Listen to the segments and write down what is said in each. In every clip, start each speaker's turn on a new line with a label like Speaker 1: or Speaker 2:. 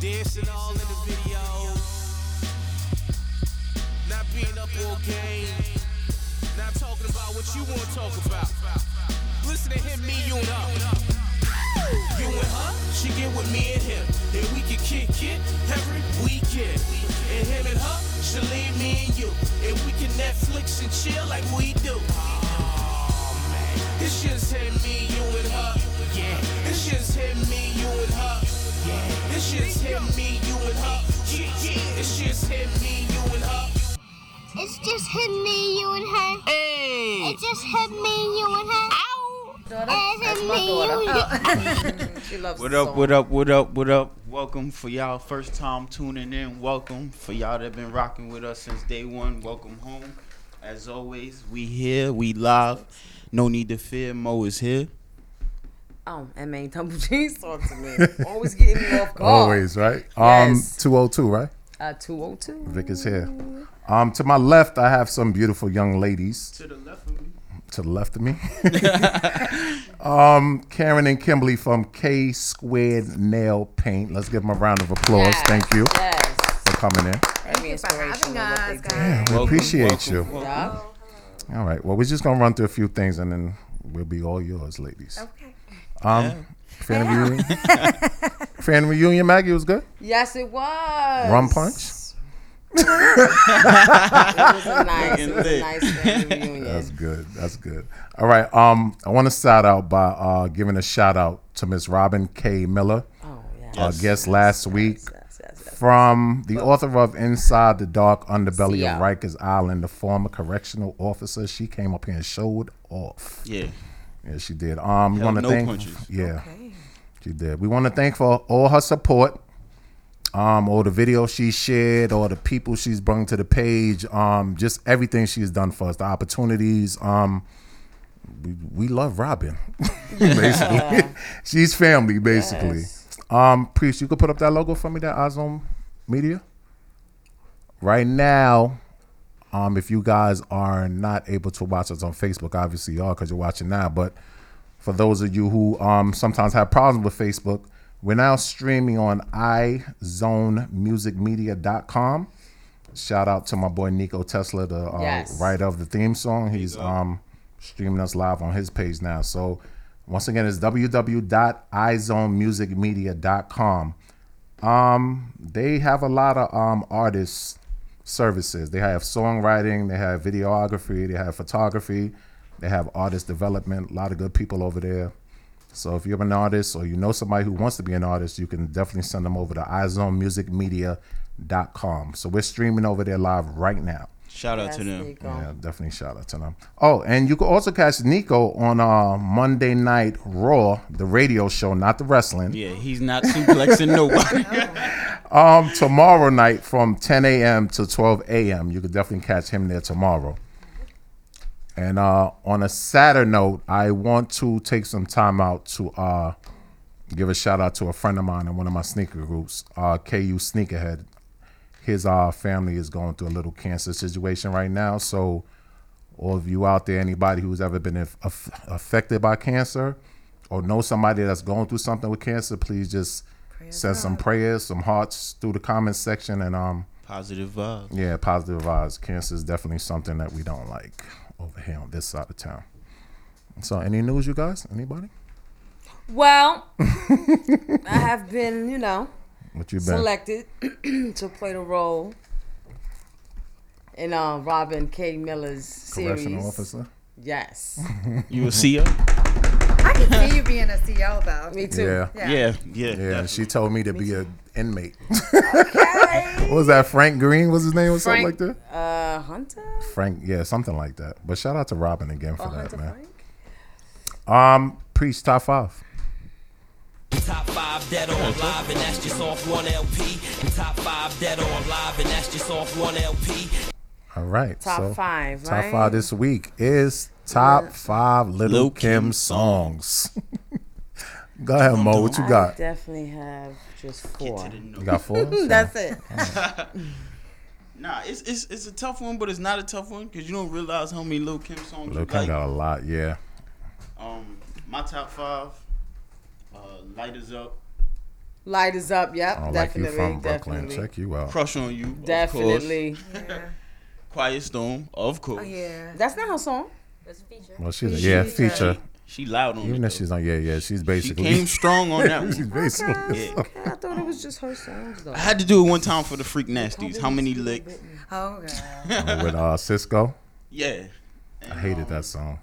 Speaker 1: dancing all in the videos. Not being up all game. Not talking about what you want to talk about. Listen to him, me, you, and her. You and her, she get with me and him. And we can kick it every weekend. And him and her, she leave me and you. And we can Netflix and chill like we do. It's just him, me, you, and her. Yeah. It's just him, me, you, and her. Yeah. It's just him, me, you, and her. Yeah, yeah. It's just him, me, you, and her.
Speaker 2: It's just him, me, you, and her.
Speaker 1: Hey.
Speaker 2: It's just him, me, you, and her. Ow! It's him, me, you, and
Speaker 3: Oh. She loves
Speaker 4: What up, what up, what up, what up? Welcome for y'all first time tuning in. Welcome for y'all that been rocking with us since day one. Welcome home. As always, we here, we live. No need to fear, Mo is here.
Speaker 3: Um, and main tumble jeans talk to me. Always getting me off guard.
Speaker 5: Always, right? Um,
Speaker 3: Yes.
Speaker 5: 202, right?
Speaker 3: Uh, 202.
Speaker 5: Vic is here. Um, to my left, I have some beautiful young ladies.
Speaker 4: To the left of me.
Speaker 5: To the left of me, um, Karen and Kimberly from K Squared Nail Paint. Let's give them a round of applause.
Speaker 3: Yes,
Speaker 5: Thank you
Speaker 3: Yes.
Speaker 5: for coming in.
Speaker 3: Thank you for having us,
Speaker 5: Yeah, we appreciate you.
Speaker 3: guys.
Speaker 5: All right. Well, we're just gonna run through a few things, and then we'll be all yours, ladies.
Speaker 6: Okay.
Speaker 5: Um, fan reunion. fan reunion, Maggie was good.
Speaker 3: Yes, it was.
Speaker 5: Rum punch.
Speaker 3: It was a nice, it was a
Speaker 4: lit.
Speaker 3: nice family reunion.
Speaker 5: That's good. That's good. All right. Um, I want to start out by uh, giving a shout out to Miss Robin K. Miller,
Speaker 3: oh, yeah.
Speaker 5: our guest last week,
Speaker 3: Yes, yes, yes.
Speaker 5: from the author of Inside the Dark Underbelly
Speaker 3: Yeah.
Speaker 5: of Rikers Island, the former correctional officer. She came up here and showed off.
Speaker 4: Yeah.
Speaker 5: Yeah, she did. Um, we
Speaker 4: Held
Speaker 5: want to
Speaker 4: no
Speaker 5: thank.
Speaker 4: punches.
Speaker 5: Yeah, she did. We want to thank for all her support. Um, all the videos she shared, all the people she's brought to the page, um, just everything she's done for us, the opportunities. Um, we, we love Robin, basically. she's family, basically. Um, Priest, you could put up that logo for me, that Ozone Media. Right now, um, if you guys are not able to watch us on Facebook, obviously you are because you're watching now. But for those of you who um, sometimes have problems with Facebook, we're now streaming on iZoneMusicMedia.com. Shout out to my boy Nico Tesla, the uh,
Speaker 3: Yes.
Speaker 5: writer of the theme song. He's um, streaming us live on his page now. So once again, it's www.izonemusicmedia.com. Um, they have a lot of um artists services. They have songwriting, they have videography, they have photography, they have artist development. A lot of good people over there. So if you're an artist or you know somebody who wants to be an artist, you can definitely send them over to izonemusicmedia.com. So we're streaming over there live right now.
Speaker 4: Shout out
Speaker 3: Yes,
Speaker 4: to
Speaker 3: there you
Speaker 4: them.
Speaker 3: go.
Speaker 5: Yeah, definitely shout out to them. Oh, and you can also catch Nico on uh Monday Night Raw, the radio show, not the wrestling.
Speaker 4: Yeah, he's not suplexing nobody.
Speaker 5: Um, tomorrow night from 10 a.m. to 12 a.m. You could definitely catch him there tomorrow. And uh, on a sadder note, I want to take some time out to uh, give a shout out to a friend of mine in one of my sneaker groups, uh, KU Sneakerhead. His uh, family is going through a little cancer situation right now. So, all of you out there, anybody who's ever been aff- aff- affected by cancer or know somebody that's going through something with cancer, please just send some prayers, some hearts through the comments section. And um,
Speaker 4: Positive vibes.
Speaker 5: yeah, positive vibes. Cancer is definitely something that we don't like over here on this side of town. So, any news, you guys? Anybody?
Speaker 3: Well, I have been, you know,
Speaker 5: What you been?
Speaker 3: selected to play the role in uh, Robin K. Miller's series.
Speaker 5: Correctional officer.
Speaker 3: Yes.
Speaker 4: You a CEO?
Speaker 6: I can see you being a CEO though.
Speaker 3: Me too.
Speaker 5: Yeah.
Speaker 6: Yeah.
Speaker 4: Yeah, yeah.
Speaker 5: Yeah,
Speaker 4: yeah.
Speaker 5: she told me to be an inmate. what was that? Frank Green was his name or something like
Speaker 3: Frank-
Speaker 5: that?
Speaker 3: Uh, Hunter?
Speaker 5: Frank, yeah, something like that. But shout out to Robin again for
Speaker 3: Oh,
Speaker 5: that,
Speaker 3: Hunter
Speaker 5: man.
Speaker 3: Frank?
Speaker 5: Um, Preach, top five.
Speaker 7: Top five dead or alive, and that's just off one LP. And top five dead or alive, and that's just off one LP.
Speaker 5: All right.
Speaker 3: Top
Speaker 5: so
Speaker 3: five,
Speaker 5: Top
Speaker 3: right?
Speaker 5: five this week is top five Little
Speaker 4: Lil'
Speaker 5: Kim,
Speaker 4: Kim
Speaker 5: songs. Go ahead, Mo. What you got?
Speaker 3: Definitely have just four.
Speaker 5: You got four?
Speaker 6: That's it.
Speaker 4: Nah, it's, it's it's a tough one, but it's not a tough one because you don't realize how many Lil Kim songs
Speaker 5: Lil
Speaker 4: you
Speaker 5: Kim
Speaker 4: like.
Speaker 5: got a lot, yeah.
Speaker 4: Um, my top five: uh, "Light Is Up,"
Speaker 3: Light is up. Yep,
Speaker 5: I don't like you
Speaker 3: definitely,
Speaker 5: from Brooklyn.
Speaker 3: definitely,
Speaker 5: Check you out.
Speaker 4: Crush on you. of course.
Speaker 3: definitely.
Speaker 6: Yeah.
Speaker 4: Quiet Storm, of course.
Speaker 6: Oh, yeah.
Speaker 3: That's not her song.
Speaker 8: It's a feature.
Speaker 5: Well, she's a,
Speaker 6: She-
Speaker 5: yeah
Speaker 6: she's a-
Speaker 5: feature.
Speaker 4: She loud on
Speaker 5: Even
Speaker 4: it.
Speaker 5: if
Speaker 4: though.
Speaker 5: she's on, yeah, yeah, she's
Speaker 4: she
Speaker 5: basically.
Speaker 4: came strong on that
Speaker 5: she's
Speaker 4: one. Oh,
Speaker 5: basically.
Speaker 4: Yeah.
Speaker 3: Okay, I thought it was just her songs though.
Speaker 4: I had to do it one time for the Freak Nasties. How many licks?
Speaker 6: Oh, God.
Speaker 5: Uh, with uh, Cisco.
Speaker 4: Yeah.
Speaker 5: I hated that song.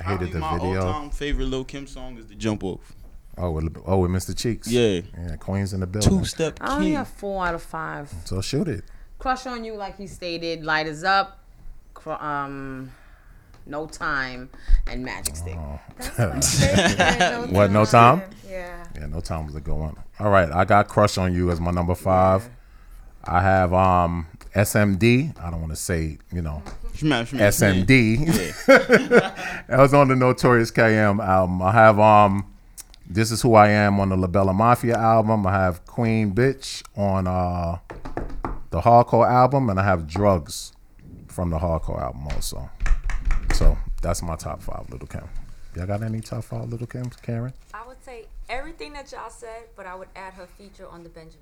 Speaker 5: I
Speaker 4: Probably
Speaker 5: hated the
Speaker 4: my
Speaker 5: video.
Speaker 4: all-time favorite Lil Kim song is the Jump Off.
Speaker 5: Oh, with, oh, with Mr. Cheeks.
Speaker 4: Yeah.
Speaker 5: Yeah, Queens in the building.
Speaker 4: Two Step
Speaker 5: Oh,
Speaker 3: I only
Speaker 4: King.
Speaker 3: have four out of five.
Speaker 5: So shoot it.
Speaker 3: Crush on you, like he stated. Light is up. Cr- um, no time and magic stick.
Speaker 6: Yeah,
Speaker 5: What, no time?
Speaker 6: Yeah.
Speaker 5: Yeah, no time was a good one. All right, I got Crush on You as my number five. I have um SMD. I don't want to say, you know,
Speaker 4: Smash, smash, smash.
Speaker 5: SMD. that was on the Notorious KM album. I have um This Is Who I Am on the Labella Mafia album. I have Queen Bitch on uh the Hardcore album, and I have Drugs from the Hardcore album also. So that's my top five, Little Kim. Y'all got any top five, Little Kim, Karen?
Speaker 8: I would say everything that y'all said, but I would add her feature on the Benjamin.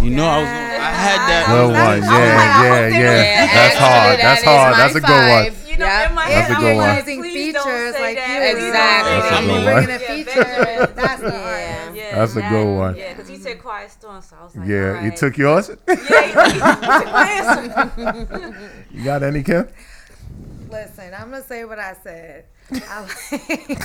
Speaker 4: You know I was. Gonna, I had that.
Speaker 5: Good one. Yeah, yeah, yeah. That's hard. That's hard. That's a good one.
Speaker 8: You know, in my
Speaker 5: That's
Speaker 8: head,
Speaker 5: a good
Speaker 8: I'm
Speaker 5: one.
Speaker 8: like,
Speaker 6: Using
Speaker 8: please don't
Speaker 6: features
Speaker 8: say
Speaker 6: like
Speaker 8: that.
Speaker 6: you.
Speaker 3: Exactly.
Speaker 8: Please don't say
Speaker 5: That's a good one.
Speaker 6: Bringing a feature.
Speaker 8: that. Yeah, Benjamin.
Speaker 6: That's the
Speaker 8: Yeah,
Speaker 6: hard.
Speaker 8: yeah.
Speaker 5: That's a good one.
Speaker 8: Yeah, because he said quiet storm, so I was like,
Speaker 5: Yeah,
Speaker 8: all
Speaker 5: you
Speaker 8: right.
Speaker 5: took yours.
Speaker 8: Yeah, he took- he took my answer.
Speaker 5: You got any, Kim?
Speaker 6: Listen, I'm gonna say what I said. I like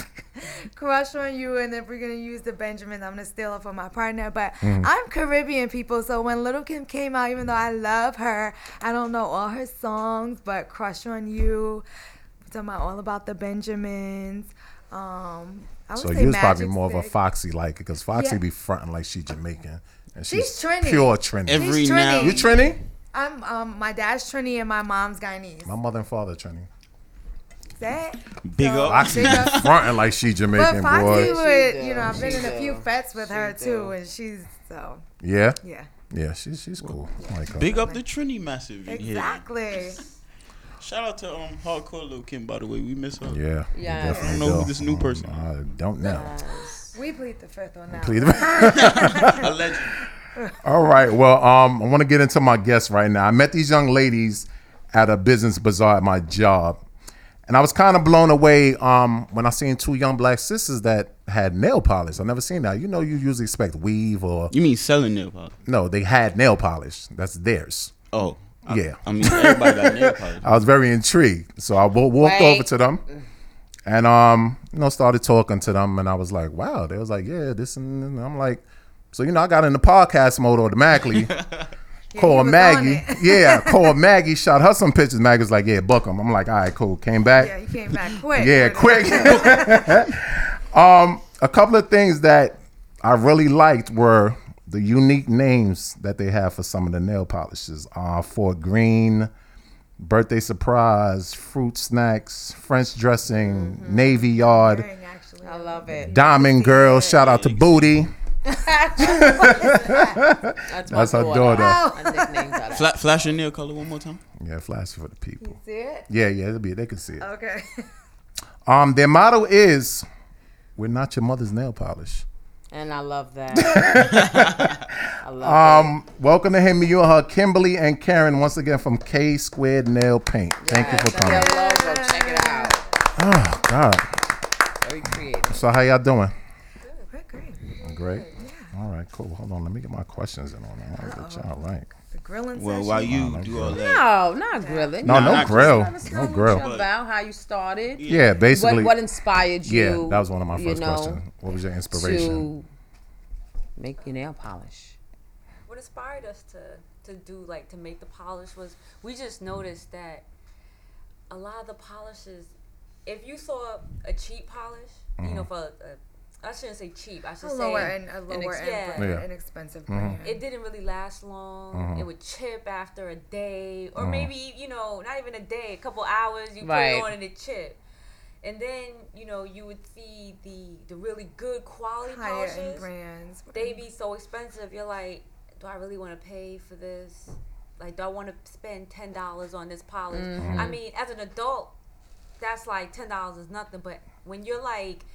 Speaker 6: crush on you, and if we're gonna use the Benjamin, I'm gonna steal it from my partner. But
Speaker 5: Mm.
Speaker 6: I'm Caribbean people, so when Little Kim came out, even though I love her, I don't know all her songs, but crush on you. I'm talking about all about the Benjamins. Um, I would
Speaker 5: So
Speaker 6: say
Speaker 5: you was probably
Speaker 6: Magic
Speaker 5: more of a
Speaker 6: Stick.
Speaker 5: Foxy like because Foxy
Speaker 6: Yeah.
Speaker 5: be fronting like she Jamaican and she's,
Speaker 6: She's Trini.
Speaker 5: pure Trini.
Speaker 4: Every
Speaker 6: She's
Speaker 4: now-
Speaker 6: Trini.
Speaker 5: you Trini?
Speaker 6: I'm um, my dad's Trini and my mom's Guyanese.
Speaker 5: My mother and father Trini.
Speaker 6: Is that?
Speaker 4: Big
Speaker 6: So,
Speaker 4: up.
Speaker 5: Foxy
Speaker 6: big
Speaker 5: be
Speaker 6: up.
Speaker 5: fronting like she
Speaker 6: But
Speaker 5: Jamaican
Speaker 6: Foxy
Speaker 5: boy.
Speaker 6: would,
Speaker 3: do.
Speaker 6: you know, I've been
Speaker 3: She
Speaker 6: in a
Speaker 3: do.
Speaker 6: few fets with her
Speaker 3: She
Speaker 6: too,
Speaker 3: do.
Speaker 6: and she's so
Speaker 5: Yeah,
Speaker 6: yeah,
Speaker 5: yeah, she's she's cool. I Like uh, her.
Speaker 4: Big up the Trini massive in here.
Speaker 6: exactly.
Speaker 4: Shout out to um hardcore Lil Kim by the way. We miss her.
Speaker 5: Yeah, we
Speaker 3: Yeah.
Speaker 5: definitely
Speaker 4: I don't know who
Speaker 5: do.
Speaker 4: this new person
Speaker 5: I don't know.
Speaker 6: We plead the fifth on that.
Speaker 5: Please.
Speaker 4: A legend.
Speaker 5: All right. Well, um, I want to get into my guests right now. I met these young ladies at a business bazaar at my job, and I was kind of blown away um, when I seen two young black sisters that had nail polish. I never seen that. You know, you usually expect weave or
Speaker 4: You mean selling nail polish?
Speaker 5: no, they had nail polish. That's theirs.
Speaker 4: Oh. I-
Speaker 5: Yeah.
Speaker 4: I mean everybody got nail polish.
Speaker 5: I was very intrigued, so I wa- walked
Speaker 3: Right.
Speaker 5: over to them, and um, you know, started talking to them, and I was like, "Wow!" They was like, "Yeah, this," and, and I'm like, "So you know, I got in the podcast mode automatically."
Speaker 6: he
Speaker 5: Call
Speaker 6: was on
Speaker 5: Maggie,
Speaker 6: it.
Speaker 5: yeah. Call Maggie. Shot her some pictures. Maggie's like, "Yeah, book 'em." I'm like, "All right, cool." Came back.
Speaker 6: Yeah, he came back quick.
Speaker 5: Yeah,
Speaker 6: But-
Speaker 5: quick. um, a couple of things that I really liked were the unique names that they have for some of the nail polishes. Uh, Fort Green, Birthday Surprise, Fruit Snacks, French Dressing, Navy Yard,
Speaker 6: Ring, Actually,
Speaker 3: Mm-hmm. I love it.
Speaker 5: Diamond Girl. Shout out to Booty.
Speaker 3: That's, my
Speaker 5: That's her daughter.
Speaker 6: Oh,
Speaker 3: My nickname's out of-
Speaker 4: Fla- flash your nail color one more time.
Speaker 5: Yeah, flash for the people.
Speaker 6: see it?
Speaker 5: Yeah, yeah, it'll be. They can see it.
Speaker 6: Okay.
Speaker 5: Um, their motto is, "We're not your mother's nail polish."
Speaker 3: and I love that. I love
Speaker 5: Um, welcome to him, you and her, Kimberly and Karen, once again from K Squared Nail Paint. Thank you for coming.
Speaker 3: that. Their logo, check it out.
Speaker 5: Oh God.
Speaker 3: Very creative.
Speaker 5: So how y'all doing?
Speaker 6: Quick, great.
Speaker 5: Great. All right, cool. Hold on, let me get my questions in on that. All right, all right.
Speaker 6: The grilling
Speaker 4: Well,
Speaker 6: session.
Speaker 4: while you
Speaker 5: Oh,
Speaker 4: do all
Speaker 5: okay.
Speaker 4: that,
Speaker 3: No, not grilling.
Speaker 5: No, no
Speaker 4: not-
Speaker 5: grill,
Speaker 3: Just
Speaker 5: no
Speaker 3: tell me
Speaker 5: grill.
Speaker 3: About how you started.
Speaker 5: Yeah, basically.
Speaker 3: What, what inspired you?
Speaker 5: yeah, that was one of my
Speaker 3: you
Speaker 5: first
Speaker 3: know,
Speaker 5: questions. What was your inspiration?
Speaker 3: To make your nail polish.
Speaker 8: what inspired us to to do like to make the polish was we just noticed that a lot of the polishes if you saw a cheap polish you know for a, a, i shouldn't say cheap i should
Speaker 6: A
Speaker 8: say
Speaker 6: lower end, a lower
Speaker 8: yeah.
Speaker 6: end, brand,
Speaker 5: Yeah.
Speaker 6: an expensive brand.
Speaker 8: it didn't really last long it would chip after a day or maybe you know not even a day a couple hours you put
Speaker 3: Right.
Speaker 8: it on and it chip and then you know you would see the the really good quality
Speaker 6: Higher
Speaker 8: polishes
Speaker 6: end brands.
Speaker 8: they be so expensive. You're like, do I really want to pay for this? Like, do I want to spend ten dollars on this polish?
Speaker 5: Mm-hmm.
Speaker 8: I mean, as an adult, that's like ten dollars is nothing. But when you're like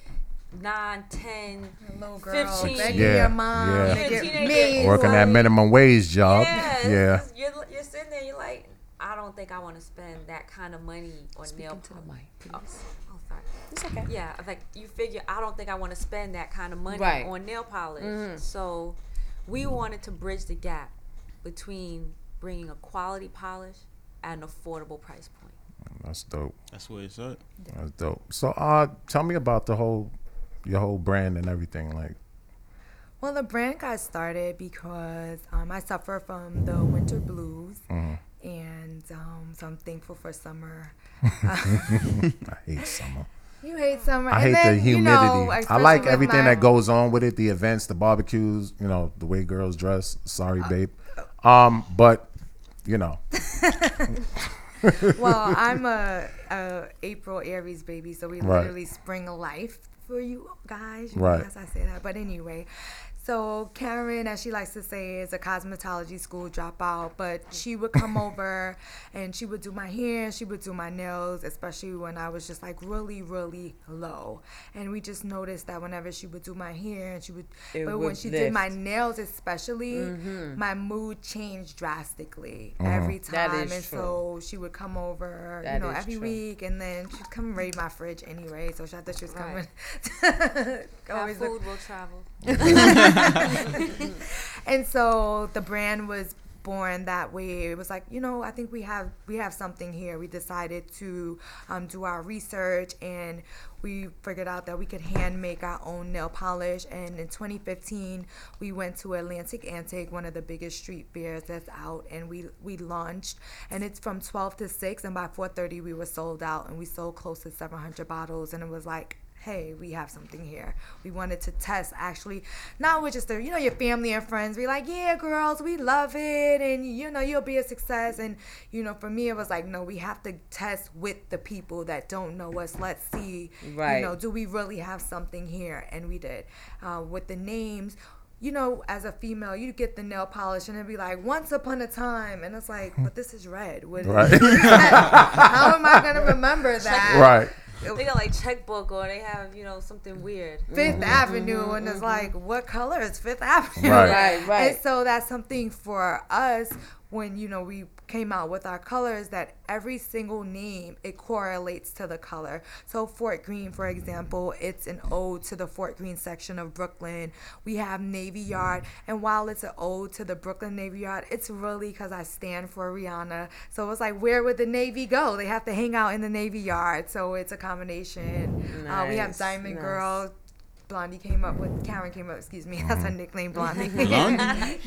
Speaker 8: nine, ten.
Speaker 6: Little girl,
Speaker 8: 15.
Speaker 6: begging
Speaker 5: Yeah,
Speaker 6: your mom
Speaker 5: yeah.
Speaker 6: to
Speaker 8: Even
Speaker 6: get
Speaker 8: teenagers.
Speaker 6: me
Speaker 5: Working that
Speaker 6: like-
Speaker 5: minimum wage job.
Speaker 8: Yeah,
Speaker 5: Yeah.
Speaker 8: it's just- You're, you're sitting there. You're like, I don't think I want to spend that kind of money on nail
Speaker 9: Speaking to the
Speaker 8: polish.
Speaker 9: mic,
Speaker 8: Oh,
Speaker 9: please.
Speaker 8: oh, sorry.
Speaker 9: It's okay.
Speaker 8: Yeah, like you figure, I don't think I want to spend that kind of money
Speaker 3: Right.
Speaker 8: on nail polish. Mm-hmm. So we wanted to bridge the gap between bringing a quality polish at an affordable price point.
Speaker 5: That's dope.
Speaker 4: That's what it's at.
Speaker 5: That's dope. So, uh, tell me about the whole, your whole brand and everything. Like,
Speaker 6: Well, the brand got started because um, I suffer from the winter blues,
Speaker 5: Mm-hmm.
Speaker 6: and um, so I'm thankful for summer.
Speaker 5: I hate summer.
Speaker 6: You hate summer.
Speaker 5: I
Speaker 6: and
Speaker 5: hate
Speaker 6: then,
Speaker 5: the humidity.
Speaker 6: You know,
Speaker 5: I like
Speaker 6: especially with
Speaker 5: everything
Speaker 6: my-
Speaker 5: that goes on with it, the events, the barbecues, you know, the way girls dress. Sorry,
Speaker 6: Uh,
Speaker 5: babe.
Speaker 6: oh.
Speaker 5: Um, but you know,
Speaker 6: Well, I'm a, a April Aries baby, so we
Speaker 5: Right.
Speaker 6: literally spring life for you guys. You
Speaker 5: Right.
Speaker 6: Guys, I say that, but anyway. So Karen, as she likes to say, is a cosmetology school dropout, but she would come over and she would do my hair, she would do my nails, especially when I was just like really, really low. And we just noticed that whenever she would do my hair and she would,
Speaker 3: It
Speaker 6: but when
Speaker 3: would
Speaker 6: she did my
Speaker 3: lift. Mm-hmm.
Speaker 6: nails, especially, my mood changed drastically
Speaker 5: Uh-huh.
Speaker 6: every
Speaker 3: That
Speaker 6: time.
Speaker 3: is
Speaker 6: and
Speaker 3: true.
Speaker 6: so so she would come over,
Speaker 3: That
Speaker 6: you know,
Speaker 3: is
Speaker 6: every
Speaker 3: true.
Speaker 6: week, and then she'd come raid my fridge anyway. So I thought she was coming.
Speaker 8: Right. Our
Speaker 6: Always
Speaker 8: food
Speaker 6: look-
Speaker 8: will travel.
Speaker 6: and so the brand was born that way it was like you know i think we have we have something here we decided to um, do our research and we figured out that we could hand make our own nail polish and in 2015 we went to atlantic antique one of the biggest street fairs that's out and we we launched and it's from 12 to 6 and by 4.30 we were sold out and we sold close to 700 bottles and it was like hey, we have something here. We wanted to test actually. Now we're just there, you know, your family and friends. We're like, yeah, girls, we love it. And, you know, you'll be a success. And, you know, for me, it was like, no, we have to test with the people that don't know us. Let's see,
Speaker 3: Right.
Speaker 6: you know, do we really have something here? And we did. Uh, with the names, you know, as a female, you get the nail polish and it'd be like, once upon a time. And it's like, but this is red. What,
Speaker 5: right,
Speaker 6: How am I going to remember that?
Speaker 5: right.
Speaker 8: They got like checkbook or they have, you know, something weird. Mm-hmm.
Speaker 6: 5th
Speaker 5: Mm-hmm.
Speaker 6: Avenue, and it's like, what color is Fifth Avenue?
Speaker 5: Right.
Speaker 3: Right, right.
Speaker 6: And so that's something for us when you know we came out with our colors that every single name it correlates to the color. So Fort Greene, for example, it's an ode to the Fort Greene section of Brooklyn. We have Navy Yard, and while it's an ode to the Brooklyn Navy Yard, it's really because I stand for Rihanna. So it's like, where would the Navy go? They have to hang out in the Navy Yard. So it's a combination. Uh, we have
Speaker 3: Nice,
Speaker 6: Diamond
Speaker 3: nice.
Speaker 6: Girl. Blondie came up with Karen came up, excuse me, that's
Speaker 3: Mm-hmm.
Speaker 6: her nickname, Blondie.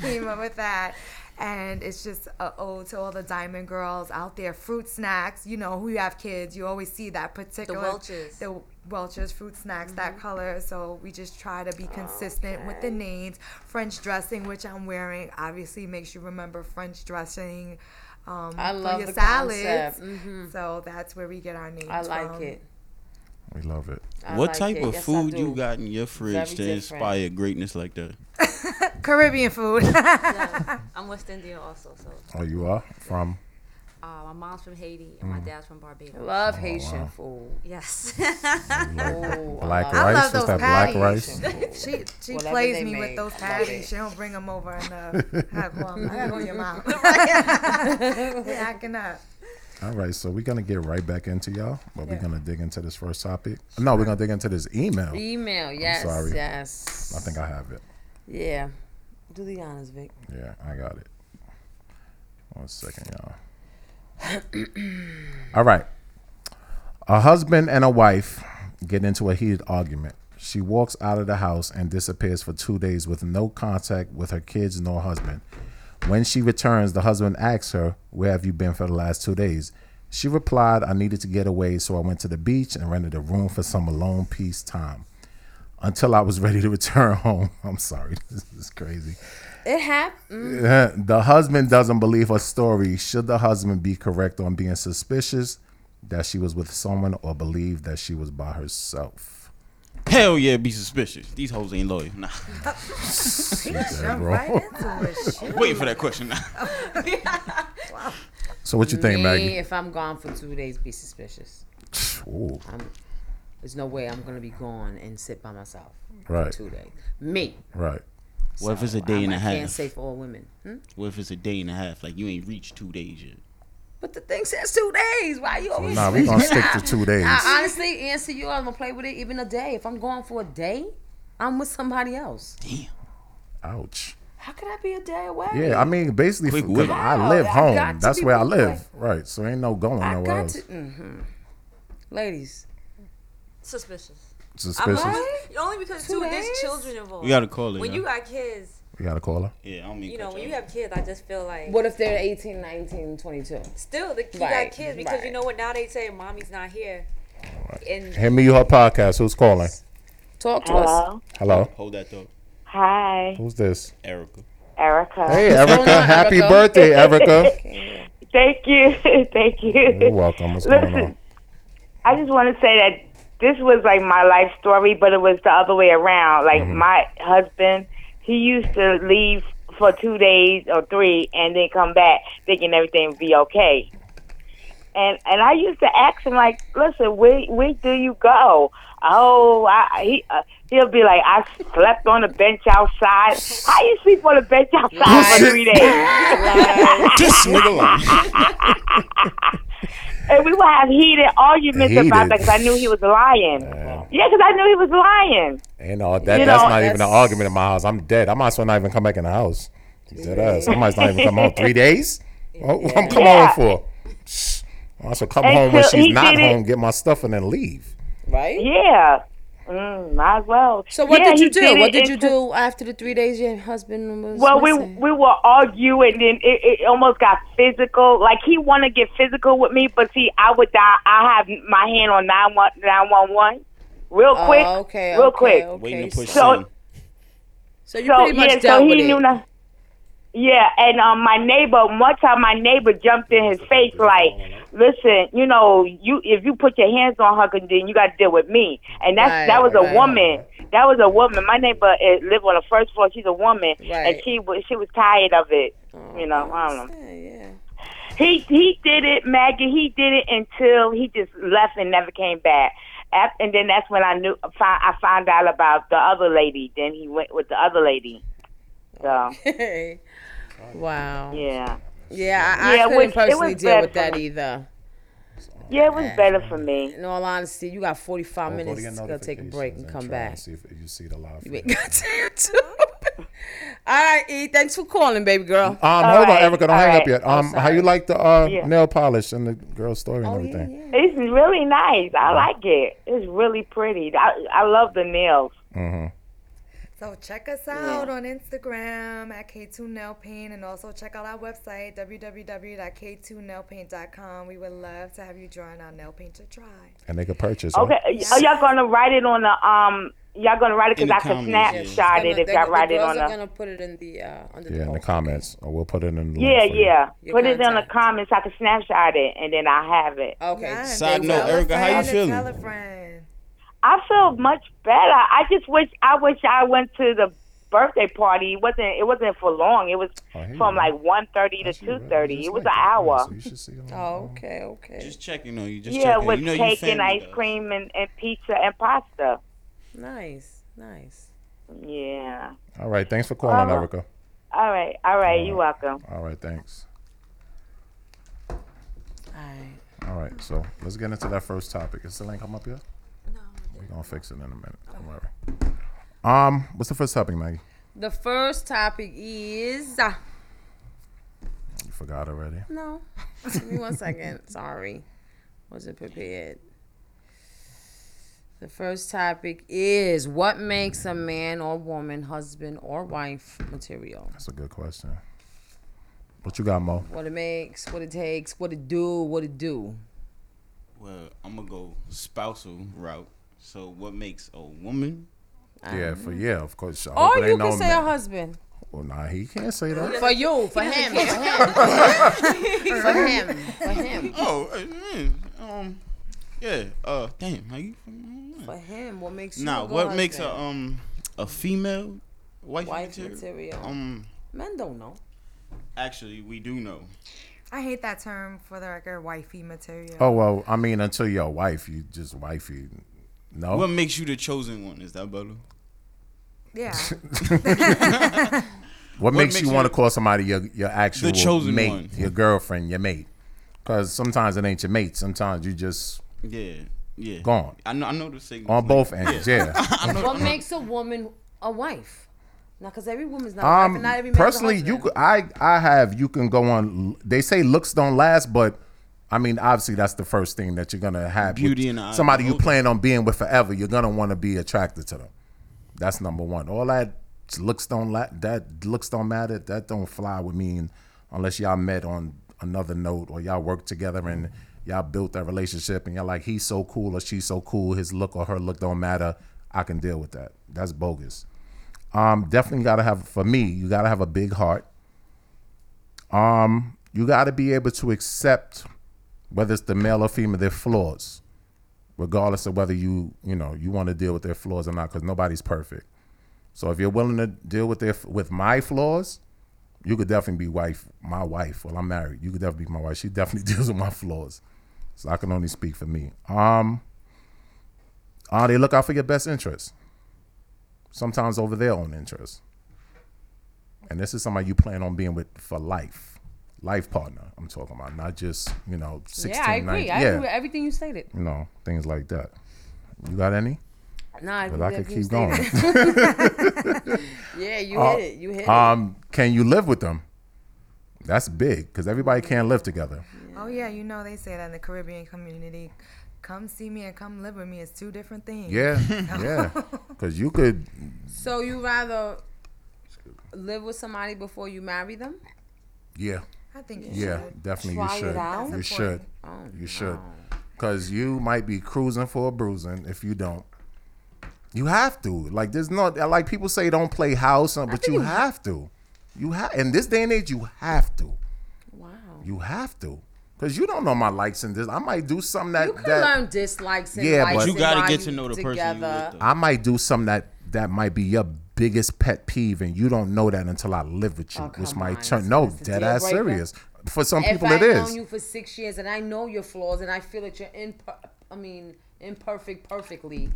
Speaker 6: came up with that. And it's just a ode to all the diamond girls out there. Fruit snacks, you know, who you have kids, you always see that particular
Speaker 8: Welch's.
Speaker 6: the Welch's fruit snacks, that color. So we just try to be consistent with the names. French dressing, which I'm wearing, obviously makes you remember French dressing. Um,
Speaker 3: I
Speaker 6: for
Speaker 3: love
Speaker 6: your
Speaker 3: the
Speaker 6: salads.
Speaker 3: concept. Mm-hmm.
Speaker 6: So that's where we get our names.
Speaker 3: I like
Speaker 6: from.
Speaker 3: it.
Speaker 5: We love it.
Speaker 3: I
Speaker 4: what
Speaker 3: like
Speaker 4: type
Speaker 3: it.
Speaker 4: of
Speaker 3: Yes, I
Speaker 4: food you
Speaker 3: do.
Speaker 4: got in your
Speaker 3: Very
Speaker 4: fridge to
Speaker 3: different.
Speaker 4: inspire greatness like that?
Speaker 6: Caribbean food.
Speaker 8: Yeah. I'm West Indian also, so
Speaker 5: Oh, you are from?
Speaker 8: uh, my mom's from Haiti and my
Speaker 5: Mm.
Speaker 8: dad's from Barbados.
Speaker 5: Oh,
Speaker 3: Love Haitian food.
Speaker 8: Yes.
Speaker 3: Oh, I
Speaker 5: Black
Speaker 3: love-
Speaker 5: rice.
Speaker 6: love
Speaker 5: What's
Speaker 6: those
Speaker 5: that? Black
Speaker 6: patties.
Speaker 5: rice.
Speaker 6: She she
Speaker 3: Whatever they
Speaker 6: plays me
Speaker 3: make,
Speaker 6: with those
Speaker 3: love
Speaker 6: patties.
Speaker 3: it.
Speaker 6: She don't bring them over enough. I go, I gotta go to your mom. yeah, I cannot.
Speaker 5: All right, so we're gonna get right back into y'all, but we're gonna dig into this first topic. No, we're gonna dig into this email. I
Speaker 3: Email, yes,
Speaker 5: sorry.
Speaker 3: yes.
Speaker 5: think I have it.
Speaker 3: Yeah. Do the honors, Vic.
Speaker 5: Yeah, I got it. One second, y'all. All right. A husband and a wife get into a heated argument. She walks out of the house and disappears for two days with no contact with her kids nor husband. When she returns, the husband asks her, Where have you been for the last two days? She replied, I needed to get away, so I went to the beach and rented a room for some alone peace time until I was ready to return home. I'm sorry, this is crazy.
Speaker 3: It mm. happened.
Speaker 5: The husband doesn't believe her story. Should the husband be correct on being suspicious that she was with someone or believe that she was by herself?
Speaker 4: Hell yeah, be suspicious. These hoes ain't loyal. Nah,
Speaker 5: Yeah,
Speaker 6: Jump
Speaker 5: bro.
Speaker 6: right into it. Shit.
Speaker 4: waiting for that question. Nah.
Speaker 5: So what you think,
Speaker 3: Me,
Speaker 5: Maggie?
Speaker 3: if I'm gone for two days, be suspicious.
Speaker 5: Ooh.
Speaker 3: There's no way I'm gonna be gone and sit by myself
Speaker 5: Right.
Speaker 3: two days. Me.
Speaker 5: Right.
Speaker 4: What if it's a
Speaker 3: So,
Speaker 4: day
Speaker 3: I-
Speaker 4: and a
Speaker 3: I can't
Speaker 4: half?
Speaker 3: say for all women. Hmm?
Speaker 4: What if it's a day and a half? Like you ain't reached two days yet.
Speaker 3: But the thing says two days. Why you always?
Speaker 5: Nah, we gonna stick to two days.
Speaker 3: I honestly answer you. I'm gonna play with it even a day. If I'm going for a day, I'm with somebody else.
Speaker 4: Damn.
Speaker 5: Ouch.
Speaker 3: How could I be a day away?
Speaker 5: Yeah, I mean, basically,
Speaker 4: Quick
Speaker 5: because
Speaker 4: wit.
Speaker 5: I live
Speaker 3: I got
Speaker 5: home.
Speaker 3: to
Speaker 5: That's
Speaker 3: be
Speaker 5: where I
Speaker 3: quick
Speaker 5: live. Right. So ain't no going
Speaker 3: I
Speaker 5: nowhere
Speaker 3: got
Speaker 5: else.
Speaker 3: to. hmm Ladies,
Speaker 8: Suspicious. I'm
Speaker 5: Suspicious.
Speaker 8: only, only because
Speaker 3: Two
Speaker 8: too, there's
Speaker 3: days?
Speaker 8: children involved.
Speaker 4: We gotta call it.
Speaker 8: when
Speaker 4: yo.
Speaker 8: you got kids,
Speaker 5: We gotta call her.
Speaker 4: yeah, I don't mean.
Speaker 8: you know,
Speaker 4: cut
Speaker 8: when
Speaker 4: you
Speaker 8: you
Speaker 4: off.
Speaker 8: have kids, I just feel like
Speaker 3: what if they're 18, 19, 22?
Speaker 8: still the, you
Speaker 3: Right,
Speaker 8: got kids because you
Speaker 3: right.
Speaker 8: know what? Now they say mommy's not here, and
Speaker 5: Hand me your podcast. Who's calling?
Speaker 3: Talk to us.
Speaker 9: Hello.
Speaker 5: Hello.
Speaker 4: hold that though,
Speaker 9: Hi,
Speaker 5: Who's this?
Speaker 4: Erica.
Speaker 9: Erica.
Speaker 5: Hey, Erica.
Speaker 3: on,
Speaker 5: Happy
Speaker 3: Erica?
Speaker 5: birthday, Erica.
Speaker 9: Thank you. Thank you.
Speaker 5: You're welcome. What's going on?
Speaker 9: Listen, I just want to say that this was like my life story, but it was the other way around. Like
Speaker 5: Mm-hmm.
Speaker 9: my husband, he used to leave for two days or three and then come back thinking everything would be okay. And and I used to ask him like, listen, where where do you go? Oh, I, he uh, he'll be like, I slept on a bench outside. How you sleep on a bench outside for three days?
Speaker 4: This nigga lying.
Speaker 5: Uh-huh.
Speaker 9: and we would have heated arguments about
Speaker 5: Heated.
Speaker 9: that because I knew he was lying.
Speaker 5: Wow.
Speaker 9: Yeah, because I knew he was lying.
Speaker 5: And all that,
Speaker 9: You
Speaker 5: that's
Speaker 9: know,
Speaker 5: not even an
Speaker 3: that's-
Speaker 5: argument in my house. I'm dead. I might as well not even come back in the house. Dead ass. I might as well not even come home. Three days? What, what I'm coming
Speaker 9: Yeah.
Speaker 5: home for? Shh. I might as well come home when
Speaker 9: Until
Speaker 5: she's
Speaker 9: he
Speaker 5: not
Speaker 9: did it.
Speaker 5: home, get my stuff, and then leave.
Speaker 3: Right?
Speaker 9: Yeah. Mm, might as well.
Speaker 3: So what
Speaker 9: Yeah,
Speaker 3: did
Speaker 9: he
Speaker 3: you do?
Speaker 9: it
Speaker 3: what did you
Speaker 9: into-
Speaker 3: do after the three days your husband was
Speaker 9: Well, we
Speaker 3: missing?
Speaker 9: we were arguing, and then it, it almost got physical. Like he want to get physical with me, but see, I would die. I have my hand on nine one nine one one, real
Speaker 3: Oh,
Speaker 9: quick,
Speaker 3: okay,
Speaker 9: real
Speaker 3: okay,
Speaker 9: quick.
Speaker 3: okay.
Speaker 4: Waiting to push
Speaker 9: So-
Speaker 4: in.
Speaker 3: So you
Speaker 9: So
Speaker 3: pretty much
Speaker 9: yeah,
Speaker 3: dealt
Speaker 9: so
Speaker 3: with
Speaker 9: he
Speaker 3: it.
Speaker 9: knew not. Yeah, and um, my neighbor. One time, my neighbor jumped in his face like, "Listen, you know, you if you put your hands on her, then you got to deal with me." And that's
Speaker 3: Right,
Speaker 9: that was a
Speaker 3: right.
Speaker 9: woman. That was a woman. My neighbor eh, lived on the first floor. She's a woman,
Speaker 3: Right.
Speaker 9: and she was she was tired of it. You know, I don't know.
Speaker 3: Yeah, yeah.
Speaker 9: He he did it, Maggie. He did it until he just left and never came back. Af- And then that's when I knew fi- I found out about the other lady. Then he went with the other lady. So
Speaker 3: Hey. Wow.
Speaker 9: yeah,
Speaker 3: Yeah, I,
Speaker 9: Yeah,
Speaker 3: I
Speaker 9: it
Speaker 3: couldn't
Speaker 9: was- it
Speaker 3: personally
Speaker 9: was
Speaker 3: deal
Speaker 9: bad
Speaker 3: with
Speaker 9: for
Speaker 3: that
Speaker 9: me.
Speaker 3: either.
Speaker 9: yeah, it was better for me.
Speaker 3: In all honesty, you got 45
Speaker 5: Go to
Speaker 3: minutes
Speaker 5: your
Speaker 3: to go take a
Speaker 5: notifications
Speaker 3: break and come
Speaker 5: try
Speaker 3: back.
Speaker 5: see if you see the live.
Speaker 3: You
Speaker 5: feed.
Speaker 3: ain't got time to. All right, E, thanks for calling, baby girl.
Speaker 5: Um, hold on,
Speaker 9: right,
Speaker 5: Erica. Don't
Speaker 9: all
Speaker 5: hang up
Speaker 9: right.
Speaker 5: yet. Um, how you like the uh,
Speaker 9: Yeah. Oh,
Speaker 5: nail polish and the girl story and everything?
Speaker 9: It's really nice. I like it. It's really pretty. I I love the nails.
Speaker 4: Mm-hmm.
Speaker 6: So check us out on Instagram at K2 Nail Paint and also check out our website www.k2nailpaint.com. We would love to have you join our nail paint to try.
Speaker 5: And they could purchase. huh?
Speaker 9: Okay, are y'all gonna write it on the um? Y'all gonna write it
Speaker 4: In
Speaker 9: because
Speaker 4: the
Speaker 9: I could
Speaker 4: comments, yeah.
Speaker 9: snapshot it if y'all write it on
Speaker 3: are
Speaker 9: the.
Speaker 3: gonna put it in the uh, under
Speaker 5: Yeah,
Speaker 3: the,
Speaker 5: in the
Speaker 3: post.
Speaker 5: comments, or we'll put it in. The
Speaker 9: Yeah,
Speaker 5: link for you.
Speaker 9: yeah.
Speaker 3: Your
Speaker 9: Put it in the
Speaker 3: contact.
Speaker 9: comments. I can snapshot it and then I have it.
Speaker 3: Okay.
Speaker 6: Yes,
Speaker 4: Side
Speaker 6: and
Speaker 4: note,
Speaker 6: tell a
Speaker 4: Erica, how you
Speaker 6: friend and
Speaker 4: feeling?
Speaker 6: Tell a friend.
Speaker 9: I feel much better. I just wish I wish I went to the birthday party. It wasn't it wasn't for long. It was
Speaker 5: Oh, here you
Speaker 9: from
Speaker 5: go.
Speaker 9: like one thirty
Speaker 4: Oh,
Speaker 9: to
Speaker 5: Actually,
Speaker 9: two
Speaker 5: really,
Speaker 9: thirty.
Speaker 5: just
Speaker 9: It was an
Speaker 5: like
Speaker 9: hour.
Speaker 5: Right, so you should see it on the-
Speaker 3: Oh, okay, okay.
Speaker 4: Just checking on you. Just
Speaker 9: Yeah,
Speaker 4: checking.
Speaker 9: with
Speaker 4: you know you
Speaker 9: cake and
Speaker 4: family
Speaker 9: ice
Speaker 4: does.
Speaker 9: cream and, and pizza and pasta.
Speaker 3: nice, nice.
Speaker 9: Yeah.
Speaker 5: All right. Thanks for calling,
Speaker 9: Uh,
Speaker 5: Erica.
Speaker 9: All right. All right. You're welcome.
Speaker 5: All right. Thanks.
Speaker 3: All right.
Speaker 5: All right. So let's get into that first topic. Is the link come up yet?
Speaker 8: no,
Speaker 5: We're gonna fix it in a minute. Don't worry. Um, what's the first topic, Maggie?
Speaker 3: The first topic is
Speaker 5: You forgot already.
Speaker 3: no. Give me one second. Sorry, wasn't prepared. The first topic is what makes a man or woman, husband or wife material.
Speaker 5: That's a good question. What you got, Mo?
Speaker 3: What it makes, what it takes, what it do, what it do.
Speaker 4: Well, I'm gonna go spousal route. So, what makes a woman?
Speaker 3: Um,
Speaker 5: Yeah, for yeah, of course. I hope it
Speaker 3: Or you
Speaker 5: ain't
Speaker 3: can
Speaker 5: no
Speaker 3: say
Speaker 5: man.
Speaker 3: a husband.
Speaker 5: Well, nah, he can't say that.
Speaker 3: For you, for him, for him, for him, for him,
Speaker 4: Oh, uh, mm, um, yeah. Uh, damn. How you? mm,
Speaker 3: for him. What makes you?
Speaker 4: Nah,
Speaker 3: a good
Speaker 4: what makes a
Speaker 3: husband?
Speaker 4: um a female wife,
Speaker 3: wife
Speaker 4: material?
Speaker 3: material?
Speaker 4: Um,
Speaker 3: Men don't know.
Speaker 4: actually, we do know.
Speaker 6: I hate that term for the record, wifey material.
Speaker 5: Oh well, I mean, until you're a wife, you just wifey. No.
Speaker 4: What makes you the chosen one? Is that Bella?
Speaker 6: Yeah.
Speaker 5: What, makes, you want to call somebody your your actual
Speaker 4: chosen
Speaker 5: mate,
Speaker 4: one.
Speaker 5: your girlfriend, your mate? Because sometimes it ain't your mate. Sometimes you just
Speaker 4: Yeah, yeah.
Speaker 5: gone
Speaker 4: I know. I know the signal.
Speaker 5: on both ends. Yeah.
Speaker 3: What makes a woman a wife? Now, because every woman's not a wife,
Speaker 5: Um,
Speaker 3: and not every man's a
Speaker 5: personally, you
Speaker 3: husband.
Speaker 5: could, I I have you can go on. They say looks don't last, but I mean, obviously, that's the first thing that you're gonna have. with
Speaker 4: Beauty in the eye of
Speaker 5: somebody
Speaker 4: the
Speaker 5: you
Speaker 4: beholder.
Speaker 5: plan on being with forever. You're gonna want to be attracted to them. That's number one. All that looks don't la- that looks don't matter. That don't fly with me and- unless y'all met on another note or y'all worked together and y'all built that relationship and y'all like he's so cool or she's so cool. His look or her look don't matter. I can deal with that. That's bogus. Um, definitely gotta have for me. You gotta have a big heart. Um, you gotta be able to accept whether it's the male or female their flaws, regardless of whether you you know you want to deal with their flaws or not, because nobody's perfect. So if you're willing to deal with their with my flaws, you could definitely be wife my wife. Well, I'm married. You could definitely be my wife. She definitely deals with my flaws, so I can only speak for me. Um, uh, they look out for your best interests sometimes over their own interests. And this is somebody you plan on being with for life. Life partner, I'm talking about, not just, you know, 16,
Speaker 3: Yeah, I agree.
Speaker 5: 19
Speaker 3: I
Speaker 5: yeah,
Speaker 3: agree with everything you stated.
Speaker 5: you know, things like that. You got any?
Speaker 3: Nah, I agree
Speaker 5: But
Speaker 3: with
Speaker 5: I could
Speaker 3: everything you
Speaker 5: keep going.
Speaker 3: stated. Yeah, you hit it. You hit
Speaker 5: um, can you live with them? That's big because everybody can't live together.
Speaker 6: oh yeah, you know they say that in the Caribbean community. Come see me and come live with me is two different things.
Speaker 5: Yeah, yeah. Because you could,
Speaker 3: it. So you rather live with somebody before you marry them?
Speaker 5: yeah,
Speaker 6: I think you
Speaker 5: yeah,
Speaker 6: should.
Speaker 5: definitely
Speaker 3: Try it
Speaker 5: you should.
Speaker 3: out? Oh,
Speaker 5: You
Speaker 6: That's
Speaker 5: should.
Speaker 6: important.
Speaker 5: You should. Because you might be cruising for a bruising if you don't. You have to. Like, there's not, like, people say don't play house, uh, but you have to. You have, in this day and age, you have to.
Speaker 3: Wow.
Speaker 5: You have to. Because you don't know my likes and this. I might do something that,
Speaker 3: You can
Speaker 5: that
Speaker 3: learn dislikes and
Speaker 5: Yeah,
Speaker 3: likes.
Speaker 5: but-
Speaker 4: You
Speaker 3: and
Speaker 4: gotta
Speaker 3: why
Speaker 4: get to
Speaker 3: you
Speaker 4: know the person you
Speaker 3: together.
Speaker 4: with, though.
Speaker 5: I might do something that, that might be your biggest pet peeve, and you don't know that until I live with you,
Speaker 3: Oh,
Speaker 5: which
Speaker 3: come
Speaker 5: might
Speaker 3: on.
Speaker 5: turn,
Speaker 3: That's-
Speaker 5: no,
Speaker 3: that's a
Speaker 5: dead
Speaker 3: deal
Speaker 5: ass
Speaker 3: breaker.
Speaker 5: serious. For some
Speaker 3: If
Speaker 5: people,
Speaker 3: I've
Speaker 5: it is.
Speaker 3: known you for six years and I know your flaws and I feel that you're in, I mean, imperfect perfectly,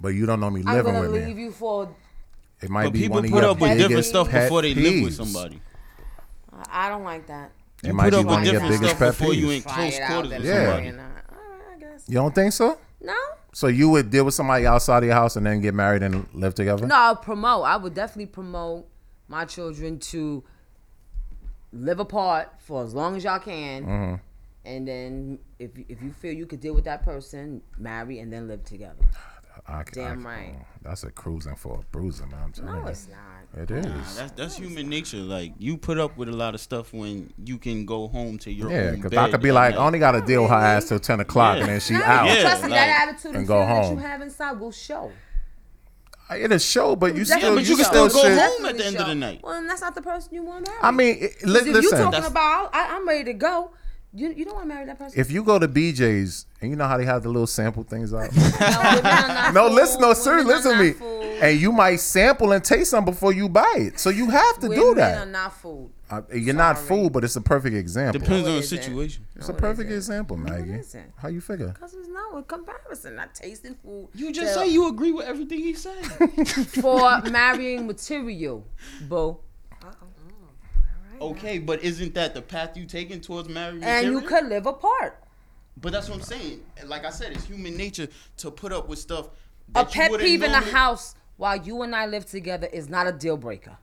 Speaker 5: but you don't know me
Speaker 3: I'm
Speaker 5: living
Speaker 3: gonna
Speaker 5: with me.
Speaker 3: leave you for.
Speaker 5: It might
Speaker 4: But
Speaker 5: be
Speaker 4: people
Speaker 5: one of
Speaker 4: put
Speaker 5: your
Speaker 4: up with different
Speaker 5: biggest
Speaker 4: stuff
Speaker 5: pet
Speaker 4: before they live with
Speaker 5: peeves.
Speaker 4: somebody.
Speaker 3: I I don't like that.
Speaker 5: It
Speaker 4: You
Speaker 5: might
Speaker 4: put
Speaker 5: be
Speaker 4: up
Speaker 5: one
Speaker 4: with
Speaker 5: of your
Speaker 4: different
Speaker 5: biggest
Speaker 4: stuff
Speaker 5: pet
Speaker 4: before you
Speaker 5: peeves.
Speaker 4: in
Speaker 3: Try
Speaker 4: close
Speaker 3: it out.
Speaker 4: quarters
Speaker 3: That's
Speaker 4: with
Speaker 5: Yeah.
Speaker 3: yeah.
Speaker 4: somebody.
Speaker 3: All right, I guess.
Speaker 5: You don't think so?
Speaker 3: No.
Speaker 5: So you would deal with somebody outside of your house and then get married and live together?
Speaker 3: No, I'll promote. I would definitely promote my children to live apart for as long as y'all can.
Speaker 5: Mm-hmm.
Speaker 3: And then, if if you feel you could deal with that person, marry and then live together.
Speaker 5: I, oh,
Speaker 3: Damn right.
Speaker 5: That's a cruising for a bruiser, man. I'm telling
Speaker 3: No,
Speaker 5: you.
Speaker 3: it's not.
Speaker 5: It is.
Speaker 4: Nah, that's that's human nature. Like you put up with a lot of stuff when you can go home to your
Speaker 5: yeah,
Speaker 4: own
Speaker 5: because
Speaker 4: bed.
Speaker 5: I could be
Speaker 4: and,
Speaker 5: like, "Oh." I only got to deal with her ass till 10 o'clock and
Speaker 4: Yeah.
Speaker 5: then she
Speaker 3: No,
Speaker 5: out.
Speaker 4: Yeah,
Speaker 3: trust me, that
Speaker 4: like-
Speaker 3: attitude and
Speaker 5: And go
Speaker 3: feeling that
Speaker 5: home.
Speaker 3: you have inside will show.
Speaker 5: It'll show, but you
Speaker 3: Yeah,
Speaker 5: still,
Speaker 4: but you can
Speaker 5: still,
Speaker 4: still go
Speaker 5: should-
Speaker 4: home. at the end of the
Speaker 3: Show.
Speaker 4: night.
Speaker 3: Well, and that's not the person you want to marry.
Speaker 5: I mean, it, li-
Speaker 3: 'Cause if you
Speaker 5: listen.
Speaker 3: talking
Speaker 4: That's-
Speaker 3: about, I, I'm ready to go. You you don't want to marry that person.
Speaker 5: if you go to BJ's and you know how they have the little sample things out.
Speaker 3: no, women are not
Speaker 5: No, listen, no,
Speaker 3: fools.
Speaker 5: sir,
Speaker 3: Women are
Speaker 5: listen to
Speaker 3: not
Speaker 5: me.
Speaker 3: fools.
Speaker 5: And you might sample and taste some before you buy it. So you have to do
Speaker 3: Women
Speaker 5: that.
Speaker 3: are not fooled.
Speaker 5: Uh, you're not fooled, but it's a perfect example.
Speaker 4: Depends on the
Speaker 3: is it?
Speaker 4: situation.
Speaker 5: It's a perfect example, Maggie.
Speaker 3: isn't.
Speaker 5: How you figure?
Speaker 3: Cause there's no a comparison. Not tasting food.
Speaker 4: You just
Speaker 3: Tell-
Speaker 4: say you agree with everything he said.
Speaker 3: for marrying material, boo.
Speaker 4: okay, but isn't that the path you taking towards marriage?
Speaker 3: And you
Speaker 4: material?
Speaker 3: could live apart.
Speaker 4: But that's what I'm saying. Like I said, it's human nature to put up with stuff.
Speaker 3: A
Speaker 4: that you
Speaker 3: pet
Speaker 4: wouldn't
Speaker 3: peeve in the
Speaker 4: normally-
Speaker 3: house while you and I live together is not a deal breaker.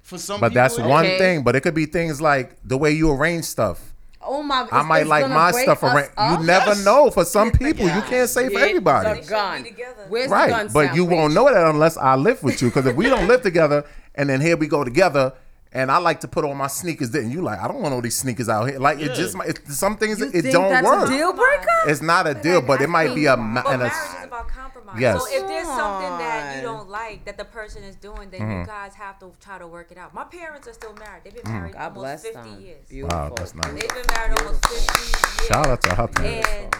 Speaker 4: For some
Speaker 5: But
Speaker 4: people,
Speaker 5: that's
Speaker 4: it
Speaker 5: one
Speaker 4: is.
Speaker 5: thing. But it could be things like the way you arrange stuff.
Speaker 3: Oh my!
Speaker 5: I might like my stuff arranged. You never
Speaker 4: Yes.
Speaker 5: know. For some people, you can't say for everybody.
Speaker 3: The
Speaker 8: be
Speaker 3: gun.
Speaker 8: together.
Speaker 3: Where's the gun
Speaker 5: Right. But
Speaker 3: sound,
Speaker 5: you won't
Speaker 3: please?
Speaker 5: know that unless I live with you. Because if we don't live together, and then here we go together. And I like to put on my sneakers. Then you like, I don't want all these sneakers out here. Like it just, might- it, some things
Speaker 3: You
Speaker 5: it
Speaker 3: think
Speaker 5: don't
Speaker 3: that's
Speaker 5: work.
Speaker 3: A deal breaker.
Speaker 5: It's not a deal, but it might be a. ma-
Speaker 8: But
Speaker 5: and a
Speaker 8: marriage is about compromise.
Speaker 5: Yes.
Speaker 8: So if there's something that you
Speaker 3: Come on.
Speaker 8: don't like that the person is doing, then
Speaker 5: Mm-hmm.
Speaker 8: you guys have to try to work it out. My parents are still married. They've been
Speaker 3: Mm.
Speaker 8: married
Speaker 3: God
Speaker 8: almost
Speaker 3: bless
Speaker 8: 50
Speaker 3: them.
Speaker 8: years.
Speaker 3: Beautiful.
Speaker 5: Wow, that's nice.
Speaker 8: They've been married almost 50 years.
Speaker 5: Shout out to her parents.
Speaker 8: and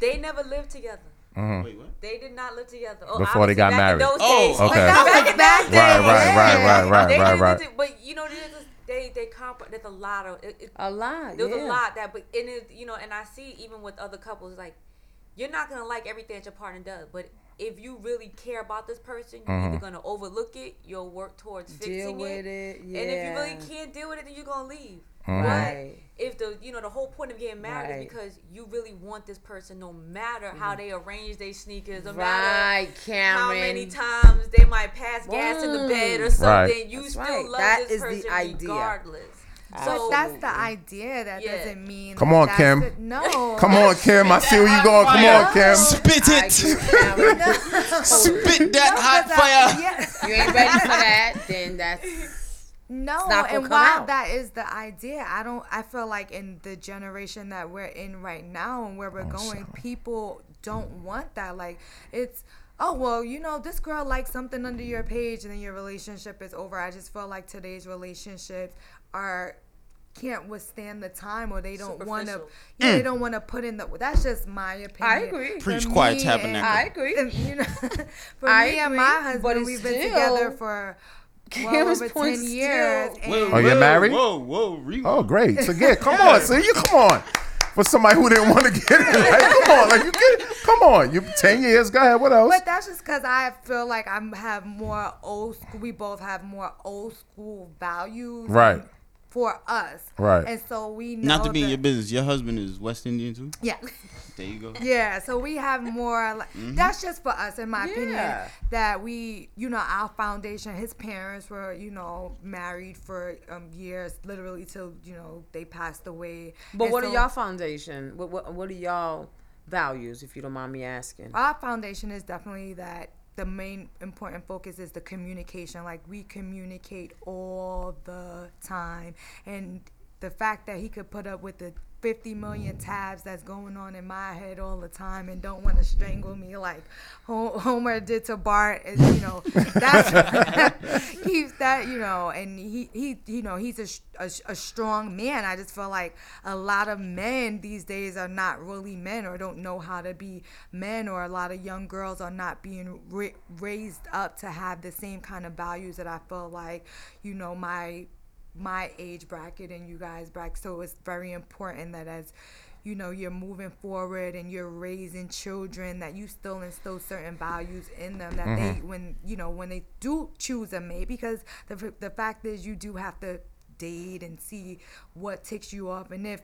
Speaker 8: they never lived together.
Speaker 4: Wait, what?
Speaker 8: They did not live together. Oh,
Speaker 5: Before they
Speaker 8: obviously,
Speaker 5: got
Speaker 8: back in
Speaker 5: married.
Speaker 8: those
Speaker 4: Oh,
Speaker 8: days.
Speaker 5: okay.
Speaker 8: Back, back, back then.
Speaker 5: Right, right, right, right, right,
Speaker 8: They
Speaker 5: right,
Speaker 8: didn't
Speaker 5: right.
Speaker 8: live to- but you know, there's this- they they comp. There's a lot of it, it,
Speaker 3: A lot.
Speaker 8: there's
Speaker 3: yeah.
Speaker 8: a lot that, but and it, you know, and I see even with other couples like you're not gonna like everything that your partner does, but if you really care about this person, you're
Speaker 5: Mm-hmm.
Speaker 8: either gonna overlook it, you'll work towards fixing
Speaker 3: Deal with it,
Speaker 8: and if you really
Speaker 3: yeah.
Speaker 8: can't deal with it, then you're gonna leave.
Speaker 5: Mm-hmm.
Speaker 3: Right.
Speaker 8: But if the you know the whole point of getting married
Speaker 3: Right. Mm-hmm.
Speaker 8: is because you really want this person, no matter how they arrange their sneakers, no
Speaker 3: Right,
Speaker 8: matter how
Speaker 3: Cameron. Mm.
Speaker 8: many times they might pass gas in the bed or something,
Speaker 5: Right.
Speaker 8: you
Speaker 3: That's
Speaker 8: still
Speaker 3: right.
Speaker 8: love
Speaker 3: That
Speaker 8: this
Speaker 3: is the
Speaker 8: person
Speaker 3: idea.
Speaker 8: regardless.
Speaker 6: But
Speaker 8: So
Speaker 6: that's the idea. That
Speaker 8: Yeah.
Speaker 6: doesn't mean.
Speaker 5: Come
Speaker 6: that
Speaker 5: on,
Speaker 6: that's
Speaker 5: Kim.
Speaker 6: the- no.
Speaker 5: Come on, Kim. I see where you going. Come on, Kim.
Speaker 4: Spit
Speaker 3: I
Speaker 4: it.
Speaker 3: agree, Cameron.
Speaker 4: Spit that hot fire.
Speaker 6: Yes.
Speaker 3: you ain't ready for that, then that's
Speaker 6: No,
Speaker 3: not gonna
Speaker 6: and
Speaker 3: come
Speaker 6: while
Speaker 3: out.
Speaker 6: that is the idea, I don't. I feel like in the generation that we're in right now and where we're
Speaker 3: Oh,
Speaker 6: going, people don't want that. Like it's. Oh well, you know this girl likes something under your page, and then your relationship is over. I just feel like today's relationships are can't withstand the time, or they don't want to.
Speaker 8: Superficial.
Speaker 6: Yeah,
Speaker 3: Mm.
Speaker 6: they don't want to put in the. That's just my opinion.
Speaker 3: agree.
Speaker 6: For
Speaker 4: Preach quiet
Speaker 6: me and-
Speaker 4: tabernacle.
Speaker 3: I agree.
Speaker 6: and, you know, for
Speaker 3: I
Speaker 6: me and
Speaker 3: agree,
Speaker 6: my
Speaker 3: but
Speaker 6: husband,
Speaker 3: it's
Speaker 6: we've been
Speaker 3: still-
Speaker 6: together for well
Speaker 3: Kim's
Speaker 6: over
Speaker 3: point
Speaker 6: ten years.
Speaker 3: still-
Speaker 6: And
Speaker 5: Are you Oh, married?
Speaker 4: Whoa, whoa, rewind.
Speaker 5: Oh, great. So yeah, come on. So you come on. For somebody who didn't want to get it, like, come on, like you get it. Come on, you ten years. Go ahead. What else?
Speaker 6: But that's just because I feel like I have more old. School, we both have more old school values.
Speaker 5: Right.
Speaker 6: For us.
Speaker 5: Right.
Speaker 6: And so we know
Speaker 4: Not to be in
Speaker 6: that-
Speaker 4: your business. Your husband is West Indian too.
Speaker 6: yeah.
Speaker 4: There you go.
Speaker 6: Yeah, so we have more. Like,
Speaker 4: Mm-hmm.
Speaker 6: That's just for us, in my opinion.
Speaker 3: Yeah.
Speaker 6: That we, you know, our foundation. His parents were, you know, married for um, years, literally till you know they passed away.
Speaker 3: But
Speaker 6: And
Speaker 3: what
Speaker 6: so
Speaker 3: are y'all foundation? What what what are y'all values? If you don't mind me asking.
Speaker 6: Our foundation is definitely that the main important focus is the communication. Like we communicate all the time, and the fact that he could put up with the. 50 million tabs that's going on in my head all the time and don't want to strangle me like Ho- Homer did to Bart is you know that's he's that you know and he he you know he's a, sh- a sh- a strong man I just feel like a lot of men these days are not really men or don't know how to be men or a lot of young girls are not being ra- raised up to have the same kind of values that I feel like you know my my age bracket and you guys bracket so it's very important that as you know you're moving forward and you're raising children that you still instill certain values in them that they when you know when they do choose a mate because the, f- the fact is you do have to date and see what ticks you off and if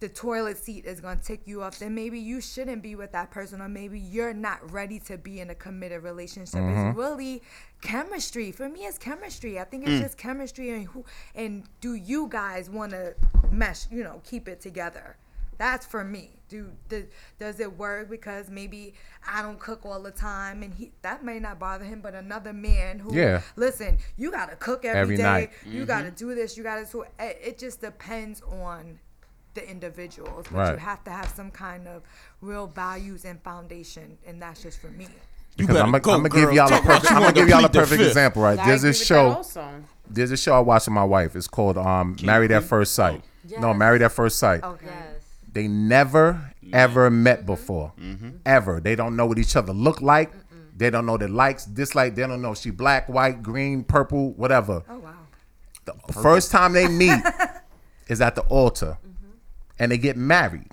Speaker 6: the toilet seat is gonna tick you off, then maybe you shouldn't be with that person, or maybe you're not ready to be in a committed relationship. It's really chemistry. For me, it's chemistry. I think
Speaker 5: Mm.
Speaker 6: it's just chemistry, and who and do you guys want to mesh? You know, keep it together. That's for me. Do, do does it work? Because maybe I don't cook all the time, and he that may not bother him. But another man who
Speaker 5: Yeah.
Speaker 6: listen, you gotta cook
Speaker 5: Every
Speaker 6: every day.
Speaker 5: night. Mm-hmm.
Speaker 6: You gotta do this. You gotta do. It, it just depends on the individuals, but you
Speaker 5: Right.
Speaker 6: have to have some kind of real values and foundation, and that's just for me.
Speaker 4: You
Speaker 5: Because I'm gonna give y'all a perfect. I'm gonna give y'all a perfect example, right? There's
Speaker 3: I agree
Speaker 5: this
Speaker 3: with that
Speaker 5: show.
Speaker 3: also.
Speaker 5: There's this show I watch with my wife. It's called um, "Married at First Sight." No,
Speaker 3: Oh.
Speaker 8: Yes.
Speaker 5: "Married at First Sight."
Speaker 8: yes,
Speaker 5: They never
Speaker 3: Mm-hmm.
Speaker 5: ever met before, ever. They don't know what each other look like. They don't know their likes, dislike. They don't know if she black, white, green, purple, whatever.
Speaker 6: Oh wow.
Speaker 5: The first time they meet is at the altar,
Speaker 3: Mm-hmm.
Speaker 5: and they get married.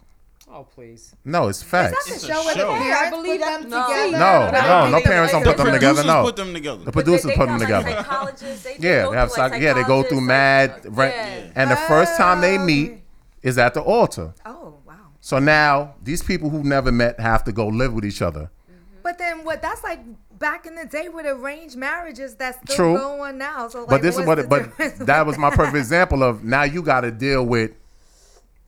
Speaker 3: Oh please.
Speaker 5: No, it's facts.
Speaker 4: It's a show.
Speaker 3: I believe that no.
Speaker 5: No, no, no
Speaker 3: They-
Speaker 5: parents don't
Speaker 3: they-
Speaker 5: put them together.
Speaker 4: Producers
Speaker 5: No,
Speaker 4: put them together.
Speaker 5: the producers put them
Speaker 8: got,
Speaker 5: together.
Speaker 8: Like psychologists, they
Speaker 5: Yeah,
Speaker 8: go
Speaker 5: they have
Speaker 8: through, like,
Speaker 5: psych- yeah, they go through mad
Speaker 8: psychologists,
Speaker 5: right,
Speaker 8: yeah.
Speaker 5: and the first time they meet is at the altar.
Speaker 6: Oh wow.
Speaker 5: So now these people who've never met have to go live with each other.
Speaker 6: But then what? That's like back in the day with arranged marriages. That's still
Speaker 5: True.
Speaker 6: going now. So like,
Speaker 5: But this is
Speaker 6: what's
Speaker 5: what
Speaker 6: the
Speaker 5: it, but
Speaker 6: difference with
Speaker 5: that was my perfect example of now you got to deal with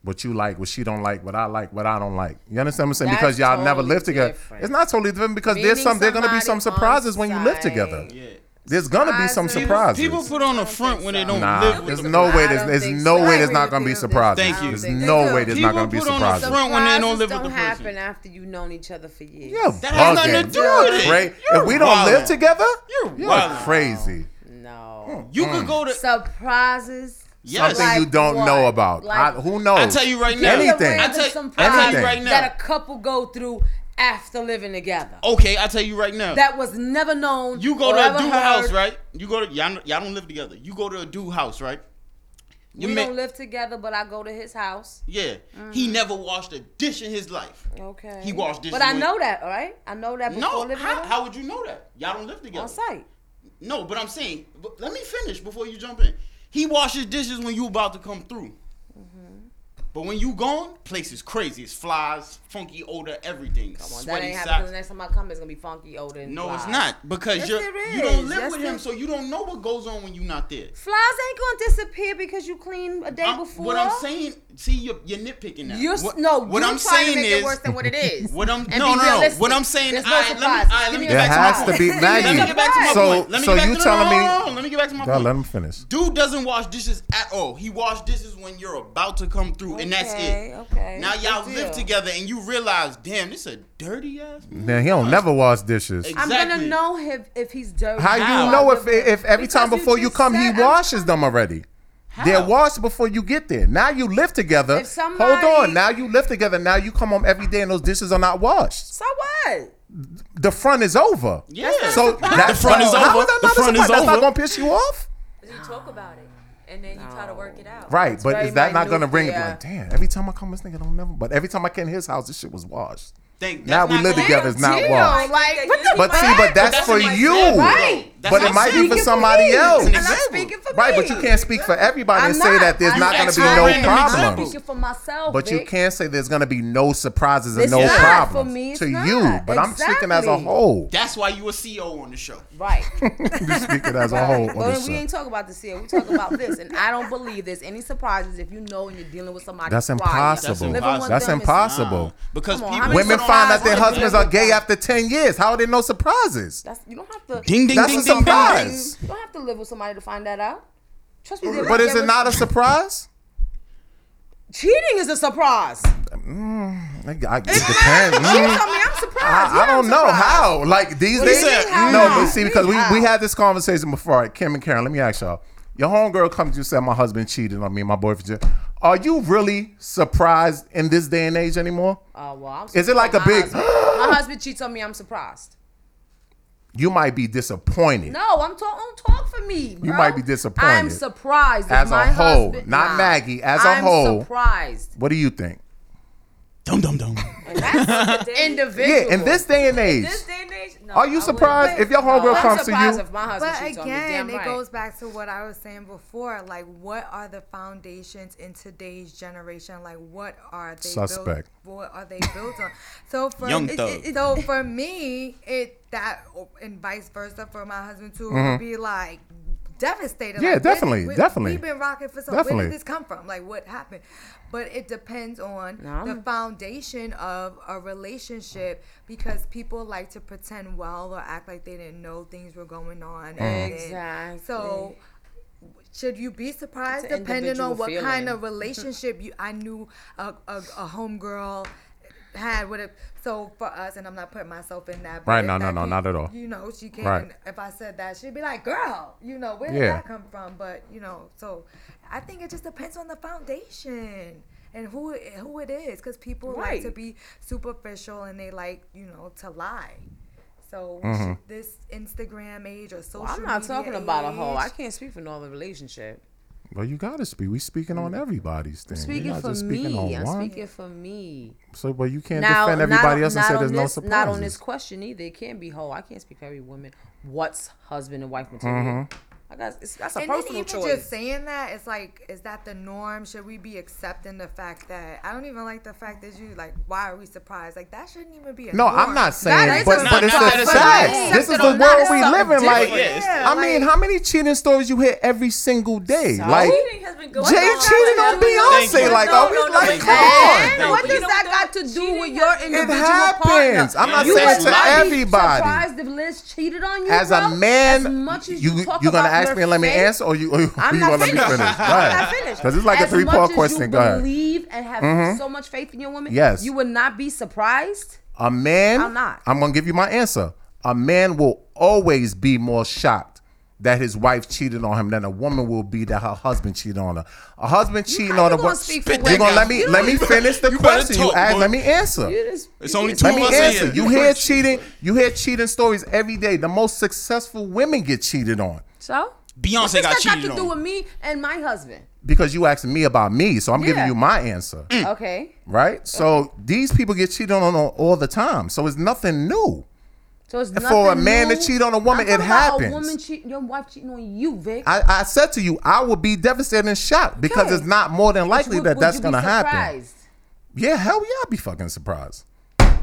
Speaker 5: what you like, what she don't like, what I like, what I don't like. You understand what I'm saying?
Speaker 3: That's
Speaker 5: because y'all never
Speaker 3: totally
Speaker 5: lived together.
Speaker 3: different.
Speaker 5: It's not totally different because there's
Speaker 3: Meeting
Speaker 5: some there's gonna be some
Speaker 3: somebody
Speaker 5: surprises when you live
Speaker 3: on
Speaker 5: together.
Speaker 3: site.
Speaker 4: Yeah.
Speaker 5: There's gonna be some
Speaker 3: Surprises.
Speaker 5: surprises.
Speaker 4: People put on a front when they don't
Speaker 5: nah,
Speaker 4: live with
Speaker 5: there's
Speaker 4: them.
Speaker 5: no way
Speaker 3: I
Speaker 5: there's,
Speaker 3: don't
Speaker 5: there's
Speaker 3: think
Speaker 5: no way
Speaker 3: so. I
Speaker 5: there's
Speaker 6: agree
Speaker 5: not
Speaker 6: with
Speaker 5: gonna be
Speaker 6: you.
Speaker 5: surprises.
Speaker 4: Thank you.
Speaker 5: There's
Speaker 3: I don't
Speaker 5: no
Speaker 6: think
Speaker 5: way
Speaker 6: so.
Speaker 5: there's not gonna be
Speaker 4: People put on a
Speaker 5: surprises.
Speaker 4: front when they don't
Speaker 3: Surprises
Speaker 4: live with the
Speaker 3: don't
Speaker 4: person.
Speaker 3: happen after you've known each other for years.
Speaker 5: You're
Speaker 4: That has nothing to
Speaker 5: bugging.
Speaker 4: do with it.
Speaker 5: Right?
Speaker 4: You're
Speaker 5: If we don't live
Speaker 4: wildin'.
Speaker 5: together,
Speaker 4: You're
Speaker 5: you're
Speaker 4: wildin'. Mm.
Speaker 5: crazy.
Speaker 3: No.
Speaker 4: You could go to
Speaker 3: Surprises.
Speaker 4: yes.
Speaker 5: Something you don't
Speaker 3: what?
Speaker 5: know about.
Speaker 3: Like-
Speaker 5: I, who knows?
Speaker 4: I tell you right now.
Speaker 5: Anything.
Speaker 4: I tell,
Speaker 3: Some
Speaker 4: I tell you
Speaker 5: surprise
Speaker 4: right now.
Speaker 3: That a couple go through after living together.
Speaker 4: Okay, I tell you right now.
Speaker 3: That was never known.
Speaker 4: You go
Speaker 3: or
Speaker 4: to a
Speaker 3: ever
Speaker 4: dude
Speaker 3: heard.
Speaker 4: house, right? You go to y'all, y'all don't live together. You go to a dude house, right? You
Speaker 3: we
Speaker 4: may-
Speaker 3: don't live together, but I go to his house.
Speaker 4: Yeah, he
Speaker 3: Mm-hmm.
Speaker 4: never washed a dish in his life.
Speaker 3: Okay.
Speaker 4: He washed dishes.
Speaker 3: But I
Speaker 4: with-
Speaker 3: know that, all right? I know that before
Speaker 4: No,
Speaker 3: living
Speaker 4: how,
Speaker 3: with him.
Speaker 4: how would you know that? Y'all don't live together.
Speaker 3: on site.
Speaker 4: No, but I'm saying, but let me finish before you jump in. He washes dishes when you about to come through.
Speaker 3: Mm-hmm.
Speaker 4: But when you gone, place is crazy. It's flies, funky odor, everything.
Speaker 3: Come on, that
Speaker 4: Sweaty
Speaker 3: ain't happening.
Speaker 4: socks.
Speaker 3: The next time I come, it's gonna be funky older. and
Speaker 4: No, it's
Speaker 3: flies.
Speaker 4: not because
Speaker 3: Yes,
Speaker 4: you're
Speaker 3: it
Speaker 4: you don't
Speaker 3: is.
Speaker 4: live
Speaker 3: Yes,
Speaker 4: with him,
Speaker 3: it-
Speaker 4: so you don't know what goes on when you're not there.
Speaker 3: Flies ain't gonna disappear because you clean a day
Speaker 4: I'm-
Speaker 3: before.
Speaker 4: What I'm saying, see, you're, you're nitpicking that.
Speaker 3: You're s-
Speaker 4: what,
Speaker 3: no.
Speaker 4: what
Speaker 3: you trying
Speaker 4: I'm saying
Speaker 3: to make
Speaker 4: is,
Speaker 3: it worse than what it is.
Speaker 4: what I'm
Speaker 3: And be
Speaker 4: no, no, no.
Speaker 3: realistic.
Speaker 4: What I'm saying,
Speaker 3: There's no
Speaker 4: all right, let me,
Speaker 3: surprises.
Speaker 4: all right,
Speaker 3: Give
Speaker 4: let
Speaker 3: me
Speaker 4: me
Speaker 3: a
Speaker 4: get
Speaker 5: There
Speaker 4: back to
Speaker 5: has to
Speaker 4: my point.
Speaker 5: be
Speaker 4: Let me get
Speaker 5: Maggie.
Speaker 4: back to my
Speaker 5: So,
Speaker 4: point. Let me
Speaker 5: so
Speaker 4: get back
Speaker 5: you
Speaker 4: to,
Speaker 5: telling
Speaker 4: no,
Speaker 5: me?
Speaker 4: no, no, no, let me get back to my
Speaker 5: God,
Speaker 4: point.
Speaker 5: let him finish.
Speaker 4: Dude doesn't wash dishes at all. He wash dishes when you're about to come through, and that's
Speaker 3: Okay,
Speaker 4: it.
Speaker 3: okay.
Speaker 4: Now y'all
Speaker 3: Good
Speaker 4: live
Speaker 3: deal.
Speaker 4: together, and you realize, damn, this a dirty ass. man.
Speaker 5: Now he don't never wash dishes.
Speaker 4: Exactly.
Speaker 3: I'm gonna know him if he's dirty.
Speaker 5: How you
Speaker 4: How?
Speaker 5: know if if every
Speaker 3: Because
Speaker 5: time
Speaker 3: you
Speaker 5: before you,
Speaker 3: just
Speaker 5: come he
Speaker 3: said I'm
Speaker 5: washes them already? They're washed before you get there. Now you live together.
Speaker 3: If somebody-
Speaker 5: Hold on. Now you live together. Now you come home every day and those dishes are not washed.
Speaker 3: So what?
Speaker 5: The front is over.
Speaker 4: Yeah.
Speaker 5: So that,
Speaker 4: The front is
Speaker 5: How
Speaker 4: over.
Speaker 5: is that
Speaker 4: The
Speaker 5: not a
Speaker 4: front is
Speaker 5: surprise? That's not
Speaker 4: over.
Speaker 5: gonna piss you off,
Speaker 8: You talk about it, and then you try to work it out.
Speaker 5: right? but
Speaker 3: very
Speaker 5: is that not gonna
Speaker 3: minute,
Speaker 5: bring? it?
Speaker 3: yeah.
Speaker 5: Like, damn. Every time I come, this nigga don't never. But every time I came to his house, this shit was washed.
Speaker 4: Think
Speaker 5: Now
Speaker 4: that's
Speaker 5: we
Speaker 4: not
Speaker 5: live
Speaker 4: gonna-
Speaker 5: together. It's not
Speaker 3: Damn,
Speaker 5: washed.
Speaker 3: Like, what the
Speaker 5: But see,
Speaker 3: fuck?
Speaker 5: but that's,
Speaker 4: that's
Speaker 5: for
Speaker 4: an example,
Speaker 5: you.
Speaker 4: though.
Speaker 3: Right.
Speaker 4: That's
Speaker 5: But
Speaker 4: what
Speaker 5: it
Speaker 4: I'm
Speaker 5: might be
Speaker 4: saying.
Speaker 5: for
Speaker 3: Speaking
Speaker 5: somebody
Speaker 3: me.
Speaker 5: else.
Speaker 3: I'm not
Speaker 4: Example.
Speaker 3: speaking for
Speaker 5: Right,
Speaker 3: me.
Speaker 5: but you can't speak for everybody
Speaker 3: I'm
Speaker 5: and say
Speaker 3: not.
Speaker 5: that there's
Speaker 3: I'm
Speaker 5: not going to be
Speaker 4: not.
Speaker 5: no
Speaker 4: I'm not
Speaker 5: problems.
Speaker 3: speaking for myself.
Speaker 5: But you
Speaker 3: Vic.
Speaker 5: can't say there's going to be no surprises and
Speaker 3: It's
Speaker 5: no
Speaker 3: not. For
Speaker 5: problems
Speaker 3: me, it's
Speaker 5: to
Speaker 3: not.
Speaker 5: you. But I'm speaking as a
Speaker 3: Exactly.
Speaker 5: whole.
Speaker 4: That's why you a CEO on the show.
Speaker 3: Right.
Speaker 5: You're speaking as a whole.
Speaker 3: Right.
Speaker 5: on
Speaker 3: Well,
Speaker 5: this
Speaker 3: Oh, we
Speaker 5: show.
Speaker 3: ain't talking about this here. We talking about this, and I don't believe there's any surprises if you know and you're dealing with somebody.
Speaker 5: That's
Speaker 3: prior.
Speaker 5: impossible.
Speaker 3: Living
Speaker 4: That's
Speaker 3: with
Speaker 5: That's
Speaker 3: them is-
Speaker 5: impossible.
Speaker 4: Because
Speaker 3: Come on, how
Speaker 4: people
Speaker 3: many
Speaker 5: Women
Speaker 3: surprises
Speaker 5: find out their
Speaker 3: are
Speaker 5: husbands
Speaker 3: there?
Speaker 5: are gay after 10 years. How are there no surprises?
Speaker 3: That's you don't have to.
Speaker 4: Ding ding
Speaker 5: That's
Speaker 4: ding
Speaker 5: a
Speaker 4: ding ding.
Speaker 5: surprise.
Speaker 3: You don't have to live with somebody to find that out. Trust me. they
Speaker 5: But is
Speaker 3: they
Speaker 5: it not a surprise? Mm.
Speaker 3: cheating? Is a surprise.
Speaker 5: I- I- It depends. Mm.
Speaker 3: I mean, I'm surprised.
Speaker 5: I, I
Speaker 3: Yeah, I'm
Speaker 5: don't know
Speaker 3: surprised.
Speaker 5: how. Like these
Speaker 3: do you
Speaker 5: days,
Speaker 3: mean how?
Speaker 5: no. But see, because we,
Speaker 3: How?
Speaker 5: we had this conversation before. All right, Kim and Karen, let me ask y'all. Your homegirl comes to you said my husband cheated on me, my boyfriend. cheated." Are you really surprised in this day and age anymore?
Speaker 3: Oh well, I'm
Speaker 5: Is it like a
Speaker 3: surprised.
Speaker 5: big-
Speaker 3: My husband, my husband cheats on me. I'm surprised.
Speaker 5: You might be disappointed
Speaker 3: No, I'm talk. Don't talk for me. Bro.
Speaker 5: might be disappointed.
Speaker 3: I'm surprised. if
Speaker 5: as a
Speaker 3: my
Speaker 5: whole,
Speaker 3: husband-
Speaker 5: not
Speaker 3: Nah.
Speaker 5: Maggie. As a
Speaker 3: I'm
Speaker 5: whole,
Speaker 3: surprised.
Speaker 5: what do you think?
Speaker 4: Dum dum dum.
Speaker 3: Individual.
Speaker 5: Yeah, in this day and age,
Speaker 8: This day and age, no,
Speaker 5: are you
Speaker 8: I wouldn't.
Speaker 5: surprised if your homegirl
Speaker 3: I'm
Speaker 5: comes to
Speaker 3: surprised
Speaker 5: you?
Speaker 3: if my husband
Speaker 6: But
Speaker 3: cheats on
Speaker 6: again,
Speaker 3: me.
Speaker 6: it
Speaker 3: Damn right.
Speaker 6: goes back to what I was saying before. Like, what are the foundations in today's generation? Like, what are they
Speaker 5: Suspect.
Speaker 6: Built, what are they built on? So for
Speaker 4: Young
Speaker 6: it-
Speaker 4: thug.
Speaker 6: it- so for me, it that and vice versa for my husband too would be like devastated.
Speaker 5: Mm-hmm. Yeah,
Speaker 6: Like, where-
Speaker 5: definitely,
Speaker 6: where-
Speaker 5: definitely.
Speaker 6: We've been rocking for some. Where
Speaker 5: Definitely.
Speaker 6: did this come from? Like, what happened? But it depends on
Speaker 3: No, I'm
Speaker 6: the foundation of a relationship because people like to pretend well or act like they didn't know things were going on. and-
Speaker 3: Exactly.
Speaker 6: So should you be surprised
Speaker 3: It's an
Speaker 6: depending
Speaker 3: individual
Speaker 6: on what
Speaker 3: feeling.
Speaker 6: kind of relationship you I knew a, a, a homegirl had with it so for us and I'm not putting myself in that but
Speaker 5: Right,
Speaker 6: if
Speaker 5: no, no,
Speaker 6: that
Speaker 5: no,
Speaker 6: pe-
Speaker 5: not at all.
Speaker 6: You know, she came
Speaker 5: Right.
Speaker 6: and if I said that she'd be like, Girl, you know, where did
Speaker 5: Yeah.
Speaker 6: that come from? But you know, so I think it just depends on the foundation. And who it- who it is, because people like to
Speaker 3: Right.
Speaker 6: be superficial and they like you know to lie. So we
Speaker 5: Mm-hmm.
Speaker 6: should- this Instagram age or social
Speaker 3: Well, I'm not
Speaker 6: media
Speaker 3: talking about a whole.
Speaker 6: age-
Speaker 3: I can't speak for no other relationship.
Speaker 5: Well, you gotta speak. We speaking on everybody's thing. We're
Speaker 3: Speaking
Speaker 5: not
Speaker 3: for
Speaker 5: just speaking on
Speaker 3: me. I'm
Speaker 5: one.
Speaker 3: speaking for me.
Speaker 5: So, but you can't
Speaker 3: Now,
Speaker 5: defend
Speaker 3: not
Speaker 5: everybody
Speaker 3: on-
Speaker 5: else and
Speaker 3: not
Speaker 5: say
Speaker 3: on
Speaker 5: there's no
Speaker 3: this-
Speaker 5: surprises.
Speaker 3: Not on this question either. It can be whole. I can't speak for every woman. What's husband and wife material?
Speaker 5: Mm-hmm.
Speaker 3: I guess it's, that's a
Speaker 6: and then
Speaker 3: personal
Speaker 6: even
Speaker 3: choice.
Speaker 6: just saying that, it's like, is that the norm? Should we be accepting the fact that I don't even like the fact that you like? Why are we surprised? Like that shouldn't even be. A
Speaker 5: No,
Speaker 6: norm.
Speaker 5: I'm not saying,
Speaker 3: is
Speaker 5: but,
Speaker 3: a
Speaker 5: but it's
Speaker 4: surprise.
Speaker 5: a
Speaker 4: But
Speaker 5: fact.
Speaker 4: it's
Speaker 5: This is
Speaker 3: accepted
Speaker 5: the
Speaker 3: or not,
Speaker 5: world
Speaker 3: it's
Speaker 5: we
Speaker 3: something
Speaker 5: live in. Like,
Speaker 4: different. Yeah, it's
Speaker 5: I mean, how many cheating stories you hear every single day? Like,
Speaker 8: Cheating has been going
Speaker 5: Jay
Speaker 8: on.
Speaker 5: cheated on
Speaker 4: Thank you.
Speaker 5: Beyonce. Like,
Speaker 8: No,
Speaker 5: are we
Speaker 8: no, no,
Speaker 5: like,
Speaker 8: wait,
Speaker 5: come
Speaker 8: man.
Speaker 5: on?
Speaker 3: And
Speaker 8: Thank
Speaker 3: what
Speaker 8: you.
Speaker 3: does
Speaker 8: You know
Speaker 3: that got
Speaker 8: what?
Speaker 3: to do
Speaker 8: Cheating
Speaker 3: with your
Speaker 8: has- It
Speaker 3: individual
Speaker 5: happens.
Speaker 3: partner?
Speaker 5: I'm
Speaker 4: not
Speaker 3: You
Speaker 4: saying
Speaker 3: would
Speaker 4: to
Speaker 3: not be
Speaker 5: everybody.
Speaker 3: Surprised if Liz cheated on you,
Speaker 5: As a
Speaker 3: bro?
Speaker 5: man,
Speaker 3: as much as
Speaker 5: you,
Speaker 3: you,
Speaker 5: you
Speaker 3: talk
Speaker 5: are gonna
Speaker 3: about
Speaker 5: ask
Speaker 3: your
Speaker 5: me and let me
Speaker 3: faith,
Speaker 5: answer, or you, or you,
Speaker 3: I'm
Speaker 5: you
Speaker 3: not
Speaker 5: gonna let me
Speaker 3: finished.
Speaker 5: finish?
Speaker 3: I'm not finished.
Speaker 5: Because it's like
Speaker 3: As
Speaker 5: a three
Speaker 3: much
Speaker 5: part
Speaker 3: as
Speaker 5: question.
Speaker 3: You
Speaker 5: Go ahead. Mm-hmm.
Speaker 3: believe and have so much faith in your woman.
Speaker 5: Yes.
Speaker 3: you would not be surprised.
Speaker 5: A man,
Speaker 3: I'm not.
Speaker 5: I'm gonna give you my answer. A man will always be more shocked that his wife cheated on him than a woman will be that her husband cheated on her. A husband cheating
Speaker 3: how
Speaker 5: on
Speaker 3: you
Speaker 5: a
Speaker 3: gonna
Speaker 5: woman.
Speaker 3: speak for
Speaker 5: You're
Speaker 3: women?
Speaker 5: gonna let me
Speaker 3: You
Speaker 5: let me
Speaker 4: don't-
Speaker 5: finish the
Speaker 4: You better
Speaker 5: question. You
Speaker 4: talk,
Speaker 5: ask,
Speaker 4: boy.
Speaker 5: let me answer.
Speaker 3: It is.
Speaker 4: It's only two
Speaker 5: Let
Speaker 4: of
Speaker 5: me
Speaker 4: us
Speaker 5: answer.
Speaker 4: in here.
Speaker 5: You hear cheating. You hear cheating stories every day. The most successful women get cheated on.
Speaker 3: So
Speaker 4: Beyonce
Speaker 3: What's
Speaker 4: got
Speaker 3: that got
Speaker 4: cheated
Speaker 3: to do with
Speaker 4: on.
Speaker 3: me and my husband?
Speaker 5: because you asking me about me, so I'm giving
Speaker 3: Yeah.
Speaker 5: you my answer,
Speaker 3: Okay.
Speaker 5: right? So these people get cheated on all- all the time, so it's nothing new.
Speaker 3: So it's nothing
Speaker 5: For a man
Speaker 3: new.
Speaker 5: to cheat on a woman,
Speaker 3: I'm
Speaker 5: it
Speaker 3: talking about
Speaker 5: happens.
Speaker 3: A woman cheating, your wife cheating on you, Vic.
Speaker 5: I, I said to you, I would be devastated and shocked because
Speaker 3: Okay.
Speaker 5: it's not more than likely
Speaker 3: Would-
Speaker 5: that
Speaker 3: would
Speaker 5: that's
Speaker 3: you be
Speaker 5: going to happen.
Speaker 3: surprised?
Speaker 5: Yeah, hell yeah, I'd be fucking surprised.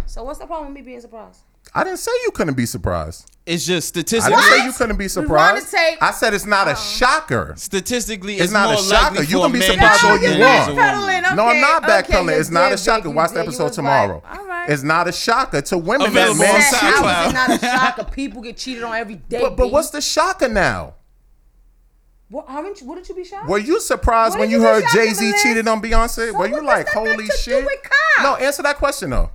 Speaker 3: So what's the problem with me being surprised?
Speaker 5: I didn't say you couldn't be surprised.
Speaker 4: It's just
Speaker 5: I
Speaker 4: statistically,
Speaker 5: didn't say you couldn't be surprised.
Speaker 3: take-
Speaker 5: I said it's
Speaker 3: Oh.
Speaker 5: not a shocker.
Speaker 4: statistically, it's,
Speaker 5: It's not
Speaker 4: more
Speaker 5: a shocker.
Speaker 4: likely
Speaker 5: You
Speaker 4: for
Speaker 5: can be
Speaker 4: a man
Speaker 5: surprised
Speaker 4: to
Speaker 5: all
Speaker 4: cheat
Speaker 5: you
Speaker 4: than it is a
Speaker 5: want.
Speaker 4: woman.
Speaker 5: no, I'm not
Speaker 3: okay,
Speaker 5: backpedaling.
Speaker 3: you
Speaker 5: it's not a
Speaker 3: did,
Speaker 5: shocker.
Speaker 3: Vic, you
Speaker 5: Watch the
Speaker 3: did. You
Speaker 5: episode
Speaker 3: was
Speaker 5: tomorrow.
Speaker 3: right. All right.
Speaker 5: It's not a shocker to women that
Speaker 4: Available
Speaker 5: men
Speaker 4: on
Speaker 5: cheat.
Speaker 3: That
Speaker 4: SoundCloud.
Speaker 3: hours is not a shocker. People get cheated on every day.
Speaker 5: But, but
Speaker 3: B.
Speaker 5: what's the shocker now?
Speaker 3: What, aren't you, wouldn't you be shocked?
Speaker 5: Were you surprised
Speaker 3: What
Speaker 5: when
Speaker 3: did
Speaker 5: you
Speaker 3: you
Speaker 5: heard
Speaker 3: think I
Speaker 5: Jay
Speaker 3: give a
Speaker 5: Z
Speaker 3: list?
Speaker 5: cheated on Beyonce?
Speaker 3: So
Speaker 5: were you
Speaker 3: what
Speaker 5: like,
Speaker 3: does that got
Speaker 5: holy
Speaker 3: to do
Speaker 5: shit?
Speaker 3: with cops?
Speaker 5: No, answer that question though.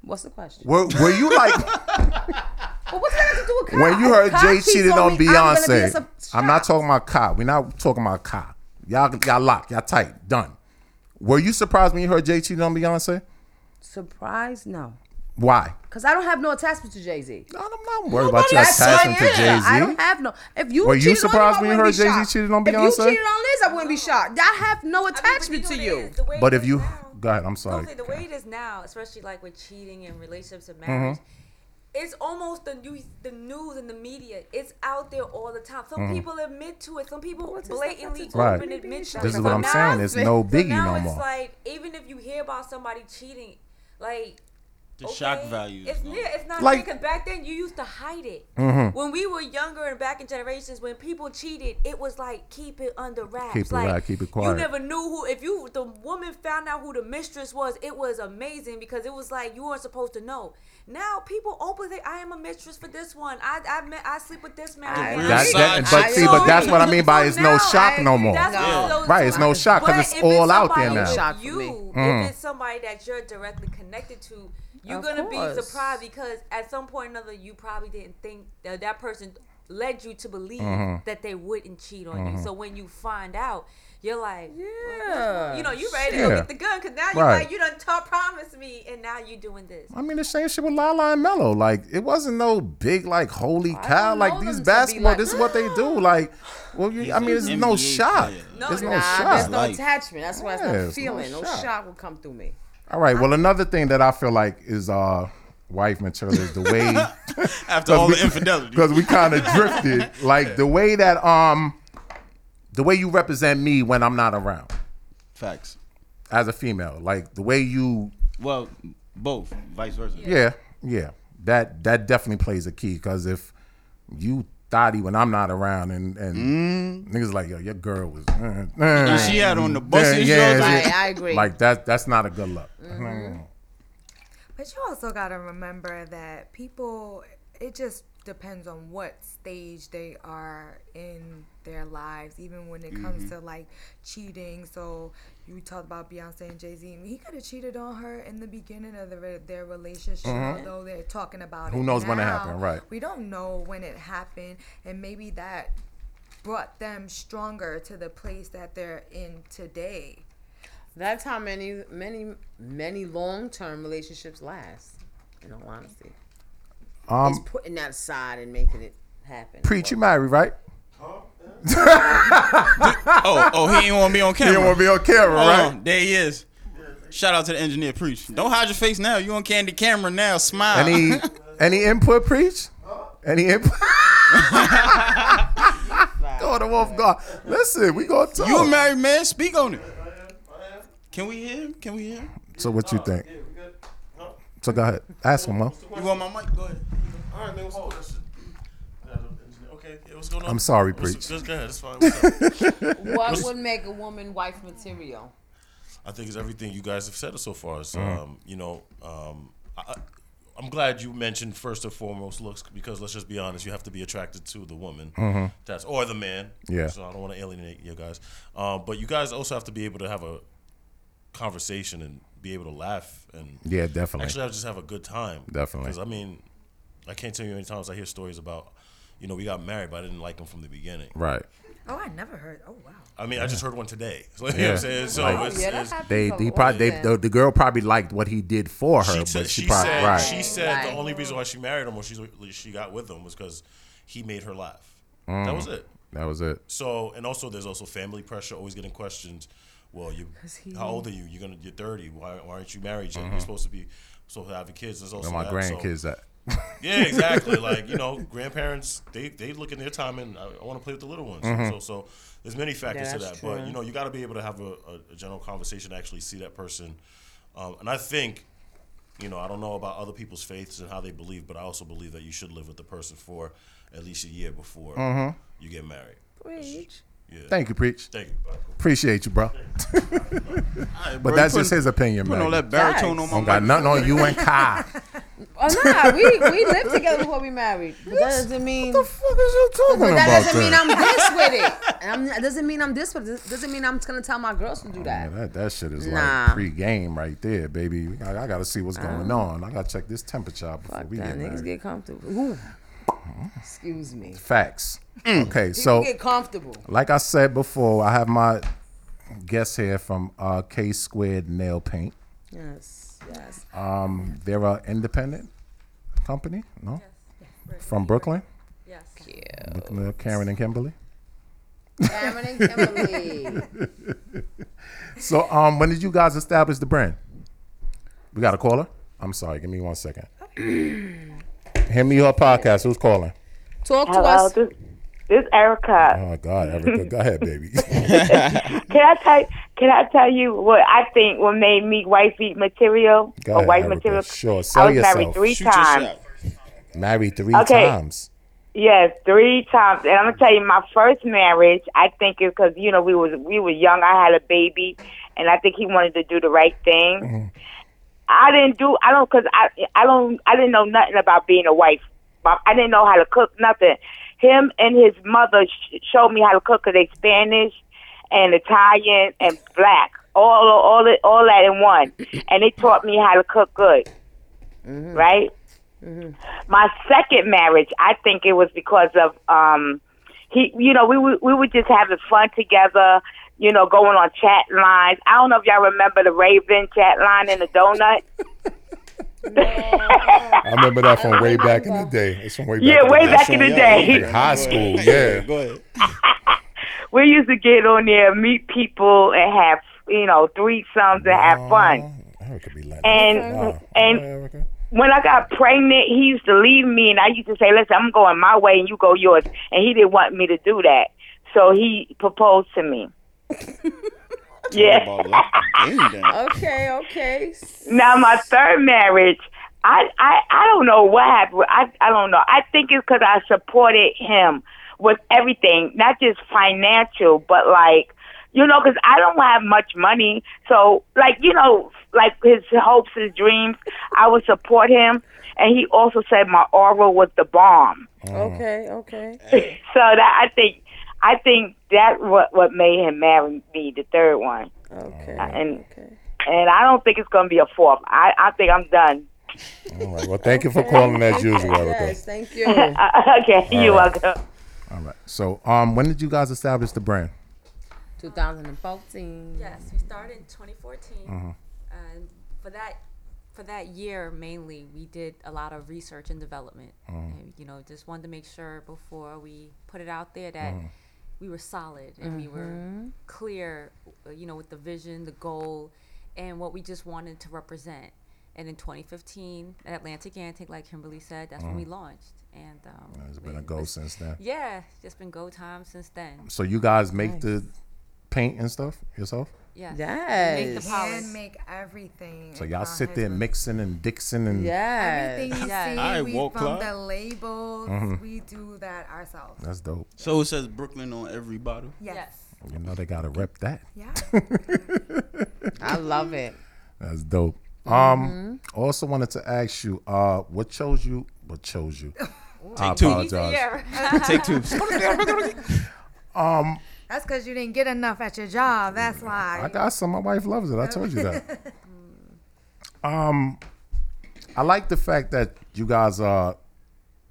Speaker 3: what's the question?
Speaker 5: Were, were you like
Speaker 3: But what's that got to do with cops?
Speaker 5: when you heard
Speaker 3: If Kai
Speaker 5: Jay
Speaker 3: cheats
Speaker 5: cheated on
Speaker 3: me, I'm gonna be a
Speaker 5: Beyonce?
Speaker 3: sup-
Speaker 5: I'm not
Speaker 3: shocked.
Speaker 5: talking about Kai. We're not talking about Kai. Y'all y'all locked. Y'all tight. Done. Were you surprised when you heard Jay cheated on Beyonce?
Speaker 3: Surprise? No.
Speaker 5: Why?
Speaker 3: Because I don't have no attachment to Jay Z.
Speaker 5: No, I'm not worried about you
Speaker 3: That's
Speaker 5: attaching
Speaker 3: why
Speaker 5: to
Speaker 3: I am. I
Speaker 5: Jay
Speaker 3: don't
Speaker 5: Z.
Speaker 3: have no. If you
Speaker 5: Were you
Speaker 3: cheated
Speaker 5: surprised
Speaker 3: on
Speaker 5: when
Speaker 3: him,
Speaker 5: you
Speaker 3: I wouldn't
Speaker 5: heard
Speaker 3: be
Speaker 5: Jay-Z
Speaker 3: shocked.
Speaker 5: cheated on
Speaker 3: If you
Speaker 5: Beyonce?
Speaker 3: cheated on Liz, I wouldn't be shocked. I have no attachment to you.
Speaker 5: But if you go ahead, I'm sorry.
Speaker 8: Like, the way it is now, especially like with cheating and relationships
Speaker 5: Mm-hmm.
Speaker 8: and marriage, it's almost the news, the news and the media. It's out there all the time.
Speaker 5: Mm-hmm.
Speaker 8: Some people admit to it. Some people
Speaker 3: does that got
Speaker 8: blatantly
Speaker 3: to do
Speaker 8: open
Speaker 5: Right.
Speaker 8: and admit to it.
Speaker 5: This is
Speaker 8: So
Speaker 5: what I'm
Speaker 8: now
Speaker 5: saying. It's no
Speaker 8: So
Speaker 5: biggie
Speaker 8: now
Speaker 5: no
Speaker 8: it's
Speaker 5: more.
Speaker 8: like even if you hear about somebody cheating, like
Speaker 4: The shock
Speaker 8: okay,
Speaker 4: value. is
Speaker 8: It's
Speaker 4: gone.
Speaker 8: yeah, it's not
Speaker 5: Like- Mm-hmm.
Speaker 8: because back then you used to hide it. When we were younger and back in generations, when people cheated, it was like keep it under wraps.
Speaker 5: Keep it
Speaker 8: like,
Speaker 5: right, keep it
Speaker 8: You
Speaker 5: quiet.
Speaker 8: never knew who. If you the woman found out who the mistress was, it was amazing because it was like you weren't supposed to know. Now people openly, I am a mistress for this one. I I met, I sleep with this man.
Speaker 3: I
Speaker 8: I
Speaker 4: agree.
Speaker 8: met
Speaker 5: That,
Speaker 8: this
Speaker 5: that,
Speaker 4: Besides-
Speaker 5: but see, but that's what I mean by
Speaker 8: so
Speaker 5: it's no
Speaker 8: now
Speaker 5: shock
Speaker 8: I-
Speaker 5: no more.
Speaker 8: that's what-
Speaker 3: No.
Speaker 8: so-
Speaker 5: Right, it's no shock 'cause
Speaker 8: but
Speaker 5: it's
Speaker 8: if
Speaker 5: all out there
Speaker 8: somebody
Speaker 5: now.
Speaker 8: with
Speaker 3: Shock for
Speaker 8: you,
Speaker 3: me.
Speaker 5: Mm.
Speaker 8: If it's somebody that you're directly connected to, you're
Speaker 3: Of
Speaker 8: gonna be
Speaker 3: course.
Speaker 8: surprised because at some point or another, you probably didn't think that that person led you to believe
Speaker 5: Mm-hmm. Uh-huh.
Speaker 8: that they wouldn't cheat on you. So when you find out. You're like, "What? What's wrong?" you know, you ready to
Speaker 5: Yeah.
Speaker 8: go get the gun because now you're
Speaker 5: Right.
Speaker 8: like, you done taught promise me, and now you doing this.
Speaker 5: I mean, the same shit with Lala and Mello. Like, it wasn't no big, like, holy cow.
Speaker 3: don't
Speaker 5: Like,
Speaker 3: know
Speaker 5: these
Speaker 3: them to be
Speaker 5: basketball,
Speaker 3: like,
Speaker 5: this is what they do. Like, well, you, I mean,
Speaker 4: an
Speaker 5: it's no
Speaker 4: NBA
Speaker 5: shock.
Speaker 4: player.
Speaker 8: No,
Speaker 5: It's no
Speaker 8: nah,
Speaker 3: Nah, there's
Speaker 5: shock.
Speaker 3: no
Speaker 4: Like-
Speaker 3: attachment. That's why it's
Speaker 5: Yeah,
Speaker 3: not
Speaker 5: it's no
Speaker 3: feeling. No
Speaker 5: shock.
Speaker 3: shock will come through me.
Speaker 5: All right. Well, another thing that I feel like is uh wife material is the way
Speaker 4: After all the infidelity.
Speaker 5: because we kind of drifted. Like the way that um, the way you represent me when I'm not around
Speaker 4: Facts.
Speaker 5: as a female, like the way you,
Speaker 4: Well, both, vice versa.
Speaker 5: yeah, yeah, that that definitely plays a key. Because if you thotty when I'm not around, and and niggas like yo, your girl was, uh, uh,
Speaker 4: Mm-hmm. She had on the busted
Speaker 5: yeah,
Speaker 4: shorts.
Speaker 5: yeah.
Speaker 3: Right, I agree. Mm-hmm.
Speaker 5: like that. That's not a good look. Mm-hmm.
Speaker 6: But you also got to remember that people, it just depends on what stage they are in their lives, even when it comes
Speaker 5: Mm-hmm.
Speaker 6: to like cheating. So you talked about Beyonce and Jay Z. He could have cheated on her in the beginning of the, re- their relationship, although they're talking about it.
Speaker 5: Mm-hmm. Who knows when it
Speaker 6: now.
Speaker 5: happened, right.
Speaker 6: We don't know when it happened, and maybe that brought them stronger to the place that they're in today.
Speaker 3: That's how many, many, many long-term relationships last. In all honesty, it's
Speaker 5: Um,
Speaker 3: putting that aside and making it happen.
Speaker 5: preach, you married, right?
Speaker 4: Oh, oh, he ain't want to be on camera. Oh,
Speaker 5: You don't want to be on camera,
Speaker 4: Hold
Speaker 5: right?
Speaker 4: on. There he is. Shout out to the engineer, preach. Don't hide your face now. You on candy camera now. Smile.
Speaker 5: Any any input, preach? Any input? Go to Wolf God. Listen, we gonna talk.
Speaker 4: you a married man? Speak on it. Can we hear? him? Can we hear? him?
Speaker 5: so what you think? So go ahead, ask him, Mo.
Speaker 4: You want my mic? Go ahead.
Speaker 10: All right, man. What's up? Okay, yeah, what's going on?
Speaker 5: I'm sorry,
Speaker 10: What's-
Speaker 5: preach.
Speaker 10: Just go ahead. It's fine. What's up?
Speaker 3: What would make a woman wife material?
Speaker 10: I think it's everything you guys have said so far. Is,
Speaker 5: Mm.
Speaker 10: um, you know, um, I, I- I'm glad you mentioned first and foremost looks because let's just be honest, you have to be attracted to the woman that's or the man.
Speaker 5: Mm-hmm. Yeah.
Speaker 10: So I don't want to alienate you guys, um, but you guys also have to be able to have a conversation and be able to laugh and
Speaker 5: Yeah, definitely.
Speaker 10: actually I just have a good time.
Speaker 5: Definitely.
Speaker 10: 'Cause, I mean, I can't tell you how many times I hear stories about, you know, we got married, but I didn't like him from the beginning.
Speaker 5: right.
Speaker 6: Oh, I never heard. Oh, wow.
Speaker 10: I mean, I just heard one today. So, You know what I'm saying? So
Speaker 5: Right.
Speaker 10: it's, it's-
Speaker 5: They, he probably, they, the, the girl probably liked what he did for her,
Speaker 10: she,
Speaker 5: but
Speaker 10: said-
Speaker 5: she,
Speaker 10: she
Speaker 5: probably
Speaker 10: said,
Speaker 5: right.
Speaker 10: she said
Speaker 3: Right.
Speaker 10: the only reason why she married him or she's, she got with him was because he made her laugh. That was it.
Speaker 5: Mm. That was it.
Speaker 10: So, and also there's also family pressure, always getting questions. Well, you,
Speaker 3: 'Cause he-
Speaker 10: how old are you? You're gonna, you're 30. Why, why aren't you married yet?
Speaker 5: Mhm.
Speaker 10: You're supposed to be, supposed to have kids. There's also
Speaker 5: Where my
Speaker 10: that, so-
Speaker 5: grandkids at?
Speaker 10: yeah, exactly. Like you know, grandparents they they look in their time and I, I want to play with the little ones.
Speaker 5: Mhm.
Speaker 10: So so there's many factors to
Speaker 5: That's
Speaker 10: that,
Speaker 5: true.
Speaker 10: but you know you got to be able to have a, a, a general conversation, to actually see that person, um, and I think. You know, I don't know about other people's faiths and how they believe, but I also believe that you should live with the person for at least a year before
Speaker 5: Mhm.
Speaker 10: you get married.
Speaker 3: Preach.
Speaker 10: Yeah.
Speaker 5: Thank you, preach.
Speaker 10: Thank you. Bye.
Speaker 5: Appreciate you, bro.
Speaker 4: right,
Speaker 5: but
Speaker 4: bro,
Speaker 5: that's
Speaker 4: you
Speaker 5: just
Speaker 4: putting-
Speaker 5: his opinion, man.
Speaker 4: putting all that baritone on my
Speaker 5: Don't got nothing on you and Kai.
Speaker 3: Oh nah, we we lived together before we married. But that doesn't mean what the
Speaker 5: fuck is you talking
Speaker 3: But that
Speaker 5: about
Speaker 3: doesn't mean
Speaker 5: that?
Speaker 3: I'm this with it. And I'm, that doesn't mean I'm this with it. Doesn't mean I'm just gonna tell my girls to do that.
Speaker 5: Man, that that shit is
Speaker 3: Nah.
Speaker 5: like pre-game right there, baby. I, I gotta see what's going on. I gotta check this temperature out before we get
Speaker 3: That niggas
Speaker 5: married. Uh-huh.
Speaker 3: get comfortable. Ooh. Excuse me.
Speaker 5: Facts. Okay,
Speaker 3: People
Speaker 5: so
Speaker 3: get comfortable.
Speaker 5: like I said before, I have my guest here from uh, K Squared Nail Paint.
Speaker 3: Yes. Yes.
Speaker 5: Um, they're an independent company, no? From Brooklyn.
Speaker 8: Yes.
Speaker 5: Brooklyn, uh, Karen and Kimberly.
Speaker 3: Karen and Kimberly.
Speaker 5: so, um, when did you guys establish the brand? We got a caller. I'm sorry. Give me one second. Hit me your podcast. Who's calling?
Speaker 3: Talk
Speaker 9: to Hello, us. This, this Erica.
Speaker 5: Oh God, Erica, go ahead, baby.
Speaker 9: Can I tell? Can I tell you what I think? What made me wifey material
Speaker 5: Go
Speaker 9: or
Speaker 5: ahead,
Speaker 9: white
Speaker 5: Erica.
Speaker 9: material?
Speaker 5: Sure, sell
Speaker 9: I was married
Speaker 5: yourself.
Speaker 9: three
Speaker 5: Shoot yourself.
Speaker 9: times.
Speaker 5: Married three
Speaker 9: Okay.
Speaker 5: times.
Speaker 9: Yes, three times. And I'm gonna tell you, my first marriage, I think is because you know we was we were young. I had a baby, and I think he wanted to do the right thing. I didn't do. I don't because I I don't I didn't know nothing about being a wife. I I didn't know how to cook nothing. Him and his mother sh- showed me how to cook 'cause they Spanish and Italian and black, all all all that in one, and they taught me how to cook good, right? my second marriage, I think it was because of um he you know, we were we were just having fun together, you know, going on chat lines. I don't know if y'all remember the Raven chat line and the donut.
Speaker 5: I remember that from way back in the day. It's from way back.
Speaker 9: Yeah,
Speaker 5: in
Speaker 9: way
Speaker 5: the day.
Speaker 9: back in the day.
Speaker 5: Like high school. Yeah.
Speaker 4: Go ahead.
Speaker 9: We used to get on there, meet people and have you know, threesomes and have fun. And and when I got pregnant, he used to leave me, and I used to say, "Listen, I'm going my way, and you go yours." And he didn't want me to do that, so he proposed to me. yeah.
Speaker 3: Okay, okay.
Speaker 9: Now my third marriage, I I, I don't know what happened. I I don't know. I think it's because I supported him with everything, not just financial, but like you know, because I don't have much money. So like you know, like his hopes, his dreams, I would support him. And he also said my aura was the bomb.
Speaker 5: Uh-huh.
Speaker 3: Okay, okay.
Speaker 9: so that I think I think that what what made him marry me, the third one.
Speaker 3: Okay.
Speaker 9: and and I don't think it's gonna be a fourth. I I think I'm done.
Speaker 5: All right. Well, thank you for calling as usual, Erica.
Speaker 3: thank
Speaker 9: you. okay,
Speaker 5: All
Speaker 9: you're
Speaker 5: right.
Speaker 9: welcome.
Speaker 5: All right. So, um, when did you guys establish the brand?
Speaker 3: 2014.
Speaker 8: Yes, we started in 2014.
Speaker 5: Mhm.
Speaker 8: And for that for that year mainly, we did a lot of research and development.
Speaker 11: Mhm.
Speaker 5: Mm-hmm.
Speaker 8: And, you know, just wanted to make sure before we put it out there that
Speaker 5: Mm-hmm.
Speaker 11: Mhm.
Speaker 8: we were solid and we were
Speaker 11: Mhm.
Speaker 8: clear, uh, you know, with the vision, the goal, and what we just wanted to represent. And in 2015, at Atlantic Antique, like Kimberly said, that's when we
Speaker 5: Mhm.
Speaker 8: launched. And um,
Speaker 5: It's been a go since then.
Speaker 8: yeah, it's just been go time since then.
Speaker 5: So you guys make the paint and stuff yourself.
Speaker 8: Yes.
Speaker 3: Yes.
Speaker 8: Make the
Speaker 6: Hand make everything.
Speaker 5: So y'all sit there mixing and dixing and
Speaker 6: Everything you
Speaker 8: Yes.
Speaker 6: see,
Speaker 4: All right,
Speaker 6: we
Speaker 4: woke
Speaker 6: from
Speaker 4: club.
Speaker 6: the labels,
Speaker 5: Mhm.
Speaker 6: we do that ourselves.
Speaker 5: That's dope.
Speaker 4: So it says Brooklyn on every bottle.
Speaker 6: Yes.
Speaker 5: You know they gotta rep that.
Speaker 6: Yeah.
Speaker 3: I love it.
Speaker 5: That's dope. Um, also wanted to ask you, uh, what chose you? What chose you? I
Speaker 4: Take two.
Speaker 5: apologize.
Speaker 4: Yeah. Take two.
Speaker 5: um,
Speaker 6: That's because you didn't get enough at your job. That's why.
Speaker 5: I got some. My wife loves it. I told you that. Um, I like the fact that you guys are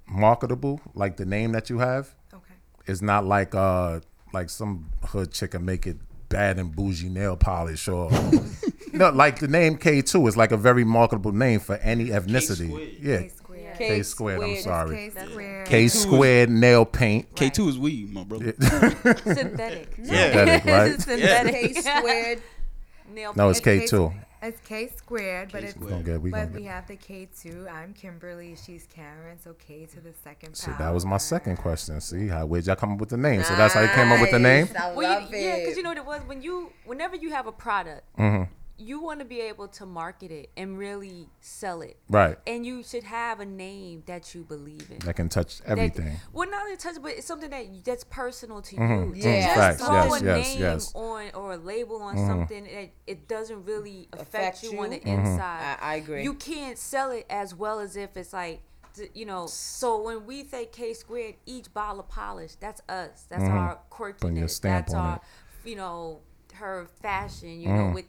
Speaker 5: marketable. Like the name that you have.
Speaker 6: Okay.
Speaker 5: It's not like uh like some hood chicken make it bad and bougie nail polish or no like the name K two is like a very marketable name for any ethnicity. Yeah.
Speaker 6: Square.
Speaker 5: K squared. I'm
Speaker 8: squared.
Speaker 5: sorry.
Speaker 6: K squared.
Speaker 5: K squared nail paint.
Speaker 4: K two is weed, my brother.
Speaker 8: Synthetic.
Speaker 5: Synthetic, right?
Speaker 8: Synthetic.
Speaker 6: K squared.
Speaker 8: Nail
Speaker 5: No, it's
Speaker 8: polish.
Speaker 5: K two.
Speaker 6: It's K squared, but it's
Speaker 5: Don't get. We
Speaker 6: but
Speaker 5: gonna
Speaker 6: we
Speaker 5: get.
Speaker 6: have the K two. I'm Kimberly. She's Karen. So K to the second
Speaker 5: See,
Speaker 6: power.
Speaker 5: that was my
Speaker 8: Ah,
Speaker 5: second question. See how where'd y'all come up with the name? So that's how you came up with the name.
Speaker 3: Nice. I love
Speaker 8: Well, you,
Speaker 3: it.
Speaker 8: yeah, because you know what it was when you whenever you have a product,
Speaker 5: Mm-hmm.
Speaker 8: you want to be able to market it and really sell it,
Speaker 5: Right.
Speaker 8: and you should have a name that you believe in.
Speaker 5: That can touch
Speaker 8: That-
Speaker 5: everything. Mm-hmm.
Speaker 8: well, not only touch, but it's something that that's personal to you.
Speaker 3: Yeah.
Speaker 8: Just
Speaker 5: Facts,
Speaker 8: throw
Speaker 5: yes,
Speaker 8: a
Speaker 5: yes,
Speaker 8: name
Speaker 5: yes. Mm-hmm.
Speaker 8: on or a label on something that it doesn't really affect,
Speaker 3: Affect
Speaker 8: you,
Speaker 3: you.
Speaker 8: on the
Speaker 3: Mhm.
Speaker 8: inside.
Speaker 3: I- I agree.
Speaker 8: You can't sell it as well as if it's like. th- You know, so when we say K squared, each bottle of polish, that's us. That's our quirkiness.
Speaker 5: Mm-hmm. Putting your stamp
Speaker 8: that's
Speaker 5: on
Speaker 8: our,
Speaker 5: it. Mm-hmm.
Speaker 8: you know, her fashion. You know, with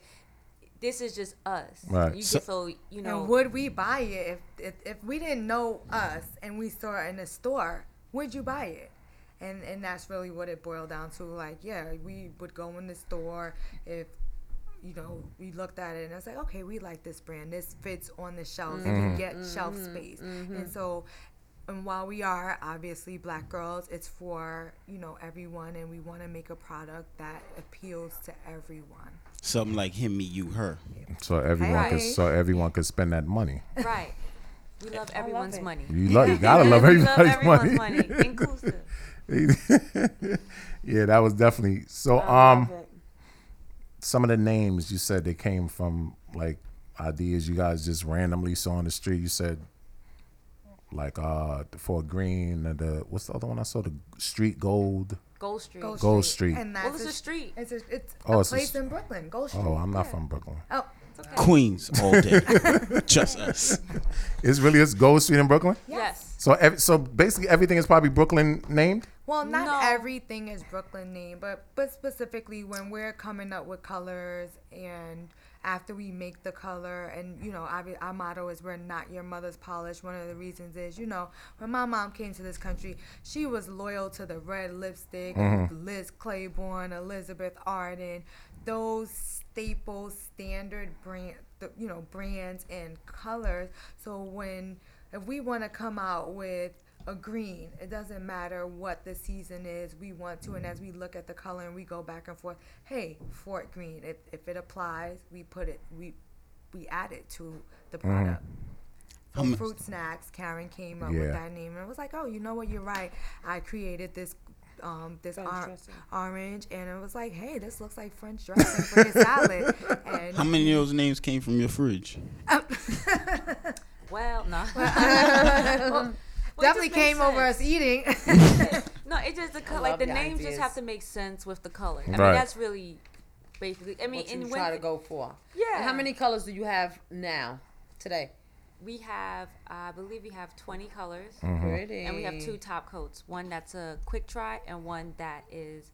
Speaker 8: this is just us.
Speaker 5: Right.
Speaker 8: You
Speaker 5: So-
Speaker 8: just, so you know,
Speaker 6: And would we buy it if, if if we didn't know us and we saw it in a store? Would you buy it? And and that's really what it boiled down to. Like, yeah, we would go in the store if you know we looked at it and I was like, okay, we like this brand. This fits on the shelves. It
Speaker 5: Mm-hmm.
Speaker 6: can get
Speaker 8: Mm-hmm.
Speaker 6: shelf space. And so. And while we are obviously black girls, it's for you know everyone, and we want to make a product that appeals to everyone.
Speaker 4: Something like him, me, you, her.
Speaker 5: So everyone could
Speaker 6: Right.
Speaker 5: so everyone could spend that money.
Speaker 8: right. We love everyone's money.
Speaker 5: You love you gotta love everybody's money.
Speaker 8: Inclusive.
Speaker 5: yeah, that was definitely so. Um, some of the names you said they came from like ideas you guys just randomly saw on the street. You said like uh for green and the what's the other one I saw the street gold.
Speaker 8: Gold Street.
Speaker 5: Gold Street.
Speaker 6: And that's
Speaker 8: Well, it's a street.
Speaker 6: It's a, it's
Speaker 5: Oh,
Speaker 6: a
Speaker 5: it's a
Speaker 6: place
Speaker 5: st-
Speaker 6: in Brooklyn, Gold Street.
Speaker 5: Oh, I'm not from Brooklyn.
Speaker 6: Oh,
Speaker 4: Queens all day. Just us.
Speaker 5: It's really it's Gold Street in Brooklyn.
Speaker 8: Yes.
Speaker 5: So ev- so basically everything is probably Brooklyn named.
Speaker 6: well, not
Speaker 8: No.
Speaker 6: everything is Brooklyn name, but but specifically when we're coming up with colors and after we make the color and you know obvi- our motto is we're not your mother's polish one of the reasons is you know when my mom came to this country she was loyal to the red lipstick
Speaker 5: Mm-hmm.
Speaker 6: of liz claiborne elizabeth arden those staple standard brand the, you know brands and colors so when if we want to come out with a green it doesn't matter what the season is we want to and as we look at the color and we go back and forth hey fort green if, if it applies we put it we we add it to the product
Speaker 5: Mm-hmm.
Speaker 6: So fruit snacks karen came up
Speaker 5: Yeah.
Speaker 6: with that name and it was like oh you know what you're right i created this um, this or- orange and it was like hey this looks like french dressing for your salad and
Speaker 4: How many of those names came from your fridge?
Speaker 8: Well, no.
Speaker 6: definitely
Speaker 8: makes
Speaker 6: came over
Speaker 8: sense.
Speaker 6: us eating
Speaker 8: no, it just the color. Like
Speaker 3: love
Speaker 8: the
Speaker 3: the
Speaker 8: names just
Speaker 3: ideas.
Speaker 8: have to make sense with the color. I mean,
Speaker 5: Right.
Speaker 8: that's really basically. I mean,
Speaker 3: what
Speaker 8: and
Speaker 3: you
Speaker 8: when
Speaker 3: try to go for.
Speaker 8: Yeah.
Speaker 3: And how many colors do you have now, today?
Speaker 8: we have, I believe we have 20 colors,
Speaker 3: Pretty.
Speaker 8: and we have two top coats. One that's a quick dry, and one that is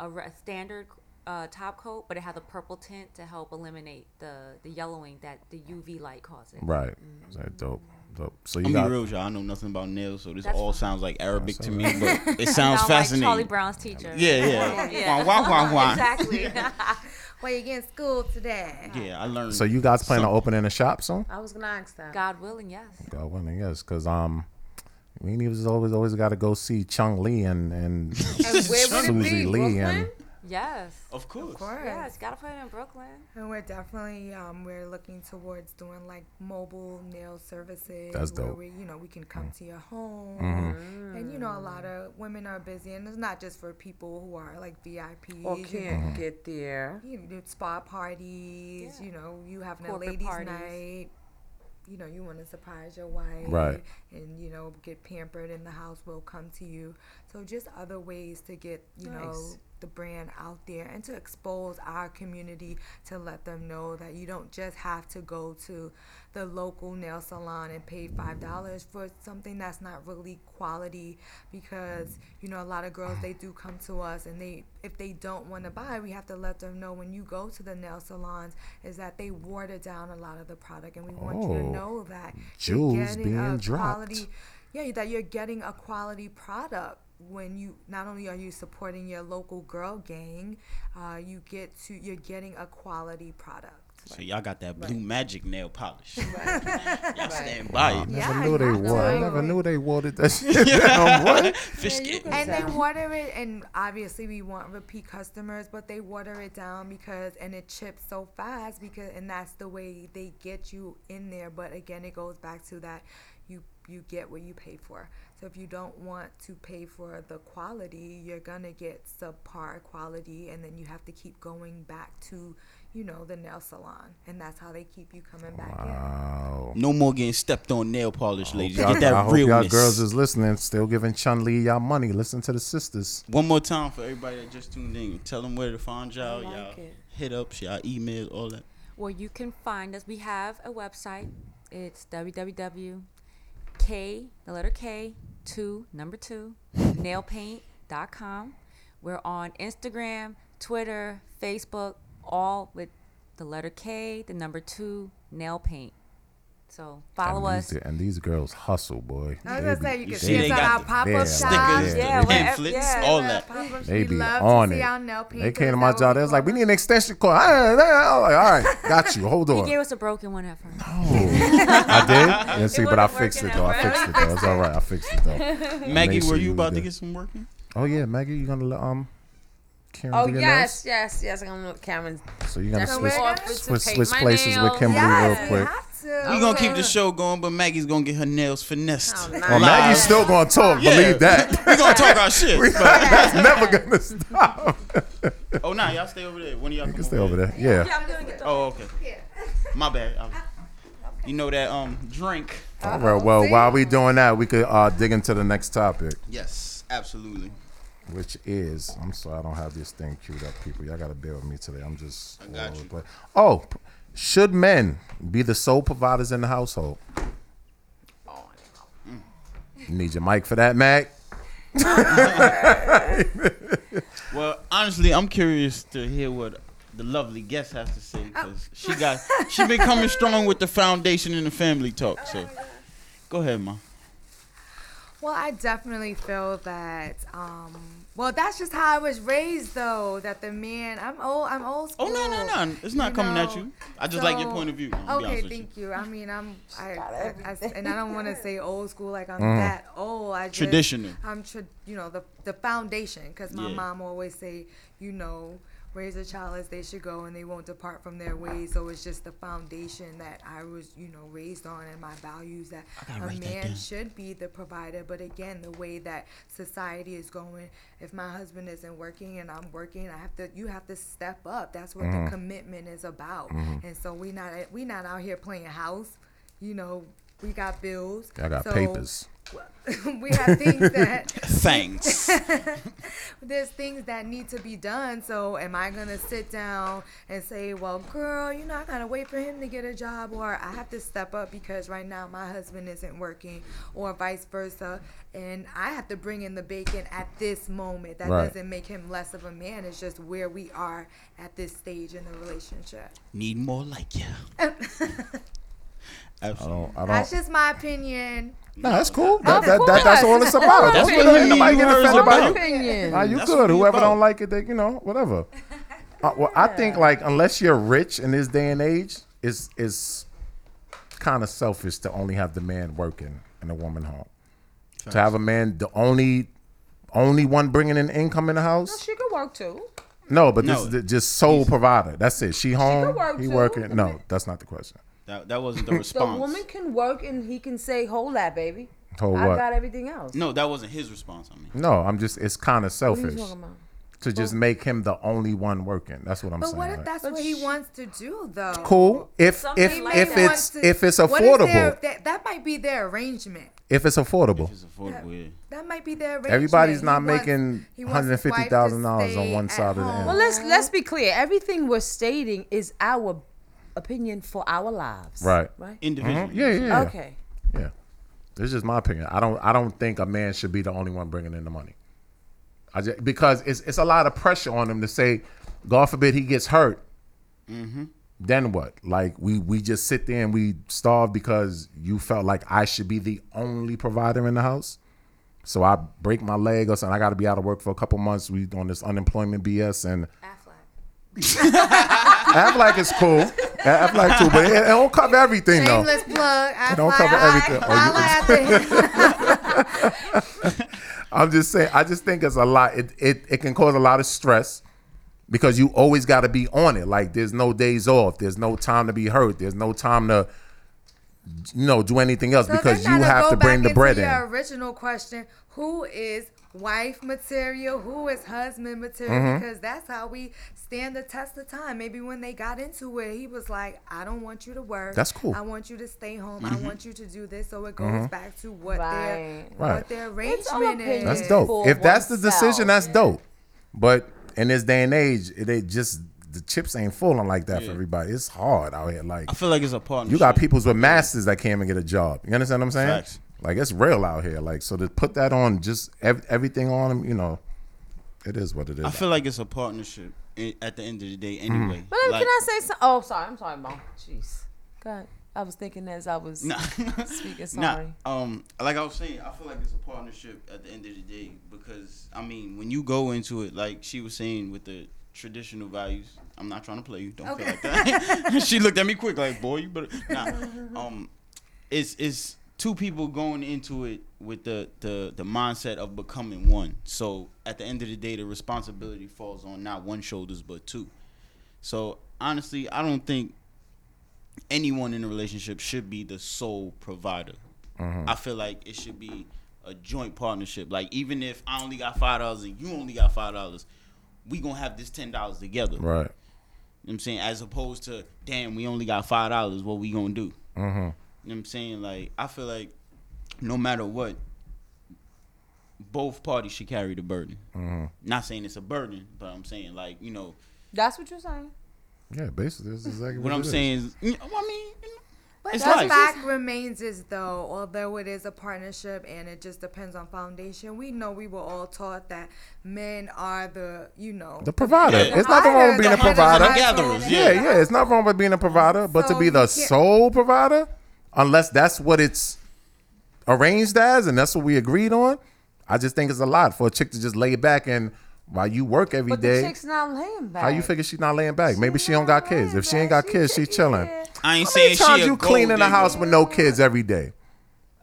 Speaker 8: a re- standard. Uh, top coat, but it has a purple tint to help eliminate the the yellowing that the UV light causes. Mm-hmm.
Speaker 5: Right. That dope. Dope. So you
Speaker 4: I'm
Speaker 5: got
Speaker 4: be real, y'all. I know nothing about nails, so this
Speaker 8: That's
Speaker 4: all
Speaker 8: fine.
Speaker 4: sounds like Arabic to me, but it sounds
Speaker 8: Sound like
Speaker 4: fascinating.
Speaker 8: Charlie Brown's teacher.
Speaker 4: Yeah, yeah.
Speaker 8: Yeah.
Speaker 4: Wah, wah, wah, wah.
Speaker 8: Exactly.
Speaker 6: Well, you getting schooled today.
Speaker 4: Yeah, I learned.
Speaker 5: so you guys plan on
Speaker 4: something.
Speaker 5: opening a shop soon?
Speaker 3: I was gonna ask that.
Speaker 8: God willing, yes.
Speaker 5: God willing, yes, because um, we ain't even always always got to go see Chung Lee and and,
Speaker 3: And where would it be?
Speaker 5: Susie Lee and
Speaker 8: Yes.
Speaker 4: Of course.
Speaker 8: Yes, gotta put it in Brooklyn.
Speaker 6: And we're definitely um, we're looking towards doing like mobile nail services.
Speaker 5: That's
Speaker 6: where
Speaker 5: dope. Mm. Mm-hmm.
Speaker 6: We, you know, we can come to your home, and you know, a lot of women are busy, and it's not just for people who are like VIPs.
Speaker 3: Or
Speaker 6: you
Speaker 3: can't
Speaker 5: Mm-hmm.
Speaker 3: get there.
Speaker 6: you know, spa parties.
Speaker 8: Yeah.
Speaker 6: You know, you having
Speaker 8: Corporate
Speaker 6: a ladies'
Speaker 8: parties.
Speaker 6: night. You know, you want to surprise your wife,
Speaker 5: Right.
Speaker 6: And you know, get pampered in the house. Will come to you. So just other ways to get you know
Speaker 3: Nice.
Speaker 6: the brand out there and to expose our community to let them know that you don't just have to go to the local nail salon and pay five dollars for something that's not really quality because you know a lot of girls they do come to us and they if they don't want to buy we have to let them know when you go to the nail salons is that they water down a lot of the product and we want you to
Speaker 5: Oh.
Speaker 6: know that you're
Speaker 5: Jewels
Speaker 6: getting
Speaker 5: being
Speaker 6: a
Speaker 5: dropped.
Speaker 6: quality yeah that you're getting a quality product when you not only are you supporting your local girl gang uh, you get to you're getting a quality product
Speaker 4: So y'all got that blue magic nail polish. Y'all stand by
Speaker 5: I
Speaker 4: it.
Speaker 5: never knew they wore. I never knew they wanted that shit.
Speaker 4: Yeah.
Speaker 5: down, boy.
Speaker 4: Fish
Speaker 6: Yeah, you
Speaker 4: skin.
Speaker 6: can And they water it, and obviously we want repeat customers, but they water it down because and it chips so fast because and that's the way they get you in there. But again, it goes back to that you you get what you pay for. So if you don't want to pay for the quality, you're gonna get subpar quality, and then you have to keep going back to you know the nail salon, and that's how they keep you coming back in.
Speaker 5: Oh.
Speaker 4: No more getting stepped on nail polish, ladies.
Speaker 5: Y'all-
Speaker 4: Get that
Speaker 5: I hope
Speaker 4: realness.
Speaker 5: y'all girls is listening. Still giving Chun Li y'all money. Listen to the sisters.
Speaker 4: One more time for everybody that just tuned in. Tell them where to find y'all. y'all
Speaker 8: it.
Speaker 4: hit ups, y'all email, all that.
Speaker 8: Well, you can find us. We have a website. It's www.k, the letter K, two, number two, nailpaint.com. We're on Instagram, Twitter, Facebook, all with the letter K, the number two, nail paint. So follow
Speaker 5: and
Speaker 8: us.
Speaker 5: These, and these girls hustle, boy.
Speaker 6: I
Speaker 5: They
Speaker 6: was gonna
Speaker 5: be-
Speaker 6: say you
Speaker 4: you
Speaker 6: can
Speaker 4: see
Speaker 6: see us
Speaker 4: they
Speaker 6: at
Speaker 4: got
Speaker 6: our
Speaker 4: the
Speaker 6: pop up
Speaker 5: stickers,
Speaker 6: shops,
Speaker 5: the
Speaker 6: yeah, whatever-
Speaker 4: pamphlets,
Speaker 6: yeah,
Speaker 4: all
Speaker 6: we're at
Speaker 4: that.
Speaker 6: pop-up.
Speaker 5: They
Speaker 6: We
Speaker 5: be
Speaker 6: love to
Speaker 5: on
Speaker 6: see
Speaker 5: it.
Speaker 6: our nail
Speaker 5: They
Speaker 6: painters.
Speaker 5: came to
Speaker 6: Is
Speaker 5: my
Speaker 6: that
Speaker 5: job.
Speaker 6: what
Speaker 5: They was
Speaker 6: call
Speaker 5: like, "We
Speaker 6: them?
Speaker 5: need an extension cord." I- I- I- I'm like, all right, got you. Hold
Speaker 8: He
Speaker 5: on.
Speaker 8: gave us a broken one at first.
Speaker 5: I did. Yeah, see, but I
Speaker 8: wasn't
Speaker 5: fixed it
Speaker 8: working
Speaker 5: though.
Speaker 8: out
Speaker 5: I fixed it though. It's all right. I fixed it though.
Speaker 4: Maggie,
Speaker 5: Mason,
Speaker 4: were
Speaker 5: you
Speaker 4: you about to
Speaker 5: good.
Speaker 4: get some work in?
Speaker 5: Oh yeah, Maggie, you gonna let um. Karen
Speaker 3: Oh
Speaker 5: do your
Speaker 3: yes, yes, yes. I'm gonna Cameron's
Speaker 5: nails? So you gonna
Speaker 3: definitely
Speaker 5: switch,
Speaker 3: offered to
Speaker 5: switch,
Speaker 3: paint
Speaker 5: switch
Speaker 3: my
Speaker 5: places with
Speaker 3: nails.
Speaker 5: Kimberly
Speaker 6: Yes,
Speaker 5: real
Speaker 6: we
Speaker 5: quick.
Speaker 6: have to.
Speaker 4: We're going to keep the show going, but Maggie's going to get her nails finessed.
Speaker 3: Oh,
Speaker 5: Well,
Speaker 3: nice.
Speaker 5: Maggie's still gonna talk.
Speaker 4: Yeah.
Speaker 5: Believe that.
Speaker 4: We're going to talk our shit.
Speaker 5: That's never gonna stop.
Speaker 4: Oh, nah, y'all stay over there. One of y'all
Speaker 5: You
Speaker 4: come
Speaker 5: can stay over there. Yeah.
Speaker 8: I'm doing it.
Speaker 4: Oh, okay. My bad. I- you know that um drink.
Speaker 5: All right. Well, while we doing that, we could uh, dig into the next topic,
Speaker 4: Yes, absolutely.
Speaker 5: which is I'm sorry I don't have this thing queued up, people. Y'all gotta bear with me today. I'm just all
Speaker 4: got
Speaker 5: over
Speaker 4: you.
Speaker 5: the place. Oh, p- should men be the sole providers in the household? Need your mic for that, Mac.
Speaker 4: Well, honestly, I'm curious to hear what the lovely guest has to say because
Speaker 3: Oh.
Speaker 4: she got she been coming strong with the foundation and the family talk. So, go ahead, ma.
Speaker 6: Well, I definitely feel that. Um, well, that's just how I was raised, though. That the man, I'm old, I'm old
Speaker 4: Oh
Speaker 6: school.
Speaker 4: no, no, no! It's not
Speaker 6: You
Speaker 4: coming at
Speaker 6: know,
Speaker 4: you. I just like your
Speaker 6: so-
Speaker 4: point of view. I'll
Speaker 6: Okay,
Speaker 4: be honest with you.
Speaker 6: thank you. I mean, I'm, I, I- I- and I don't want to say old school like I'm that old. I just,
Speaker 4: Traditional.
Speaker 6: I'm, tra- you know, the the foundation, because my
Speaker 4: Yeah.
Speaker 6: mom always say, you know, raise a child as they should go, and they won't depart from their ways. So it's just the foundation that I was, you know, raised on, and my values that
Speaker 4: gotta
Speaker 6: a
Speaker 4: write that
Speaker 6: man
Speaker 4: down.
Speaker 5: Mm-hmm.
Speaker 6: should be the provider. But again, the way that society is going, if my husband isn't working and I'm working, I have to. You have to step up. That's what
Speaker 5: Mm-hmm.
Speaker 6: the commitment is about. And so we not we not out here playing house. You know, we got bills.
Speaker 5: I got
Speaker 6: So
Speaker 5: papers.
Speaker 6: we have things that
Speaker 4: Thanks.
Speaker 6: there's things that need to be done. So am I gonna sit down and say, well, girl, you know, I gotta wait for him to get a job, or I have to step up because right now my husband isn't working, or vice versa, and I have to bring in the bacon at this moment. That
Speaker 5: Right.
Speaker 6: doesn't make him less of a man. It's just where we are at this stage in the relationship.
Speaker 4: Need more like you.
Speaker 5: I
Speaker 4: Absolutely.
Speaker 5: don't. I
Speaker 6: That's
Speaker 5: don't.
Speaker 6: just my opinion.
Speaker 5: No, that's cool. That,
Speaker 6: Of
Speaker 5: that, that, that's all it's about. That's
Speaker 4: That's
Speaker 5: what
Speaker 4: what
Speaker 5: it is.
Speaker 4: you-
Speaker 5: Nobody
Speaker 4: you
Speaker 5: get
Speaker 4: heard
Speaker 5: offended
Speaker 4: about
Speaker 5: about
Speaker 4: it.
Speaker 5: it.
Speaker 3: opinion.
Speaker 5: Nah, you
Speaker 4: That's what
Speaker 5: good.
Speaker 4: we
Speaker 5: Whoever
Speaker 4: about.
Speaker 5: don't like it, they you know whatever. Uh, well, I think like unless you're rich in this day and age, it's it's kind of selfish to only have the man working and a woman home. To have a man, the only only one bringing in income in the house.
Speaker 3: She could work too.
Speaker 5: No, but this
Speaker 4: No.
Speaker 5: is the, just sole provider. That's it. She home.
Speaker 3: work
Speaker 5: he
Speaker 3: too.
Speaker 5: working. No, that's not the question.
Speaker 4: That, that wasn't the
Speaker 3: The
Speaker 4: response.
Speaker 3: woman can work and he can say, "Hold that, baby.
Speaker 5: Hold
Speaker 3: I
Speaker 5: what?
Speaker 3: got everything else."
Speaker 4: No, that wasn't his response. I mean,
Speaker 5: No, I'm just. It's kind of
Speaker 3: What are
Speaker 5: selfish
Speaker 3: you talking about?
Speaker 5: to just make him the only one working. That's what I'm
Speaker 6: Oh. But
Speaker 5: saying.
Speaker 6: what if
Speaker 5: like-
Speaker 6: that's what he wants to do, though?
Speaker 5: cool if
Speaker 8: Some
Speaker 5: if
Speaker 8: people
Speaker 6: He may
Speaker 5: if
Speaker 6: want
Speaker 5: it's if
Speaker 6: to-
Speaker 5: it's
Speaker 6: what is their-
Speaker 5: affordable.
Speaker 6: that, that might be their arrangement.
Speaker 5: If it's affordable.
Speaker 4: it's affordable. Yeah.
Speaker 6: That might be their arrangement.
Speaker 5: Everybody's
Speaker 6: He
Speaker 5: not
Speaker 6: wants-
Speaker 5: making
Speaker 6: he wants his wife to
Speaker 5: $150,000 on
Speaker 6: stay
Speaker 5: one
Speaker 6: at
Speaker 5: side of the
Speaker 6: home.
Speaker 5: end.
Speaker 3: Well, let's let's be clear. Everything we're stating is our opinion for our lives.
Speaker 5: Right. Mm-hmm.
Speaker 3: Right.
Speaker 4: Individual.
Speaker 5: Yeah, yeah, yeah.
Speaker 3: Okay.
Speaker 5: Yeah. This is just my opinion. I don't I don't think a man should be the only one bringing in the money. I just, because it's it's a lot of pressure on him to say, God forbid he gets hurt. Then what? Like we we just sit there and we starve because you felt like I should be the only provider in the house. So I break my leg or something. I got to be out of work for a couple months. We on this unemployment BS and
Speaker 8: Affleck.
Speaker 5: Act like it's cool. I, I like to, but it, it don't cover everything though.
Speaker 6: Shameless plug. I
Speaker 5: It don't
Speaker 6: fly
Speaker 5: cover
Speaker 6: high,
Speaker 5: everything.
Speaker 6: holla at the-
Speaker 5: I'm just saying. I just think it's a lot. It it, it can cause a lot of stress because you always got to be on it. Like there's no days off. There's no time to be hurt. There's no time to you know do anything else
Speaker 6: So
Speaker 5: because
Speaker 6: then
Speaker 5: you
Speaker 6: now
Speaker 5: have
Speaker 6: go
Speaker 5: to bring
Speaker 6: back
Speaker 5: the
Speaker 6: into
Speaker 5: bread in.
Speaker 6: Your original question: Who is wife material? Who is husband material?
Speaker 5: Mhm.
Speaker 6: Because that's how we stand the test of time. Maybe when they got into it, he was like, "I don't want you to work.
Speaker 5: That's cool.
Speaker 6: I want you to stay home.
Speaker 5: Mhm.
Speaker 6: I want you to do this." So it goes
Speaker 5: Mhm.
Speaker 6: back to what
Speaker 3: Right.
Speaker 6: their
Speaker 5: Right.
Speaker 6: what their
Speaker 3: It's all
Speaker 6: arrangement is.
Speaker 5: That's dope. If that's the decision, that's dope. But in this day and age, it, it just the chips ain't falling like that for
Speaker 4: Yeah.
Speaker 5: everybody. It's hard out here. Like
Speaker 4: I feel like it's a partnership.
Speaker 5: you got peoples with masters that can't even get a job. You understand what I'm saying?
Speaker 4: Facts.
Speaker 5: Like it's real out here. Like so to put that on just ev- everything on them, you know, it is what it is.
Speaker 4: I feel like it's a partnership i- at the end of the day,
Speaker 5: Mm.
Speaker 4: anyway.
Speaker 3: But then
Speaker 4: Like,
Speaker 3: can I say something? Oh, sorry. I'm sorry, Mom. Jeez. God, I was thinking as I was
Speaker 4: Nah.
Speaker 3: speaking.
Speaker 4: Nah,
Speaker 3: Sorry.
Speaker 4: um, like I was saying, I feel like it's a partnership at the end of the day because I mean, when you go into it, like she was saying with the traditional values, I'm not trying to play you. Don't feel like that. she looked at me quick, like, boy, you better. Nah, um, it's it's two people going into it with the the the mindset of becoming one. So at the end of the day, the responsibility falls on not one shoulders but two. So honestly, I don't think anyone in a relationship should be the sole provider.
Speaker 5: Mhm.
Speaker 4: I feel like it should be a joint partnership. Like even if I only got five dollars and you only got five dollars, we gonna have this ten dollars together.
Speaker 5: Right.
Speaker 4: You know what I'm saying? As opposed to, damn, we only got five dollars, what we gonna do?
Speaker 5: Mm-hmm.
Speaker 4: You know what I'm saying? Like, I feel like no matter what, both parties should carry the burden.
Speaker 5: Mhm.
Speaker 4: Not saying it's a burden, but I'm saying, like, you know,
Speaker 3: That's what you're saying.
Speaker 5: Yeah, basically, that's exactly
Speaker 4: what
Speaker 5: it
Speaker 4: I'm
Speaker 5: is.
Speaker 4: saying is, mm, I mean,
Speaker 6: But
Speaker 4: It's
Speaker 6: the
Speaker 4: life.
Speaker 6: fact remains is though, although it is a partnership and it just depends on foundation, we know we were all taught that men are the, you know,
Speaker 5: The provider. It's not the wrong with being a
Speaker 6: provider,
Speaker 5: provider.
Speaker 6: the hunter, the
Speaker 5: Yeah,
Speaker 6: gatherer.
Speaker 5: yeah. It's not wrong with being a provider, but to
Speaker 6: So
Speaker 5: be
Speaker 6: you
Speaker 5: the
Speaker 6: can't-
Speaker 5: sole provider, unless that's what it's arranged as and that's what we agreed on, I just think it's a lot for a chick to just lay back and while you work every
Speaker 3: But
Speaker 5: day.
Speaker 3: the chick's not laying back.
Speaker 5: How you figure she's not laying back? Maybe she don't got kids. If she ain't got kids, she chilling.
Speaker 4: I ain't
Speaker 5: How many
Speaker 4: saying she
Speaker 5: times
Speaker 4: a
Speaker 5: you clean in the house with no kids every day?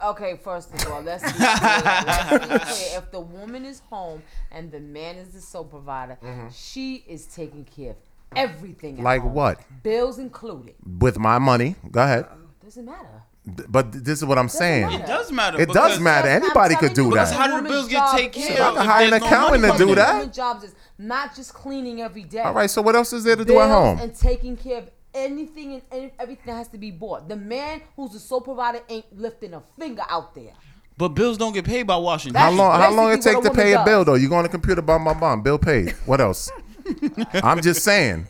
Speaker 3: Okay, first of all, let's be clear. Let's be clear. If the woman is home and the man is the sole provider,
Speaker 5: Mhm.
Speaker 3: she is taking care of everything. at
Speaker 5: Like
Speaker 3: home.
Speaker 5: what?
Speaker 3: Bills included.
Speaker 5: With my money. Go ahead.
Speaker 3: Doesn't matter.
Speaker 5: Th- But th- this is what I'm saying.
Speaker 4: It does matter.
Speaker 5: It does
Speaker 4: because-
Speaker 5: matter. Anybody could do
Speaker 4: Because
Speaker 5: that.
Speaker 4: how do the bills get taken
Speaker 5: is-
Speaker 4: care
Speaker 5: So I
Speaker 4: of?
Speaker 5: can
Speaker 4: if
Speaker 5: hire an
Speaker 4: there's no
Speaker 5: accountant
Speaker 4: money
Speaker 5: to do
Speaker 4: coming in?
Speaker 5: that?
Speaker 3: Woman's jobs is not just cleaning every day.
Speaker 5: All right, so what else is there to do at
Speaker 3: Bills
Speaker 5: home?
Speaker 3: And taking care of anything and any, everything that has to be bought. The man who's the sole provider ain't lifting a finger out there.
Speaker 4: But bills don't get paid by Washington.
Speaker 5: How long? How long it
Speaker 3: basically
Speaker 5: take
Speaker 3: what
Speaker 5: to
Speaker 3: a
Speaker 5: pay
Speaker 3: woman
Speaker 5: a bill
Speaker 3: does.
Speaker 5: though? You go on the computer, bum bum bum, bill paid. What else? I'm just saying,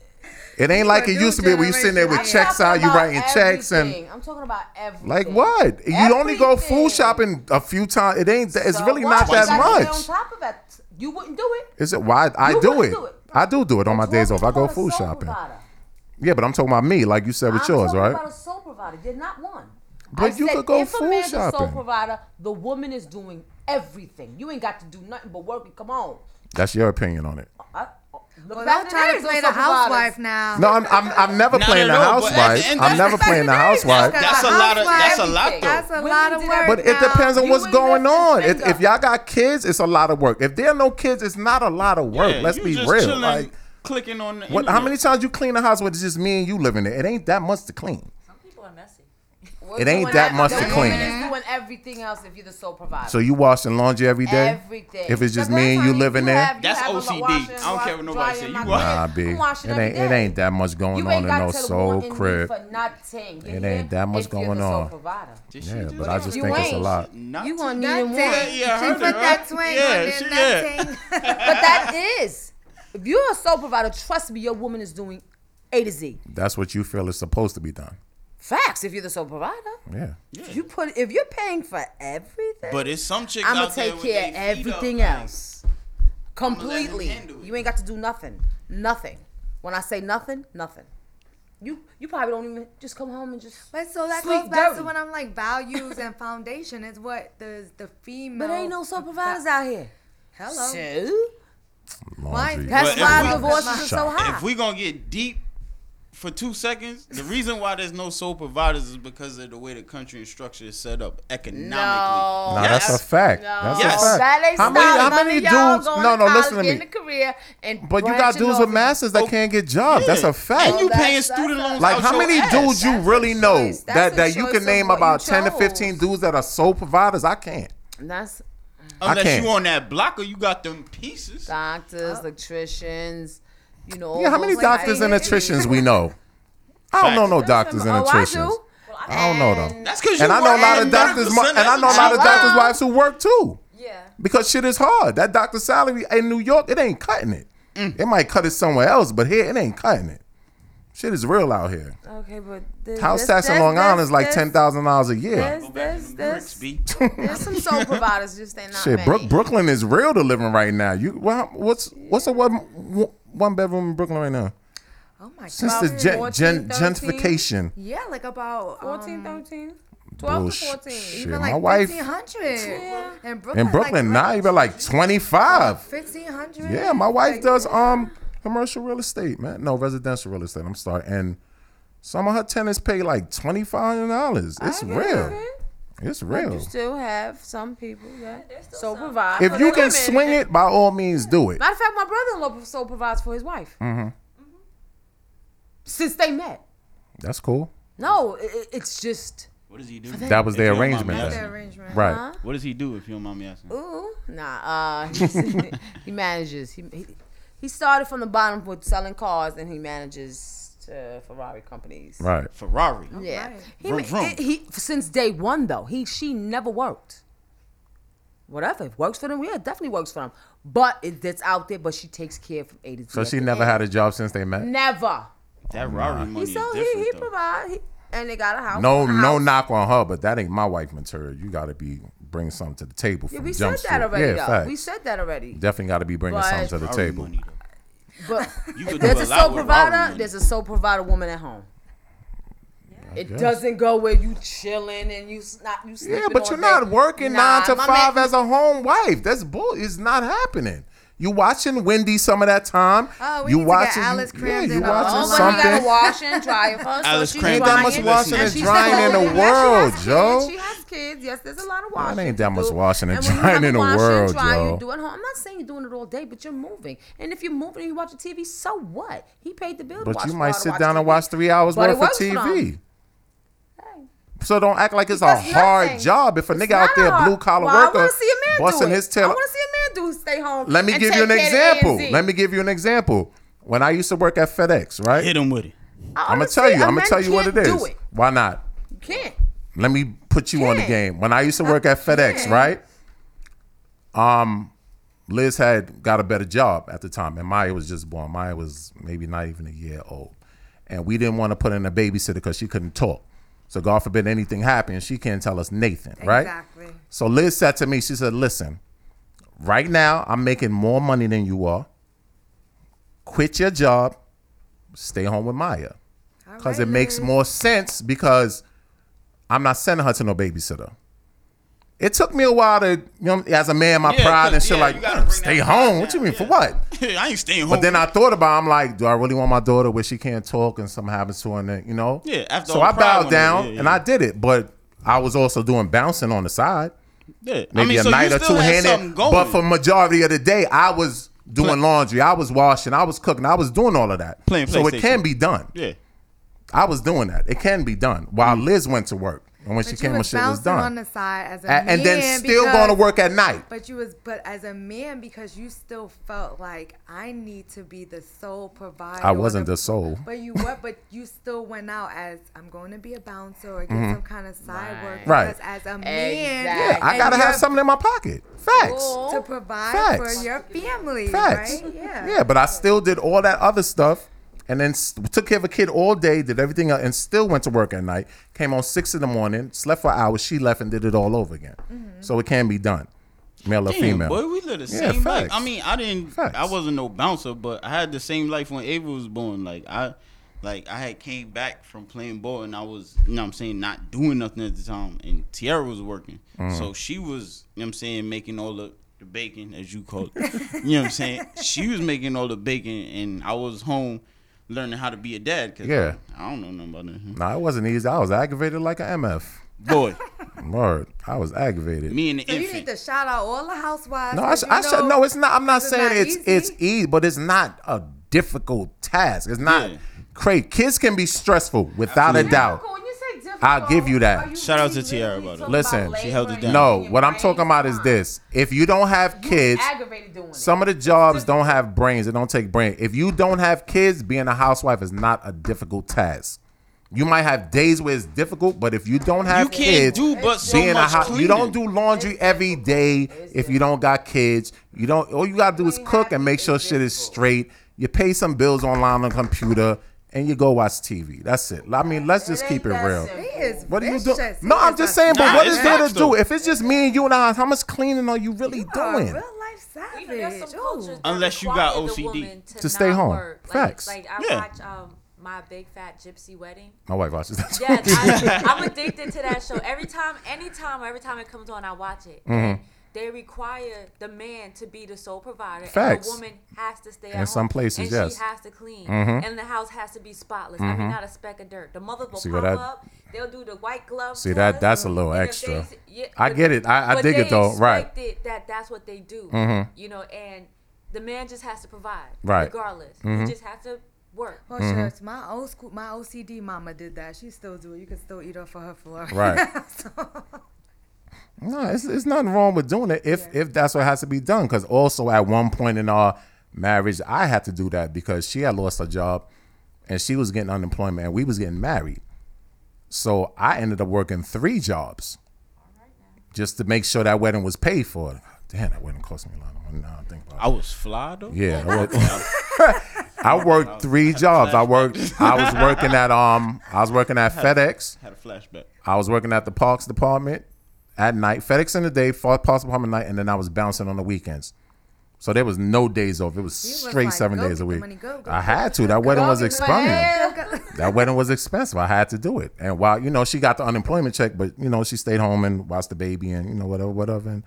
Speaker 5: it ain't like it used to be where you sitting there with
Speaker 3: I'm
Speaker 5: checks
Speaker 3: talking
Speaker 5: out, you
Speaker 3: about
Speaker 5: writing checks and
Speaker 3: everything. I'm talking about everything.
Speaker 5: like what? You only go food shopping a few times. It ain't. It's
Speaker 3: So
Speaker 5: really
Speaker 3: what?
Speaker 5: not
Speaker 3: You
Speaker 5: that
Speaker 3: gotta stay On
Speaker 5: much.
Speaker 3: top of that, you wouldn't do it.
Speaker 5: Is it? Why I
Speaker 3: You
Speaker 5: do
Speaker 3: wouldn't
Speaker 5: it. I do do it on my days off. I go
Speaker 3: Call a
Speaker 5: food
Speaker 3: sole
Speaker 5: shopping.
Speaker 3: provider.
Speaker 5: Yeah, but I'm talking about me, like you said with
Speaker 3: I'm
Speaker 5: yours,
Speaker 3: talking
Speaker 5: right?
Speaker 3: About a sole provider, they're not one.
Speaker 5: But
Speaker 3: I
Speaker 5: you
Speaker 3: said
Speaker 5: could go
Speaker 3: if a
Speaker 5: food
Speaker 3: man's a sole
Speaker 5: shopping.
Speaker 3: provider, the woman is doing everything. You ain't got to do nothing but work and come home.
Speaker 5: That's your opinion on it.
Speaker 3: I, look
Speaker 6: Well,
Speaker 3: back
Speaker 6: don't
Speaker 3: in
Speaker 6: try to
Speaker 3: days, those
Speaker 6: play the
Speaker 3: sole providers-
Speaker 6: housewife now.
Speaker 5: No, I'm I'm, I'm never
Speaker 4: Not
Speaker 5: playing the
Speaker 4: at all, but at the
Speaker 5: housewife.
Speaker 4: end of
Speaker 5: I'm
Speaker 4: the-
Speaker 5: never playing the
Speaker 6: That's
Speaker 5: housewife.
Speaker 4: That's a lot of. That's a lot
Speaker 3: everything.
Speaker 4: though.
Speaker 6: That's a
Speaker 3: Women
Speaker 6: lot of
Speaker 3: did
Speaker 6: work.
Speaker 5: But it
Speaker 6: now.
Speaker 5: depends on
Speaker 3: You
Speaker 5: what's
Speaker 3: ain't
Speaker 5: going
Speaker 3: lifting
Speaker 5: on. If,
Speaker 3: finger.
Speaker 5: if y'all got kids, it's a lot of work. If there are no kids, it's not a lot of work.
Speaker 4: Yeah,
Speaker 5: Let's
Speaker 4: you
Speaker 5: be
Speaker 4: just
Speaker 5: real.
Speaker 4: chilling,
Speaker 5: Like,
Speaker 4: clicking on the
Speaker 5: what? How
Speaker 4: internet.
Speaker 5: many times you clean the house with just me and you living there? It ain't that much to clean.
Speaker 8: Some people are messy.
Speaker 3: We're
Speaker 5: It ain't
Speaker 3: doing
Speaker 5: that
Speaker 3: every-
Speaker 5: much to
Speaker 3: the
Speaker 5: clean.
Speaker 3: woman is doing everything else if you're the sole provider.
Speaker 5: So you washing laundry every day.
Speaker 3: Everything.
Speaker 5: If it's just
Speaker 3: But
Speaker 5: me and you
Speaker 3: that's
Speaker 5: living
Speaker 3: how
Speaker 5: there,
Speaker 3: you
Speaker 4: That's
Speaker 3: have a
Speaker 4: OCD.
Speaker 3: wash and
Speaker 4: I don't care
Speaker 3: wash-
Speaker 4: what nobody
Speaker 3: drying
Speaker 4: say.
Speaker 3: my
Speaker 4: You
Speaker 3: clothes.
Speaker 5: nah, B.
Speaker 3: I'm
Speaker 5: It
Speaker 3: washing every
Speaker 5: ain't it
Speaker 3: day.
Speaker 5: ain't that much going
Speaker 3: You
Speaker 5: on
Speaker 3: ain't
Speaker 5: in
Speaker 3: got
Speaker 5: no
Speaker 3: to
Speaker 5: soul
Speaker 3: want and leave
Speaker 5: crib.
Speaker 3: for nothing. You
Speaker 5: It
Speaker 3: hear?
Speaker 5: ain't that much
Speaker 3: If you're
Speaker 5: going
Speaker 3: the sole
Speaker 5: on.
Speaker 3: provider.
Speaker 4: Did she
Speaker 5: Yeah,
Speaker 4: do
Speaker 5: but
Speaker 4: that?
Speaker 5: I just
Speaker 3: You
Speaker 5: think it's a
Speaker 3: ain't.
Speaker 5: lot.
Speaker 4: Not
Speaker 3: You
Speaker 4: to-
Speaker 3: gonna need
Speaker 6: Nothing.
Speaker 3: one.
Speaker 4: Yeah, yeah, I
Speaker 6: she
Speaker 4: heard
Speaker 6: put
Speaker 4: it,
Speaker 6: that
Speaker 4: right?
Speaker 6: twang on
Speaker 4: Yeah,
Speaker 6: there.
Speaker 4: she-
Speaker 6: nothing.
Speaker 3: But that is, if you're a sole provider, trust me, your woman is doing A to Z.
Speaker 5: That's what you feel is supposed to be done.
Speaker 3: Facts. If you're the sole provider,
Speaker 5: Yeah.
Speaker 3: If you put if you're paying for everything,
Speaker 4: But it's some chicks
Speaker 3: I'm gonna
Speaker 4: out there
Speaker 3: take
Speaker 4: with
Speaker 3: care of
Speaker 4: they feet up,
Speaker 3: everything
Speaker 4: like,
Speaker 3: else
Speaker 4: let him
Speaker 3: completely.
Speaker 4: handle it.
Speaker 3: You ain't got to do nothing. Nothing. When I say nothing, nothing. You you probably don't even just come home and just.
Speaker 6: But so that
Speaker 3: Sleep
Speaker 6: goes back
Speaker 3: dirty.
Speaker 6: to when I'm like values and foundation is what the the female.
Speaker 3: But ain't no sole providers out here.
Speaker 6: Hello.
Speaker 3: So
Speaker 5: Laundry.
Speaker 6: That's
Speaker 4: But
Speaker 6: why
Speaker 4: if we-
Speaker 6: divorces
Speaker 3: are so high.
Speaker 4: If we gonna get deep, for two seconds, the reason why there's no sole providers is because of the way the country and structure is set up economically.
Speaker 6: No.
Speaker 5: No, that's a fact. That's a
Speaker 4: Yes.
Speaker 5: fact.
Speaker 6: That ain't
Speaker 5: how many,
Speaker 6: stop.
Speaker 5: how
Speaker 6: None
Speaker 5: many
Speaker 6: of y'all
Speaker 5: dudes?
Speaker 6: going
Speaker 5: No, no,
Speaker 6: college,
Speaker 5: listen to
Speaker 6: getting
Speaker 5: me.
Speaker 6: a career and
Speaker 5: But you got
Speaker 6: branching
Speaker 5: dudes
Speaker 6: off
Speaker 5: with
Speaker 6: and-
Speaker 5: masters that can't get jobs. That's
Speaker 3: Oh,
Speaker 5: a fact.
Speaker 4: Oh, And you
Speaker 6: that's-
Speaker 4: paying
Speaker 6: that's
Speaker 4: student
Speaker 6: a-
Speaker 4: loans
Speaker 5: Like
Speaker 4: out
Speaker 5: how
Speaker 4: your
Speaker 5: many
Speaker 4: ass.
Speaker 5: dudes you
Speaker 6: That's a
Speaker 5: really know
Speaker 6: choice. That's
Speaker 5: that
Speaker 6: a
Speaker 5: that you
Speaker 6: choice
Speaker 5: can
Speaker 6: of
Speaker 5: name
Speaker 6: what you
Speaker 5: about ten to
Speaker 6: chose.
Speaker 5: fifteen dudes that are sole providers? I can't.
Speaker 3: And that's
Speaker 4: Unless
Speaker 5: can't.
Speaker 4: you on that block or you got them pieces.
Speaker 3: doctors, electricians, you know. all
Speaker 5: Yeah, how
Speaker 3: those
Speaker 5: many
Speaker 3: type of
Speaker 5: doctors and
Speaker 3: things.
Speaker 5: nutritionists we know? I don't know no doctors and
Speaker 3: Oh, I do.
Speaker 5: nutritionists. I don't know though.
Speaker 4: That's because you
Speaker 5: And I know a
Speaker 4: work
Speaker 5: lot
Speaker 4: at
Speaker 5: of doctors, mo-
Speaker 4: 30%
Speaker 5: and I know a lot of
Speaker 4: the
Speaker 5: doctors' wives who work too,
Speaker 8: Yeah.
Speaker 5: because shit is hard. That doctor's salary in New York, it ain't cutting it. It might cut it somewhere else, but here it ain't cutting it. Shit is real out here.
Speaker 6: Okay, but there's,
Speaker 5: House tax in Long Island is like ten thousand dollars a year.
Speaker 6: There's,
Speaker 4: Go back to
Speaker 6: there's,
Speaker 4: them
Speaker 6: there's,
Speaker 4: bricks, B.
Speaker 6: there's some soul providers just ain't not
Speaker 5: Shit,
Speaker 6: many.
Speaker 5: Brook, Brooklyn is real to living right now. You well, what's what's a one one bedroom in Brooklyn right now?
Speaker 6: Oh my
Speaker 5: Since
Speaker 6: god.
Speaker 5: the gen,
Speaker 11: 14,
Speaker 5: gen,
Speaker 11: 13.
Speaker 5: gentrification,
Speaker 6: Yeah, like about
Speaker 11: 14,
Speaker 6: um,
Speaker 11: 13, 12 to
Speaker 5: bullshit.
Speaker 11: 14.
Speaker 5: Shit,
Speaker 6: even
Speaker 5: my
Speaker 6: like
Speaker 5: wife
Speaker 6: 1500. In Brooklyn,
Speaker 5: in Brooklyn
Speaker 6: like,
Speaker 5: now, you been like twenty five.
Speaker 6: 1500.
Speaker 5: Yeah, my
Speaker 6: Like,
Speaker 5: wife does um commercial real estate, man. No, residential real estate. I'm sorry. And some of her tenants pay like twenty five hundred dollars. It's real. It's
Speaker 11: You
Speaker 5: real.
Speaker 11: still have some people that
Speaker 8: still
Speaker 11: so
Speaker 8: some.
Speaker 11: provide.
Speaker 5: If
Speaker 11: for
Speaker 5: you
Speaker 11: the
Speaker 5: can
Speaker 11: women.
Speaker 5: swing it, by all means, do it. Mm-hmm.
Speaker 11: Matter of fact, my brother-in-law so provides for his wife
Speaker 3: Since they met,
Speaker 5: That's cool.
Speaker 3: no, i i- it's just
Speaker 4: What does he do?
Speaker 5: That was
Speaker 4: If
Speaker 5: their
Speaker 4: you don't mind
Speaker 5: arrangement,
Speaker 4: me
Speaker 5: though.
Speaker 4: asking.
Speaker 6: the arrangement.
Speaker 5: Right.
Speaker 4: What does he do if you don't mind me asking?
Speaker 3: ooh, nah. Uh, he's- he manages. He, he he started from the bottom with selling cars, and he manages uh, Ferrari companies.
Speaker 5: Right.
Speaker 4: Ferrari.
Speaker 3: Yeah. He,
Speaker 4: Vroom, vroom.
Speaker 3: it- he since day one though he she never worked. Whatever it works for them, yeah, it definitely works for them. But it, it's out there. But she takes care from A to Z.
Speaker 5: So she
Speaker 3: At the
Speaker 5: never
Speaker 3: end.
Speaker 5: had a job since they met.
Speaker 3: never.
Speaker 4: That Ferrari money is
Speaker 3: So
Speaker 4: different
Speaker 3: he he
Speaker 4: though.
Speaker 3: provide he, and they got a house.
Speaker 5: No,
Speaker 3: a
Speaker 5: no
Speaker 3: house.
Speaker 5: knock on her, but that ain't my wife material. You got to be bring something to the table. From
Speaker 3: Yeah, we
Speaker 5: jump
Speaker 3: said that
Speaker 5: street.
Speaker 3: already.
Speaker 5: Yeah,
Speaker 3: though.
Speaker 5: facts.
Speaker 3: We said that already.
Speaker 5: Definitely got to be bringing
Speaker 3: But-
Speaker 5: something to the
Speaker 4: Ferrari
Speaker 5: table.
Speaker 4: money, though.
Speaker 3: But
Speaker 4: You could
Speaker 3: there's
Speaker 4: do
Speaker 3: a
Speaker 4: lot
Speaker 3: sole
Speaker 4: with Ferrari
Speaker 3: provider.
Speaker 4: money.
Speaker 3: There's a sole provider woman at home. It
Speaker 5: guess.
Speaker 3: doesn't go where you chilling and you s- not you sleeping
Speaker 5: Yeah, but
Speaker 3: all
Speaker 5: you're
Speaker 3: day.
Speaker 5: not working
Speaker 3: Nah,
Speaker 5: nine to
Speaker 3: my
Speaker 5: five
Speaker 3: man-
Speaker 5: as a home wife. That's bull. It's not happening. You watching Wendy some of that time.
Speaker 6: Oh, we
Speaker 5: you
Speaker 6: need to get Alice
Speaker 5: yeah,
Speaker 6: crammed
Speaker 5: you
Speaker 6: in all
Speaker 5: watching
Speaker 3: Oh,
Speaker 6: over.
Speaker 3: but he
Speaker 5: something.
Speaker 3: gotta wash and dry her. so
Speaker 4: Alice
Speaker 3: she
Speaker 4: Craig.
Speaker 5: ain't that
Speaker 4: Crying.
Speaker 5: much
Speaker 3: drying.
Speaker 5: washing
Speaker 4: And
Speaker 5: and
Speaker 4: she's
Speaker 5: drying in the
Speaker 6: holding that.
Speaker 5: world,
Speaker 6: She has
Speaker 5: Joe.
Speaker 6: She has kids. Yes, there's a lot of
Speaker 5: That
Speaker 6: washing.
Speaker 5: ain't that much
Speaker 3: do.
Speaker 5: washing and
Speaker 3: And when you have
Speaker 5: drying
Speaker 3: a
Speaker 5: in the
Speaker 3: wash and
Speaker 5: world,
Speaker 3: dry,
Speaker 5: Joe.
Speaker 3: You do it home. I'm not saying you're doing it all day, but you're moving. And if you're moving and you watch TV, so what? He paid the bill. to
Speaker 5: But
Speaker 3: watch
Speaker 5: you
Speaker 3: for
Speaker 5: might
Speaker 3: her to
Speaker 5: sit down and
Speaker 3: TV.
Speaker 5: watch three hours
Speaker 3: But
Speaker 5: worth
Speaker 3: it
Speaker 5: of
Speaker 3: works for
Speaker 5: TV.
Speaker 3: them.
Speaker 5: So don't act like it's a
Speaker 6: Because
Speaker 5: hard
Speaker 6: nothing-
Speaker 5: job. If a nigga out
Speaker 6: Not
Speaker 5: there,
Speaker 6: a hard-
Speaker 5: blue collar
Speaker 6: well, I
Speaker 5: worker,
Speaker 6: want to see a man
Speaker 5: busting
Speaker 6: do it.
Speaker 5: his tail.
Speaker 6: I want to see a man do stay home.
Speaker 5: Let me
Speaker 6: and
Speaker 5: give
Speaker 6: take
Speaker 5: you an
Speaker 6: care of the A and
Speaker 5: example.
Speaker 6: Z.
Speaker 5: Let me give you an example. When I used to work at FedEx, right?
Speaker 4: Hit him with it.
Speaker 5: I'm gonna
Speaker 3: Honestly,
Speaker 5: tell you.
Speaker 3: a
Speaker 5: I'm
Speaker 3: man
Speaker 5: gonna tell you what it
Speaker 3: can't
Speaker 5: is.
Speaker 3: do it.
Speaker 5: Why not?
Speaker 3: You can't.
Speaker 5: Let me put you on the
Speaker 6: Can't.
Speaker 5: game. When I used to work at FedEx, right? Um, Liz had got a better job at the time, and Maya was just born. Maya was maybe not even a year old, and we didn't want to put in a babysitter because she couldn't talk. So God forbid anything happened, she can't tell us Nathan, right?
Speaker 6: Exactly.
Speaker 5: So Liz said to me, she said, "Listen, right now I'm making more money than you are. Quit your job, stay home with Maya." because it makes more sense because I'm not sending her to no babysitter. It took me a while to, you know, as a man, my
Speaker 4: Yeah,
Speaker 5: pride and
Speaker 4: 'cause,
Speaker 5: shit,
Speaker 4: yeah,
Speaker 5: like,
Speaker 4: you gotta bring
Speaker 5: stay
Speaker 4: that
Speaker 5: home.
Speaker 4: pride
Speaker 5: What you
Speaker 4: down,
Speaker 5: mean for
Speaker 4: yeah.
Speaker 5: what?
Speaker 4: I ain't staying home.
Speaker 5: But then I thought about, it, I'm like, do I really want my daughter where she can't talk and something happens to her, and then, you know?
Speaker 4: Yeah, after
Speaker 5: so
Speaker 4: all
Speaker 5: I
Speaker 4: the pride
Speaker 5: bowed
Speaker 4: went
Speaker 5: down
Speaker 4: away, yeah,
Speaker 5: and
Speaker 4: yeah.
Speaker 5: I did it, but I was also doing bouncing on the side,
Speaker 4: yeah. I
Speaker 5: maybe
Speaker 4: mean,
Speaker 5: a
Speaker 4: so you
Speaker 5: night or
Speaker 4: still
Speaker 5: two
Speaker 4: had something
Speaker 5: handed.
Speaker 4: going.
Speaker 5: But for majority of the day, I was doing laundry, I was washing, I was cooking, I was doing all of that.
Speaker 4: Playing
Speaker 5: so it
Speaker 4: PlayStation.
Speaker 5: can be done.
Speaker 4: yeah, Mm.
Speaker 5: I was doing that. It can be done. While Liz went to work, and when she
Speaker 6: But
Speaker 5: came,
Speaker 6: you
Speaker 5: when
Speaker 6: was
Speaker 5: shit was
Speaker 6: bouncing on
Speaker 5: done,
Speaker 6: the side as a
Speaker 5: A- and then
Speaker 6: man
Speaker 5: still
Speaker 6: because-
Speaker 5: going to work at night.
Speaker 6: But you was but as a man because you still felt like I need to be the sole provider.
Speaker 5: I
Speaker 6: or
Speaker 5: wasn't the sole.
Speaker 6: But you were but you still went out as I'm going to be a bouncer or get some kind of side work
Speaker 5: Mm-hmm. Right.
Speaker 6: because as a man
Speaker 5: Yeah, I
Speaker 6: and
Speaker 5: gotta have
Speaker 6: you're
Speaker 5: something in my pocket. Facts.
Speaker 6: to provide
Speaker 5: Facts.
Speaker 6: for your family,
Speaker 5: Facts.
Speaker 6: right?
Speaker 5: Yeah. but I still did all that other stuff, and then s took care of a kid all day, did everything, else, and still went to work at night. Came on six in the morning, slept for hours. She left and did it all over again.
Speaker 6: Mm-hmm.
Speaker 5: So it can be done, male or
Speaker 4: Damn,
Speaker 5: female.
Speaker 4: boy, we live the
Speaker 5: Yeah,
Speaker 4: same life.
Speaker 5: facts.
Speaker 4: I mean, I didn't.
Speaker 5: Facts.
Speaker 4: I wasn't no bouncer, but I had the same life when Ava was born. Like I, like I had came back from playing ball, and I was, you know, what I'm saying not doing nothing at the time, and Tiara was working,
Speaker 5: Mm.
Speaker 4: so she was, you know, what I'm saying making all the. The bacon, as you call it, you know what I'm saying. She was making all the bacon, and I was home learning how to be a dad. Cause
Speaker 5: Yeah.
Speaker 4: I, don't know nothing about that.
Speaker 5: Mm-hmm. Nah, it wasn't easy. I was aggravated like an MF.
Speaker 4: Boy.
Speaker 5: Lord, I was aggravated.
Speaker 4: Me and the
Speaker 6: So you need to shout out all the housewives.
Speaker 5: No, I,
Speaker 6: 'cause
Speaker 5: sh-
Speaker 6: you
Speaker 5: I should.
Speaker 6: know
Speaker 5: No, it's not. I'm not
Speaker 6: this is
Speaker 5: saying
Speaker 6: not
Speaker 5: it's
Speaker 6: easy.
Speaker 5: it's easy, but it's not a difficult task. It's not crazy. Kids can be stressful without a doubt.
Speaker 11: When you say difficult,
Speaker 5: I'll give you that.
Speaker 4: Shout out to Tiara about it.
Speaker 5: Listen,
Speaker 4: she held it down.
Speaker 5: No, what I'm talking about is this: if you don't have kids,
Speaker 11: aggravated doing
Speaker 5: some of the jobs don't have brains. It don't take brain. If you don't have kids, being a housewife is not a difficult task. You might have days where it's difficult, but if you don't have
Speaker 4: can't
Speaker 5: kids,
Speaker 4: do but so much
Speaker 5: hou- you don't do laundry every day if you don't got kids. You don't. All you gotta do is cook and make sure shit is straight. You pay some bills online on the computer, and you go watch TV. That's it. I mean, let's just keep it real.
Speaker 6: He is
Speaker 5: What are you doing?
Speaker 6: vicious.
Speaker 5: No,
Speaker 6: He
Speaker 5: I'm
Speaker 6: is
Speaker 5: just
Speaker 6: a-
Speaker 5: saying. But
Speaker 4: Nah,
Speaker 5: what
Speaker 4: it's
Speaker 5: is there
Speaker 4: facts,
Speaker 5: to
Speaker 4: though.
Speaker 5: do? If it's just me and you and I, how much cleaning are you really
Speaker 6: Oh,
Speaker 5: doing?
Speaker 6: real life savage. Ooh.
Speaker 4: Unless you got OCD.
Speaker 5: To stay
Speaker 8: not
Speaker 5: home.
Speaker 8: work. Like-
Speaker 5: Facts.
Speaker 8: Like, I
Speaker 4: Yeah.
Speaker 8: watch um, my big fat gypsy wedding.
Speaker 5: My wife watches that.
Speaker 8: Yes, I, I'm addicted to that show. Every time, anytime, every time it comes on, I watch it.
Speaker 5: Mhm.
Speaker 8: They require the man to be the sole provider,
Speaker 5: Facts.
Speaker 8: and the woman has to stay.
Speaker 5: In
Speaker 8: at
Speaker 5: some
Speaker 8: home,
Speaker 5: places,
Speaker 8: and
Speaker 5: yes.
Speaker 8: she has to clean,
Speaker 5: Mhm.
Speaker 8: and the house has to be spotless. I mean,
Speaker 5: Mhm.
Speaker 8: not a speck of dirt. The mother will
Speaker 5: See
Speaker 8: pop
Speaker 5: what I-
Speaker 8: up. They'll do the white gloves.
Speaker 5: See that? That's a little extra. I get it. I, I dig it though. Right.
Speaker 8: that that's what they do.
Speaker 5: Mhm.
Speaker 8: You know, and the man just has to provide,
Speaker 5: Right.
Speaker 8: Regardless,
Speaker 5: Mhm.
Speaker 8: he just has to work.
Speaker 6: Well,
Speaker 5: Mhm.
Speaker 6: shucks, Oh, my old school, my OCD mama did that. She still do it. You can still eat off of her floor.
Speaker 5: Right. No, it's, it's nothing wrong with doing it if if that's what has to be done. Because also at one point in our marriage, I had to do that because she had lost her job, and she was getting unemployment, and we was getting married. So I ended up working three jobs, just to make sure that wedding was paid for. Damn, that wedding cost me a lot of money. Now I think about it.
Speaker 4: I was fly though.
Speaker 5: Yeah, I worked, I worked three jobs. I worked. I was working at um. I was working at
Speaker 4: Had a-
Speaker 5: FedEx.
Speaker 4: had a flashback.
Speaker 5: I was working at the Parks Department at night. FedEx in the day, fa- Parks Department at night, and then I was bouncing on the weekends. So there was no days off. It was
Speaker 6: was
Speaker 5: straight
Speaker 6: like,
Speaker 5: seven
Speaker 6: go
Speaker 5: days a
Speaker 6: get the
Speaker 5: week.
Speaker 6: money, go, go,
Speaker 5: I
Speaker 6: go,
Speaker 5: had to. That wedding was expensive.
Speaker 6: Go, go.
Speaker 5: That wedding was expensive. I had to do it. And while you know, she got the unemployment check, but you know, she stayed home and watched the baby and you know whatever, whatever. And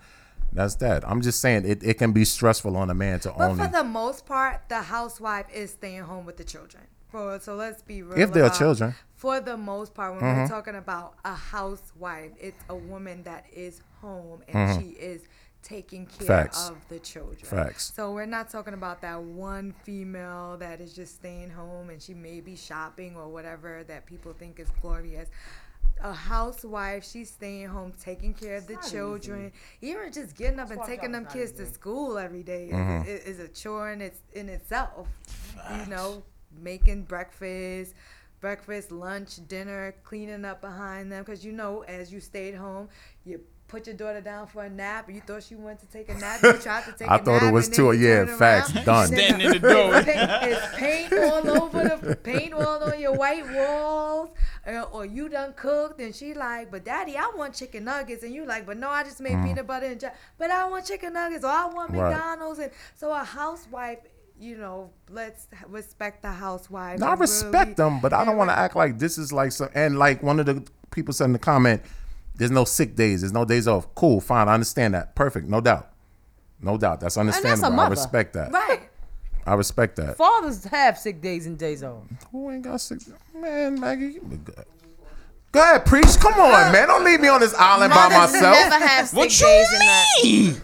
Speaker 5: that's that. I'm just saying it, it can be stressful on a man to
Speaker 6: But
Speaker 5: only
Speaker 6: for the most part, the housewife is staying home with the children. For, so let's be real.
Speaker 5: If there are
Speaker 6: about-
Speaker 5: children.
Speaker 6: For the most part, when we're
Speaker 5: Mhm.
Speaker 6: talking about a housewife, it's a woman that is home and
Speaker 5: Mhm.
Speaker 6: she is taking care
Speaker 5: Facts.
Speaker 6: of the children.
Speaker 5: Facts.
Speaker 6: So we're not talking about that one female that is just staying home and she may be shopping or whatever that people think is glorious. A housewife, she's staying home, taking care of the
Speaker 11: not
Speaker 6: children, even just getting up and
Speaker 11: Swap
Speaker 6: taking
Speaker 11: jobs
Speaker 6: them
Speaker 11: not
Speaker 6: kids to school every day is-
Speaker 5: Mhm.
Speaker 6: is, is a chore in its in itself. You know, making breakfast, breakfast, lunch, dinner, cleaning up behind them because you know, as you stayed home, you put your daughter down for a nap. You thought she wanted to take a nap. You tried to take.
Speaker 5: I
Speaker 6: a
Speaker 5: thought it
Speaker 6: nap,
Speaker 5: was
Speaker 6: and
Speaker 5: two-
Speaker 6: then you
Speaker 5: yeah,
Speaker 6: turn
Speaker 5: facts,
Speaker 6: around,
Speaker 5: done.
Speaker 6: and
Speaker 5: Standing
Speaker 6: then
Speaker 5: in the doorway.
Speaker 6: It's paint, it's paint all over the paint all on your white walls, uh, or you done cooked, and she like, but daddy, I want chicken nuggets, and you like, but no, I just made
Speaker 5: Mm.
Speaker 6: peanut butter and jam, but I want chicken nuggets, or I want
Speaker 5: Right.
Speaker 6: McDonald's, and so a housewife. You know, let's respect the housewife.
Speaker 5: No, I
Speaker 6: and
Speaker 5: respect
Speaker 6: really-
Speaker 5: them, but I don't want to act like this is like so. And like one of the people said in the comment, "There's no sick days. There's no days off." Cool, fine. I understand that. Perfect, no doubt, no doubt. That's
Speaker 3: that's a
Speaker 5: understandable. I
Speaker 3: mother.
Speaker 5: respect that.
Speaker 6: Right.
Speaker 5: I respect that.
Speaker 3: Fathers have sick days and days off.
Speaker 5: Who ain't got sick? Man, Maggie, you be good. Go ahead, preach. Come on, man. Don't leave me on this island by
Speaker 3: Mothers
Speaker 5: myself.
Speaker 3: never have sick What you days and that- mean?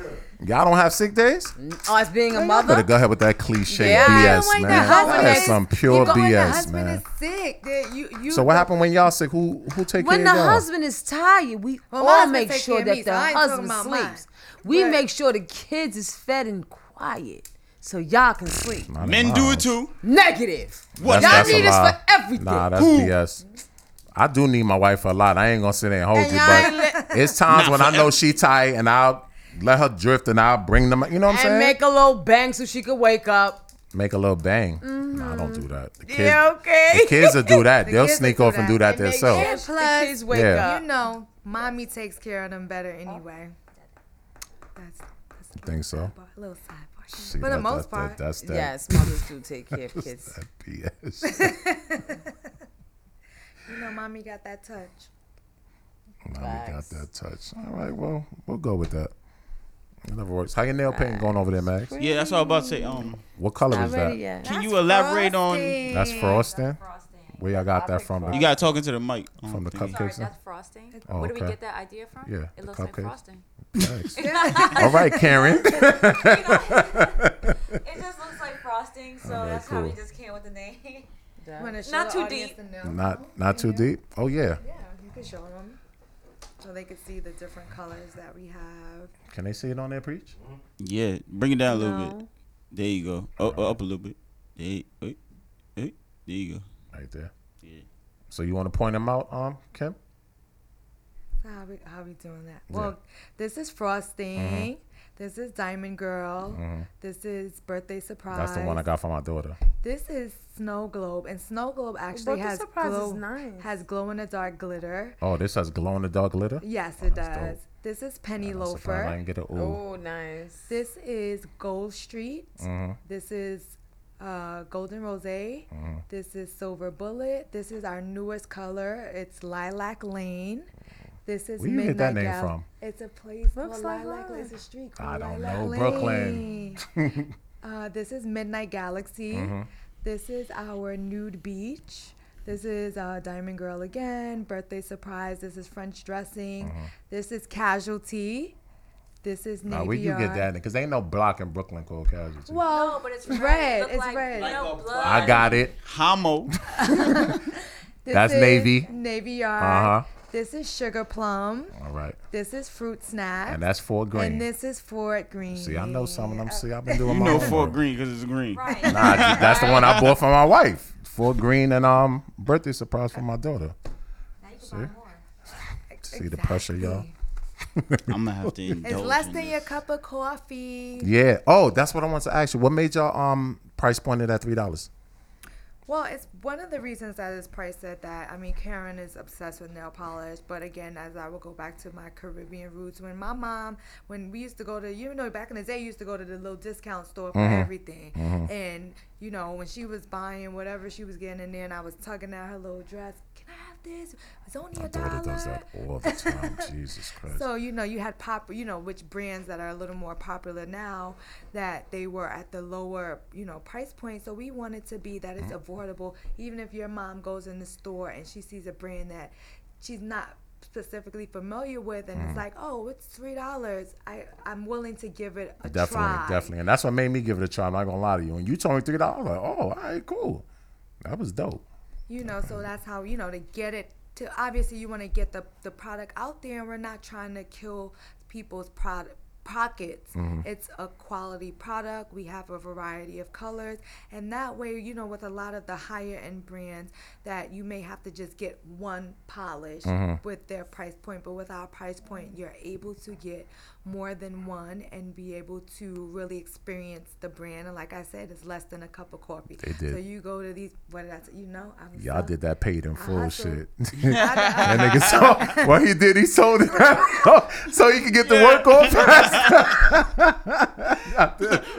Speaker 5: Y'all don't have sick days?
Speaker 3: Oh, as being a
Speaker 5: Better
Speaker 3: mother.
Speaker 5: go ahead with that cliche
Speaker 3: Yeah, I don't
Speaker 5: BS,
Speaker 3: like
Speaker 5: man.
Speaker 3: that
Speaker 5: That
Speaker 3: holidays.
Speaker 5: is some pure
Speaker 3: You go when the
Speaker 5: BS,
Speaker 3: husband
Speaker 5: man.
Speaker 6: Sick. That you, you
Speaker 5: So what happened when y'all sick? Who who take
Speaker 3: When the
Speaker 5: care of y'all?
Speaker 3: husband is tired, we
Speaker 6: Well, my
Speaker 3: all
Speaker 6: husband
Speaker 3: make
Speaker 6: take
Speaker 3: sure
Speaker 6: care of
Speaker 3: that
Speaker 6: me,
Speaker 3: the
Speaker 6: so I ain't talking
Speaker 3: husband
Speaker 6: about
Speaker 3: sleeps.
Speaker 6: mine.
Speaker 3: We
Speaker 6: Right.
Speaker 3: make sure the kids is fed and quiet, so y'all can sleep.
Speaker 4: Men do it too.
Speaker 3: Negative.
Speaker 5: That's-
Speaker 3: y'all
Speaker 5: that's a
Speaker 3: need us
Speaker 5: lie.
Speaker 3: for everything.
Speaker 5: Nah, that's BS. I do need my wife a lot. I ain't gonna sit there and hold
Speaker 3: And
Speaker 5: you,
Speaker 3: y'all ain't
Speaker 5: but
Speaker 3: let-
Speaker 5: it's times
Speaker 3: Not
Speaker 5: when
Speaker 3: for
Speaker 5: I know she tight and I'll let her drift and I'll bring them. You know what I'm
Speaker 3: and
Speaker 5: saying? Make,
Speaker 3: make a little bang so she could wake up.
Speaker 5: a little bang. Nah, don't do that. The kids,
Speaker 3: Yeah, okay.
Speaker 5: The kids will do that.
Speaker 6: The
Speaker 5: They'll
Speaker 6: kids
Speaker 5: sneak
Speaker 6: will
Speaker 5: off and do that
Speaker 6: And make
Speaker 5: themselves.
Speaker 6: sure plus,
Speaker 3: the kids wake
Speaker 5: Yeah.
Speaker 3: up.
Speaker 6: You know, mommy takes care of them better anyway. That's
Speaker 5: I think so.
Speaker 6: a little sidebar.
Speaker 5: See,
Speaker 6: For the
Speaker 5: that- that-
Speaker 6: most part.
Speaker 5: that- that's that.
Speaker 3: Yes, mothers do take care of kids.
Speaker 5: That BS.
Speaker 6: you know, mommy got that touch.
Speaker 5: Nah, we got that touch. All right, well, we'll go with that. It never works. How your nail paint going over there, Max?
Speaker 4: Yeah, that's what I was about to say. Um,
Speaker 5: What color is that?
Speaker 4: Can you elaborate on?
Speaker 5: That's frosting. Where y'all got that from?
Speaker 4: You got to talking to the mic.
Speaker 5: from the
Speaker 8: I'm sorry,
Speaker 5: cupcakes.
Speaker 8: that's frosting.
Speaker 5: Oh,
Speaker 8: Where do we
Speaker 5: okay.
Speaker 8: get that idea from?
Speaker 5: Yeah,
Speaker 8: it
Speaker 5: the
Speaker 8: looks
Speaker 5: cupcakes.
Speaker 8: like frosting.
Speaker 5: Thanks. All right, Karen.
Speaker 8: You know, it just looks like frosting, so
Speaker 5: All right,
Speaker 8: that's how we
Speaker 5: cool.
Speaker 8: just came with the name.
Speaker 6: Wanna show
Speaker 8: Not
Speaker 6: the
Speaker 8: too
Speaker 6: audience
Speaker 8: deep.
Speaker 6: the nail?
Speaker 5: Not not too deep. Oh yeah.
Speaker 6: Yeah, you can show them so they can see the different colors that we have.
Speaker 5: Can they see it on there, preach?
Speaker 4: Mm-hmm. Yeah, bring it down a little bit.
Speaker 6: No.
Speaker 4: There you go. Up, up a little bit. There, wait, wait. there you go.
Speaker 5: Right there.
Speaker 4: Yeah.
Speaker 5: So you want to point them out, um, Kim?
Speaker 6: So how we how we doing that?
Speaker 5: Yeah. Mm-hmm.
Speaker 6: Well, this is frosting. This is Diamond Girl.
Speaker 5: Mhm.
Speaker 6: This is birthday surprise.
Speaker 5: That's the one I got for my daughter.
Speaker 6: This is snow globe, and snow globe actually
Speaker 11: Birthday
Speaker 6: has
Speaker 11: surprise is
Speaker 6: glow
Speaker 11: nice.
Speaker 6: has glow in the dark glitter.
Speaker 5: Oh, this has glow in the dark glitter.
Speaker 6: Yes, it
Speaker 5: Oh, that's dope.
Speaker 6: does. This is penny
Speaker 5: I'm surprised I
Speaker 6: loafer.
Speaker 5: didn't get a ooh.
Speaker 11: Oh, nice.
Speaker 6: This is Gold Street.
Speaker 5: Mhm.
Speaker 6: This is uh, Golden Rose.
Speaker 5: Mhm.
Speaker 6: This is Silver Bullet. This is our newest color. It's Lilac Lane. This is
Speaker 5: Where you
Speaker 6: Midnight
Speaker 5: get that name
Speaker 6: Gal-
Speaker 5: from?
Speaker 6: It's a place
Speaker 11: Looks
Speaker 6: called
Speaker 11: like
Speaker 6: Lilac Lane.
Speaker 11: Lilac.
Speaker 6: It's a street
Speaker 5: I
Speaker 6: called
Speaker 5: don't
Speaker 6: Lilac
Speaker 5: know
Speaker 6: Lane.
Speaker 5: Brooklyn.
Speaker 6: Uh, this is Midnight Galaxy.
Speaker 5: Mhm.
Speaker 6: This is our nude beach. This is uh, Diamond Girl again. Birthday surprise. This is French dressing. This is Casualty. This is Navy
Speaker 5: Uh-huh. Nah, where you get
Speaker 6: Yard.
Speaker 5: that? Because ain't no block in Brooklyn called casualty.
Speaker 6: Well,
Speaker 8: No, but it's red.
Speaker 6: red.
Speaker 8: It look
Speaker 6: it's
Speaker 8: like
Speaker 6: red.
Speaker 8: yellow blood.
Speaker 5: I got it.
Speaker 4: Homo.
Speaker 6: This
Speaker 5: That's
Speaker 6: is
Speaker 5: Navy.
Speaker 6: Navy Yard.
Speaker 5: Uh huh.
Speaker 6: This is Sugar Plum.
Speaker 5: All right.
Speaker 6: This is Fruit Snack.
Speaker 5: And that's Fort Greene.
Speaker 6: And this is Fort Green.
Speaker 5: See, I know some of them. See, I've been
Speaker 4: You
Speaker 5: doing my
Speaker 4: know
Speaker 5: homework.
Speaker 4: for green because it's green.
Speaker 8: Right.
Speaker 5: Nah, that's the one I bought for my wife. Fort Green and um birthday surprise for my daughter.
Speaker 8: Now you can
Speaker 5: See?
Speaker 8: buy more.
Speaker 5: See the pressure, y'all.
Speaker 4: I'm gonna have to indulge.
Speaker 6: It's less
Speaker 4: in
Speaker 6: than
Speaker 4: this.
Speaker 6: your cup of coffee.
Speaker 5: Yeah. Oh, that's what I want to ask you. What made y'all um price point it at three dollars?
Speaker 6: Well, it's one of the reasons that it's priced at that. I mean, Karen is obsessed with nail polish, but again, as I will go back to my Caribbean roots, when my mom, when we used to go to, you know, back in the day, you used to go to the little discount store for
Speaker 5: Mhm.
Speaker 6: everything.
Speaker 5: Mhm.
Speaker 6: And, you know, when she was buying whatever she was getting in there, and I was tugging at her little dress, can I have this? It's only
Speaker 5: My
Speaker 6: a
Speaker 5: daughter does
Speaker 6: dollar.
Speaker 5: that all the time. Jesus Christ.
Speaker 6: So you know you had pop, you know which brands that are a little more popular now that they were at the lower you know price point. So we wanted to be that it's
Speaker 5: Mm-hmm.
Speaker 6: affordable, even if your mom goes in the store and she sees a brand that she's not specifically familiar with, and
Speaker 5: Mm.
Speaker 6: it's like, oh, it's three dollars. I I'm willing to give it a
Speaker 5: definitely,
Speaker 6: try.
Speaker 5: definitely. And that's what made me give it a try. I'm not gonna lie to you. When you told me three dollars, I was like, oh, all right, cool. That was dope.
Speaker 6: You know, so that's how you know to get it to. Obviously, you want to get the the product out there, and we're not trying to kill people's product pockets.
Speaker 5: Mm-hmm.
Speaker 6: It's a quality product. We have a variety of colors, and that way, you know, with a lot of the higher end brands, that you may have to just get one polish
Speaker 5: Mm-hmm.
Speaker 6: with their price point. But with our price point, you're able to get more than one and be able to really experience the brand. And like I said, it's less than a cup of coffee.
Speaker 5: They did.
Speaker 6: So you go to these, what did I say? You know, I'm
Speaker 5: Y'all did that paid in full
Speaker 6: hustled.
Speaker 5: shit.
Speaker 4: uh,
Speaker 5: that nigga sold. What he did, he sold it so he could get the work off fast.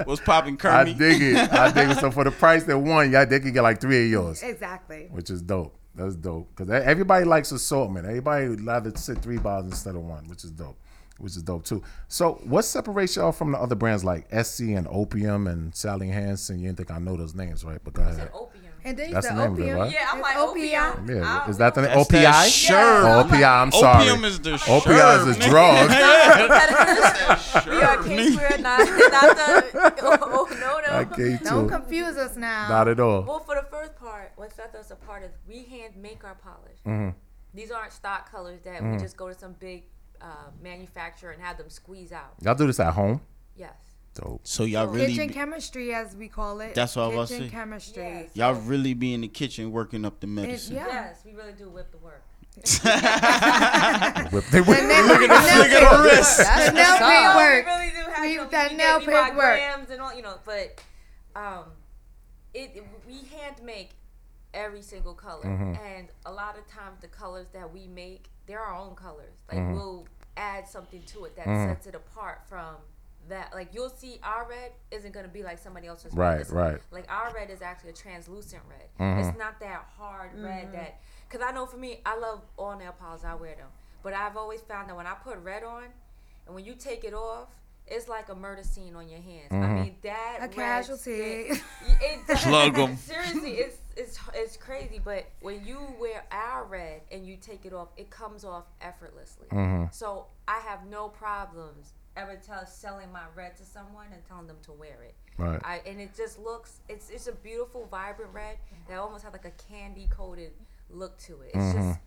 Speaker 4: What's popping,
Speaker 5: I
Speaker 4: Kermit?
Speaker 5: dig it. I dig it. So for the price that one, y'all they could get like three of yours,
Speaker 6: Exactly.
Speaker 5: which is dope. That's dope because everybody likes assortment. Everybody would rather sit three bottles instead of one, which is dope. Which is dope too. So, what separates y'all from the other brands like SC and Opium and Sally Hansen? You didn't think I know those names, right? But go
Speaker 8: It's
Speaker 5: ahead.
Speaker 8: an opium.
Speaker 6: And then
Speaker 5: That's
Speaker 6: the
Speaker 5: the name of it,
Speaker 6: opium.
Speaker 5: right?
Speaker 8: Yeah, I'm
Speaker 6: It's
Speaker 8: like
Speaker 6: OPI.
Speaker 8: opium.
Speaker 5: Yeah,
Speaker 8: I-
Speaker 5: is that the name?
Speaker 4: That's that
Speaker 5: OPI?
Speaker 4: sherb.
Speaker 5: Oh, OPI. I'm sorry.
Speaker 4: Opium is the
Speaker 5: OPI is a drug.
Speaker 8: We are Kings, we're not, not the. Oh, no, no.
Speaker 5: I can't
Speaker 6: Don't
Speaker 5: too.
Speaker 6: confuse us now.
Speaker 5: Not at all.
Speaker 8: Well, for the first part, what set us apart is we hand make our polish.
Speaker 5: Mm-hmm.
Speaker 8: These aren't stock colors that we just go to some big uh, manufacturer and have them squeeze out.
Speaker 5: Y'all do this at home?
Speaker 8: Yes.
Speaker 5: Dope.
Speaker 4: So y'all
Speaker 6: Kitchen
Speaker 4: really,
Speaker 6: chemistry, as we call it.
Speaker 4: That's what I
Speaker 6: Kitchen
Speaker 4: was saying.
Speaker 6: chemistry.
Speaker 8: Yes.
Speaker 4: y'all really be in the kitchen working up the
Speaker 6: It,
Speaker 4: medicine.
Speaker 6: yeah.
Speaker 8: Yes, we really do whip the work.
Speaker 5: Whip, they whip.
Speaker 4: Look at this nigga the wrist.
Speaker 11: That's
Speaker 6: Nail
Speaker 11: what's up.
Speaker 6: paint work.
Speaker 8: We really do have
Speaker 6: We-
Speaker 8: some-
Speaker 6: that
Speaker 8: we
Speaker 6: nail
Speaker 8: get- we buy
Speaker 6: paint work.
Speaker 8: grams and all, you know, but um, it, it- we hand make every single color,
Speaker 4: Mm-hmm.
Speaker 8: and a lot of times the colors that we make, they're our own colors. Like
Speaker 4: Mm-hmm.
Speaker 8: we'll add something to it that sets it apart from that. Like you'll see, our red isn't gonna be like somebody else's. red.
Speaker 5: Right,
Speaker 8: It's-
Speaker 5: right.
Speaker 8: Like our red is actually a translucent red. It's not that hard
Speaker 6: Mm-hmm.
Speaker 8: red that. Cause I know for me, I love all nail polish. I wear them, but I've always found that when I put red on, and when you take it off, it's like a murder scene on your hands.
Speaker 5: Mhm.
Speaker 8: I mean that
Speaker 6: A
Speaker 8: red
Speaker 6: casualty.
Speaker 8: stick- it-
Speaker 4: Slug 'em.
Speaker 8: Seriously, it's it's it's crazy. But when you wear our red and you take it off, it comes off effortlessly.
Speaker 12: Mhm.
Speaker 8: So I have no problems ever tell selling my red to someone and telling them to wear it.
Speaker 12: Right.
Speaker 8: I, and it just looks it's it's a beautiful, vibrant red that almost has like a candy coated look to it. It's just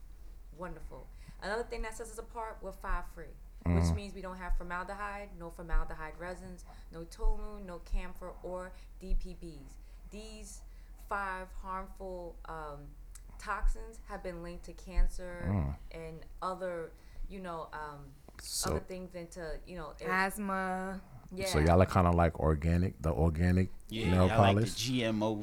Speaker 8: wonderful. Another thing that sets us apart, we're five free, which
Speaker 12: Mhm.
Speaker 8: means we don't have formaldehyde, no formaldehyde resins, no toluene, no camphor, or DPBs. These five harmful um, toxins have been linked to cancer
Speaker 6: Mm.
Speaker 8: and other, you know, um,
Speaker 5: Hmm. So-
Speaker 8: other things into, you know, it-
Speaker 6: Asthma.
Speaker 8: Yeah.
Speaker 5: So y'all are kind of like organic, the organic nail
Speaker 4: I like the
Speaker 5: polish.
Speaker 4: GMO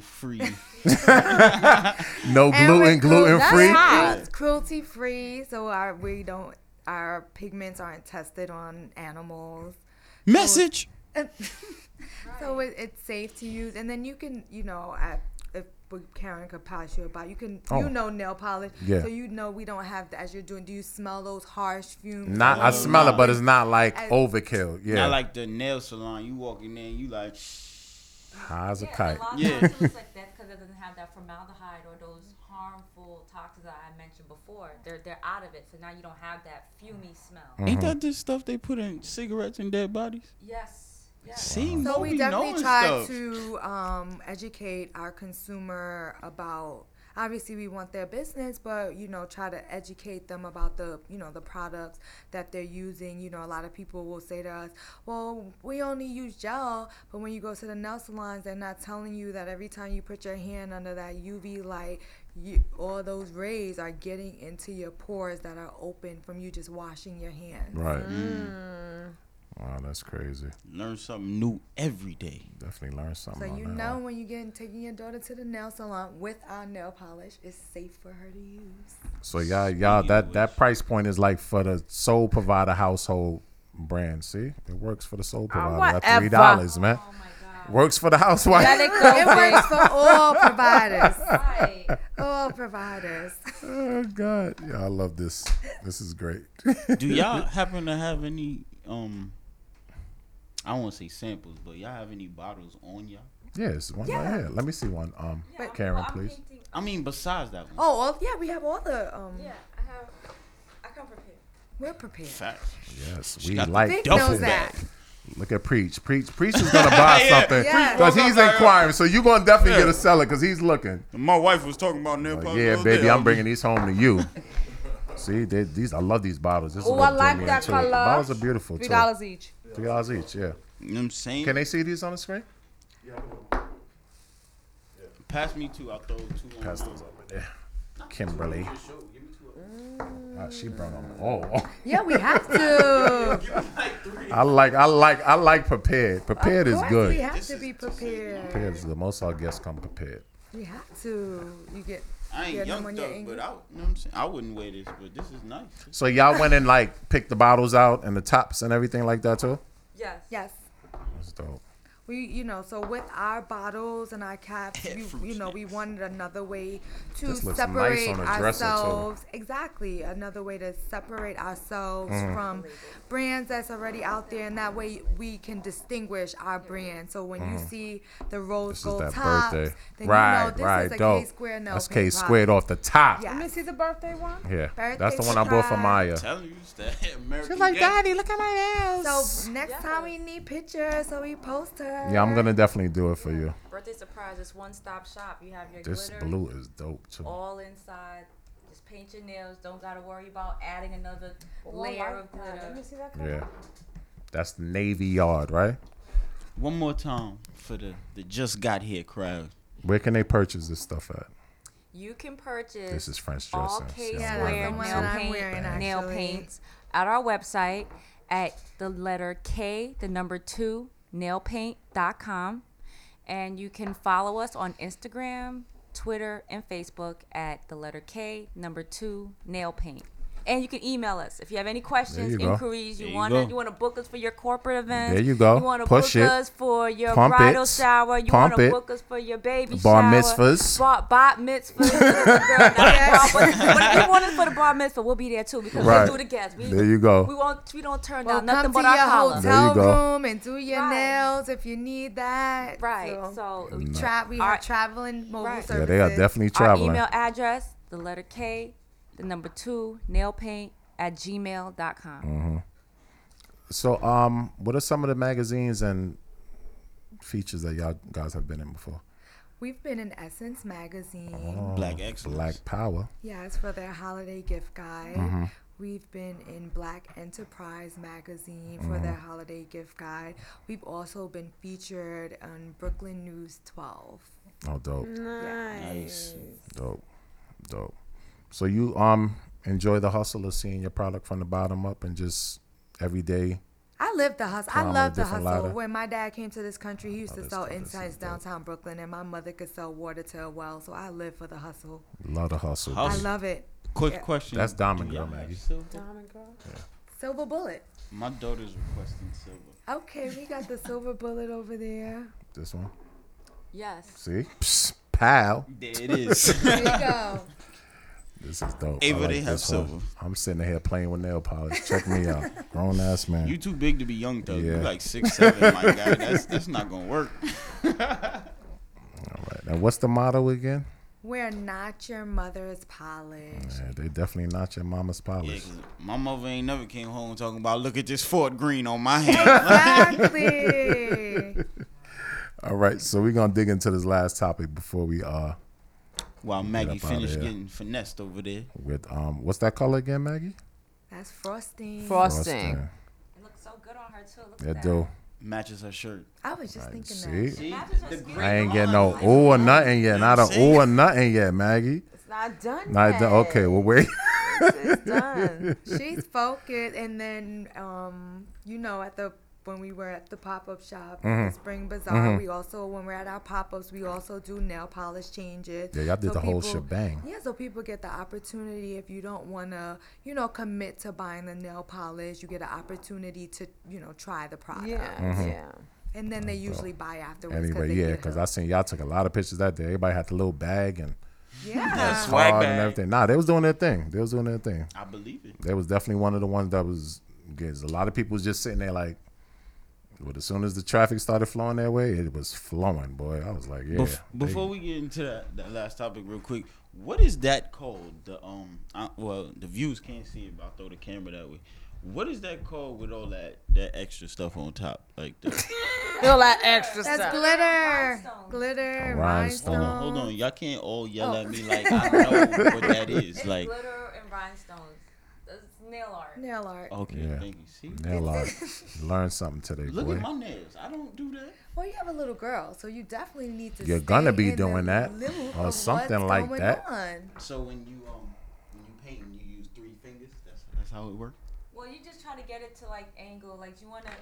Speaker 4: free.
Speaker 5: no
Speaker 6: And
Speaker 5: gluten,
Speaker 6: we're cruel-
Speaker 5: gluten
Speaker 6: that's
Speaker 5: free.
Speaker 6: hot. It's cruelty free, so our we don't our pigments aren't tested on animals.
Speaker 4: Message.
Speaker 6: So it, it's safe to use, and then you can, you know, I, if what Karen could polish you about, you can,
Speaker 5: Oh.
Speaker 6: you know, nail polish.
Speaker 5: Yeah.
Speaker 6: So you know we don't have as you're doing. Do you smell those harsh fumes?
Speaker 5: Not, I smell it, but it's not like
Speaker 6: I-
Speaker 5: overkill. Yeah,
Speaker 4: Not like the nail salon. You walk in there, and you like.
Speaker 5: high as a
Speaker 8: Yeah,
Speaker 5: kite.
Speaker 8: A lot of times it looks like that because it doesn't have that formaldehyde or those harmful toxins that I mentioned before. They're they're out of it, so now you don't have that fumy smell.
Speaker 5: Mm-hmm.
Speaker 4: Ain't that the stuff they put in cigarettes and dead bodies?
Speaker 8: Yes. yes.
Speaker 4: See,
Speaker 6: So
Speaker 4: Mo
Speaker 6: we
Speaker 4: be
Speaker 6: definitely
Speaker 4: knowing
Speaker 6: try
Speaker 4: stuff.
Speaker 6: to um, educate our consumer about. Obviously, we want their business, but you know, try to educate them about the you know the products that they're using. You know, a lot of people will say to us, "Well, we only use gel," but when you go to the nail salons, they're not telling you that every time you put your hand under that UV light, you, all those rays are getting into your pores that are open from you just washing your hands.
Speaker 5: Right. Wow, that's crazy.
Speaker 4: Learn something new every day.
Speaker 5: Definitely learn
Speaker 6: So
Speaker 5: something. on
Speaker 6: you
Speaker 5: that
Speaker 6: know
Speaker 5: one.
Speaker 6: when you get taking your daughter to the nail salon with our nail polish, it's safe for her to use.
Speaker 5: So y'all, y'all, that that price point is like for the sole provider household brand. See, it works for the sole
Speaker 8: Ah,
Speaker 5: provider. At Three
Speaker 6: whatever.
Speaker 5: dollars, man.
Speaker 8: Oh
Speaker 5: Works for the housewife.
Speaker 6: Let it go. It works for all providers. All providers.
Speaker 5: Oh God, yeah, I love this. This is great.
Speaker 4: Do y'all happen to have any um? I won't say samples, but y'all have any bottles on y'all?
Speaker 5: Yes, one right
Speaker 6: Yeah.
Speaker 5: here. Let me see one. Um, Karen, please.
Speaker 4: I mean, besides that one.
Speaker 6: Oh, well, yeah, we have all the. Um,
Speaker 8: yeah, I have. I come prepared.
Speaker 6: We're prepared.
Speaker 4: Facts.
Speaker 5: Yes,
Speaker 4: She
Speaker 5: we
Speaker 4: got the
Speaker 5: like
Speaker 6: Vic
Speaker 5: duffel
Speaker 6: knows that.
Speaker 5: bag. Look at preach. Preach. Preach is gonna buy
Speaker 4: Yeah.
Speaker 5: something
Speaker 6: Yeah.
Speaker 5: because he's inquiring. So you gonna definitely
Speaker 4: Yeah.
Speaker 5: get a seller because he's looking.
Speaker 4: My wife was talking about nail
Speaker 5: Like,
Speaker 4: polish.
Speaker 5: yeah,
Speaker 4: the other
Speaker 5: baby,
Speaker 4: day.
Speaker 5: I'm bringing these home to you. See, they, these I love these bottles. This is
Speaker 11: Oh,
Speaker 5: what
Speaker 11: I like
Speaker 5: drew me
Speaker 11: that
Speaker 5: into it. The
Speaker 11: color.
Speaker 5: bottles are beautiful.
Speaker 11: Three
Speaker 5: too.
Speaker 11: dollars each.
Speaker 5: Three dollars each. Yeah.
Speaker 4: You know what I'm saying?
Speaker 5: Can they see these on the screen?
Speaker 4: Pass me two. I'll throw two on.
Speaker 5: Pass
Speaker 4: mine.
Speaker 5: those over there. Kimberly.
Speaker 4: Give me two of them.
Speaker 5: Ah, she brought on all.
Speaker 6: Yeah, we have to.
Speaker 5: I like. I like. I like prepared. Prepared
Speaker 6: Of
Speaker 5: is
Speaker 6: course
Speaker 5: good.
Speaker 6: We have to be prepared.
Speaker 5: Prepared is good. Most of our guests come prepared.
Speaker 6: We have to. You get.
Speaker 4: I ain't
Speaker 6: you get them
Speaker 4: young
Speaker 6: when
Speaker 4: thug,
Speaker 6: you're
Speaker 4: but
Speaker 6: angry.
Speaker 4: I, you know what I'm saying? I wouldn't wear this, but this is nice.
Speaker 5: So y'all went and like picked the bottles out and the tops and everything like that too.
Speaker 8: Yes.
Speaker 6: Yes.
Speaker 5: That's dope.
Speaker 6: We, you know, so with our bottles and our caps, you, you know, we wanted another way to
Speaker 5: This looks nice on
Speaker 6: separate
Speaker 5: a dresser, too.
Speaker 6: ourselves. Exactly, another way to separate ourselves
Speaker 5: Mhm.
Speaker 6: from brands that's already out there, and that way we can distinguish our brand. So when you
Speaker 5: Mhm.
Speaker 6: see the rose
Speaker 5: This is
Speaker 6: gold
Speaker 5: that
Speaker 6: tops,
Speaker 5: birthday.
Speaker 6: then
Speaker 5: right,
Speaker 6: you know this
Speaker 5: right,
Speaker 6: is a
Speaker 5: dope.
Speaker 6: K square no
Speaker 5: That's K squared off the top.
Speaker 6: Yeah.
Speaker 11: Let me see the birthday one.
Speaker 5: Yeah,
Speaker 6: Birthday
Speaker 5: that's the one I bought for
Speaker 6: surprise.
Speaker 5: Maya.
Speaker 4: Telling you, it's that American.
Speaker 6: She's like,
Speaker 4: gang.
Speaker 6: Daddy, look at my nails. So next time we need pictures, so we post her.
Speaker 5: Yeah, I'm gonna definitely do it for you.
Speaker 8: Birthday surprise is one stop shop. You have your
Speaker 5: This
Speaker 8: glitter,
Speaker 5: blue is dope too.
Speaker 8: all inside. Just paint your nails. Don't gotta worry about adding another
Speaker 11: Oh, I
Speaker 8: layer
Speaker 11: like
Speaker 8: of
Speaker 11: that.
Speaker 8: glitter.
Speaker 11: Let me see that
Speaker 5: Yeah, that's the Navy Yard, right?
Speaker 4: One more time for the, the just got here crowd.
Speaker 5: Where can they purchase this stuff at?
Speaker 8: You can purchase
Speaker 5: This is French
Speaker 8: all
Speaker 5: dressing.
Speaker 8: case
Speaker 5: See, I'm
Speaker 8: wear
Speaker 5: wearing
Speaker 8: nail,
Speaker 5: it.
Speaker 8: paint,
Speaker 6: wearing,
Speaker 8: nail
Speaker 6: actually.
Speaker 8: paints at our website at the letter K, the number two, nailpaint.com. And you can follow us on Instagram, Twitter, and Facebook at the letter K, number two, nail paint. And you can email us if you have any questions,
Speaker 5: you go.
Speaker 8: inquiries. You
Speaker 5: There you
Speaker 8: want
Speaker 5: go.
Speaker 8: to you want to book us for your corporate events.
Speaker 5: There you go.
Speaker 8: You want to
Speaker 5: Push
Speaker 8: book
Speaker 5: it.
Speaker 8: us for your
Speaker 5: Pump
Speaker 8: bridal
Speaker 5: it.
Speaker 8: shower. You
Speaker 5: Pump
Speaker 8: want to
Speaker 5: it.
Speaker 8: book us for your baby
Speaker 5: Bar
Speaker 8: shower.
Speaker 5: mitzvahs.
Speaker 8: Bar, bar mitzvahs. Girl, not
Speaker 5: Yes.
Speaker 8: bar- but, but if you want us for the bar mitzvah, we'll be there too because
Speaker 5: Right.
Speaker 8: we do the guests. We,
Speaker 5: There you go.
Speaker 8: We won't. We don't turn
Speaker 6: Well,
Speaker 8: down nothing
Speaker 6: come
Speaker 8: but
Speaker 6: to
Speaker 8: our
Speaker 6: your
Speaker 8: collar.
Speaker 5: There you
Speaker 6: hotel
Speaker 5: go.
Speaker 6: room and do your nails if you need that. Right. So, tra- we are traveling mobile services.
Speaker 5: Yeah, they are definitely
Speaker 8: Our
Speaker 5: traveling.
Speaker 8: email address, the letter K, the number two, nailpaint at gmail.com.
Speaker 5: hmm So, um, what are some of the magazines and features that y'all guys have been in before?
Speaker 6: We've been in Essence magazine.
Speaker 5: Oh.
Speaker 4: Black excellence.
Speaker 5: Black Power.
Speaker 6: Yes, for their holiday gift guide.
Speaker 5: Mhm.
Speaker 6: We've been in Black Enterprise magazine for
Speaker 5: Mm-hmm.
Speaker 6: their holiday gift guide. We've also been featured on Brooklyn News 12.
Speaker 5: Oh, dope.
Speaker 6: Nice.
Speaker 5: Dope. Dope. So you um enjoy the hustle of seeing your product from the bottom up and just every day.
Speaker 6: I lived the hustle.
Speaker 5: Climb
Speaker 6: I
Speaker 5: on a
Speaker 6: love the hustle.
Speaker 5: different ladder.
Speaker 6: When my dad came to this country, he used to sell insides downtown Brooklyn, and my mother could sell water to a well. So I live for the hustle.
Speaker 5: Love the hustle.
Speaker 6: I love it.
Speaker 4: Quick
Speaker 6: Yeah.
Speaker 4: question.
Speaker 5: That's Diamond
Speaker 4: Do
Speaker 5: Girl,
Speaker 4: y'all have
Speaker 5: Maggie.
Speaker 4: silver?
Speaker 6: Diamond Girl. Silver bullet.
Speaker 4: My daughter's requesting silver.
Speaker 6: Okay, we got the silver bullet over there.
Speaker 5: This one.
Speaker 8: Yes.
Speaker 5: See? Psst, pal.
Speaker 4: There it is.
Speaker 6: There you go.
Speaker 5: This is dope. I
Speaker 4: Ava, they have
Speaker 5: this one.
Speaker 4: silver.
Speaker 5: I'm sitting here playing with nail polish. Check me out. Grown ass man.
Speaker 4: You too big to be young, though. You
Speaker 5: Yeah.
Speaker 4: like six seven, my guy. That's that's not gonna work.
Speaker 5: All right. Now, what's the motto again?
Speaker 6: We're not your mother's polish.
Speaker 5: Yeah, they definitely not your mama's
Speaker 4: Yeah,
Speaker 5: polish.
Speaker 4: 'cause my mother ain't never came home talking about look at this Ford Green on my hand.
Speaker 6: Exactly.
Speaker 5: All right. So we're going to dig into this last topic before we uh
Speaker 4: While
Speaker 5: Get
Speaker 4: Maggie
Speaker 5: up outta
Speaker 4: finished
Speaker 5: here.
Speaker 4: getting finessed over there.
Speaker 5: with um what's that color again, Maggie?
Speaker 6: That's frosting.
Speaker 5: Frosting. Frosting.
Speaker 8: It looks so good on her too. Look
Speaker 5: Yeah,
Speaker 8: at that.
Speaker 5: do.
Speaker 4: Matches her shirt.
Speaker 6: I was just thinking
Speaker 5: See?
Speaker 4: The
Speaker 5: I ain't getting no ooh or nothing yet. Not a ooh or nothing yet, Maggie.
Speaker 11: It's not done.
Speaker 5: Not done. Okay, well wait.
Speaker 11: It's done.
Speaker 6: She's focused, and then um, you know, at the when we were at the pop up shop, at
Speaker 5: Mhm.
Speaker 6: the Spring Bazaar,
Speaker 5: Mhm.
Speaker 6: we also when we're at our pop ups, we also do nail polish changes.
Speaker 5: Yeah, y'all did the whole shebang.
Speaker 6: Yeah, so people get the opportunity if you don't wanna, you know, commit to buying the nail polish, you get an opportunity to, you know, try the product.
Speaker 11: Yeah,
Speaker 5: Mhm. yeah.
Speaker 6: And then they usually buy afterwards. 'cause
Speaker 5: Anyway,
Speaker 6: they
Speaker 5: yeah,
Speaker 6: get
Speaker 5: because
Speaker 6: hooked.
Speaker 5: I seen y'all took a lot of pictures that day. Everybody had the little bag and
Speaker 6: Yeah.
Speaker 4: Yeah, swag
Speaker 5: card
Speaker 4: bag.
Speaker 5: and everything. Nah, they was doing their thing. They was doing their thing.
Speaker 4: I believe it.
Speaker 5: They was definitely one of the ones that was because a lot of people was just sitting there like. But as soon as the traffic started flowing that way, it was flowing, boy. I was like, yeah.
Speaker 4: Bef-
Speaker 5: they-
Speaker 4: before we get into that, that last topic real quick, what is that called? The um, I, well, the views can't see it, but I'll throw the camera that way. What is that called with all that that extra stuff on top, like the
Speaker 11: Feel that extra
Speaker 6: That's
Speaker 11: stuff.
Speaker 6: glitter, glitter,
Speaker 4: Hold
Speaker 6: rhinestone.
Speaker 4: on, hold on, y'all can't all yell
Speaker 6: Oh.
Speaker 4: at me like I know what that is. Like,
Speaker 8: Glitter and rhinestones. It's nail art.
Speaker 6: Nail art.
Speaker 4: okay,
Speaker 5: Yeah.
Speaker 4: thank you. See,
Speaker 5: Nail art. Learned something today,
Speaker 4: look
Speaker 5: boy.
Speaker 4: at my nails. I don't do that.
Speaker 6: Well, you have a little girl, so you definitely need to.
Speaker 5: You're gonna
Speaker 6: stay
Speaker 5: be
Speaker 6: in the
Speaker 5: doing that,
Speaker 6: loop
Speaker 5: or
Speaker 6: of
Speaker 5: something
Speaker 6: what's
Speaker 5: like
Speaker 6: going
Speaker 5: that.
Speaker 6: on.
Speaker 4: So when you um when you paint, you use three fingers. That's that's how it works.
Speaker 8: Well, you just try to get it to like angle. Like you want to.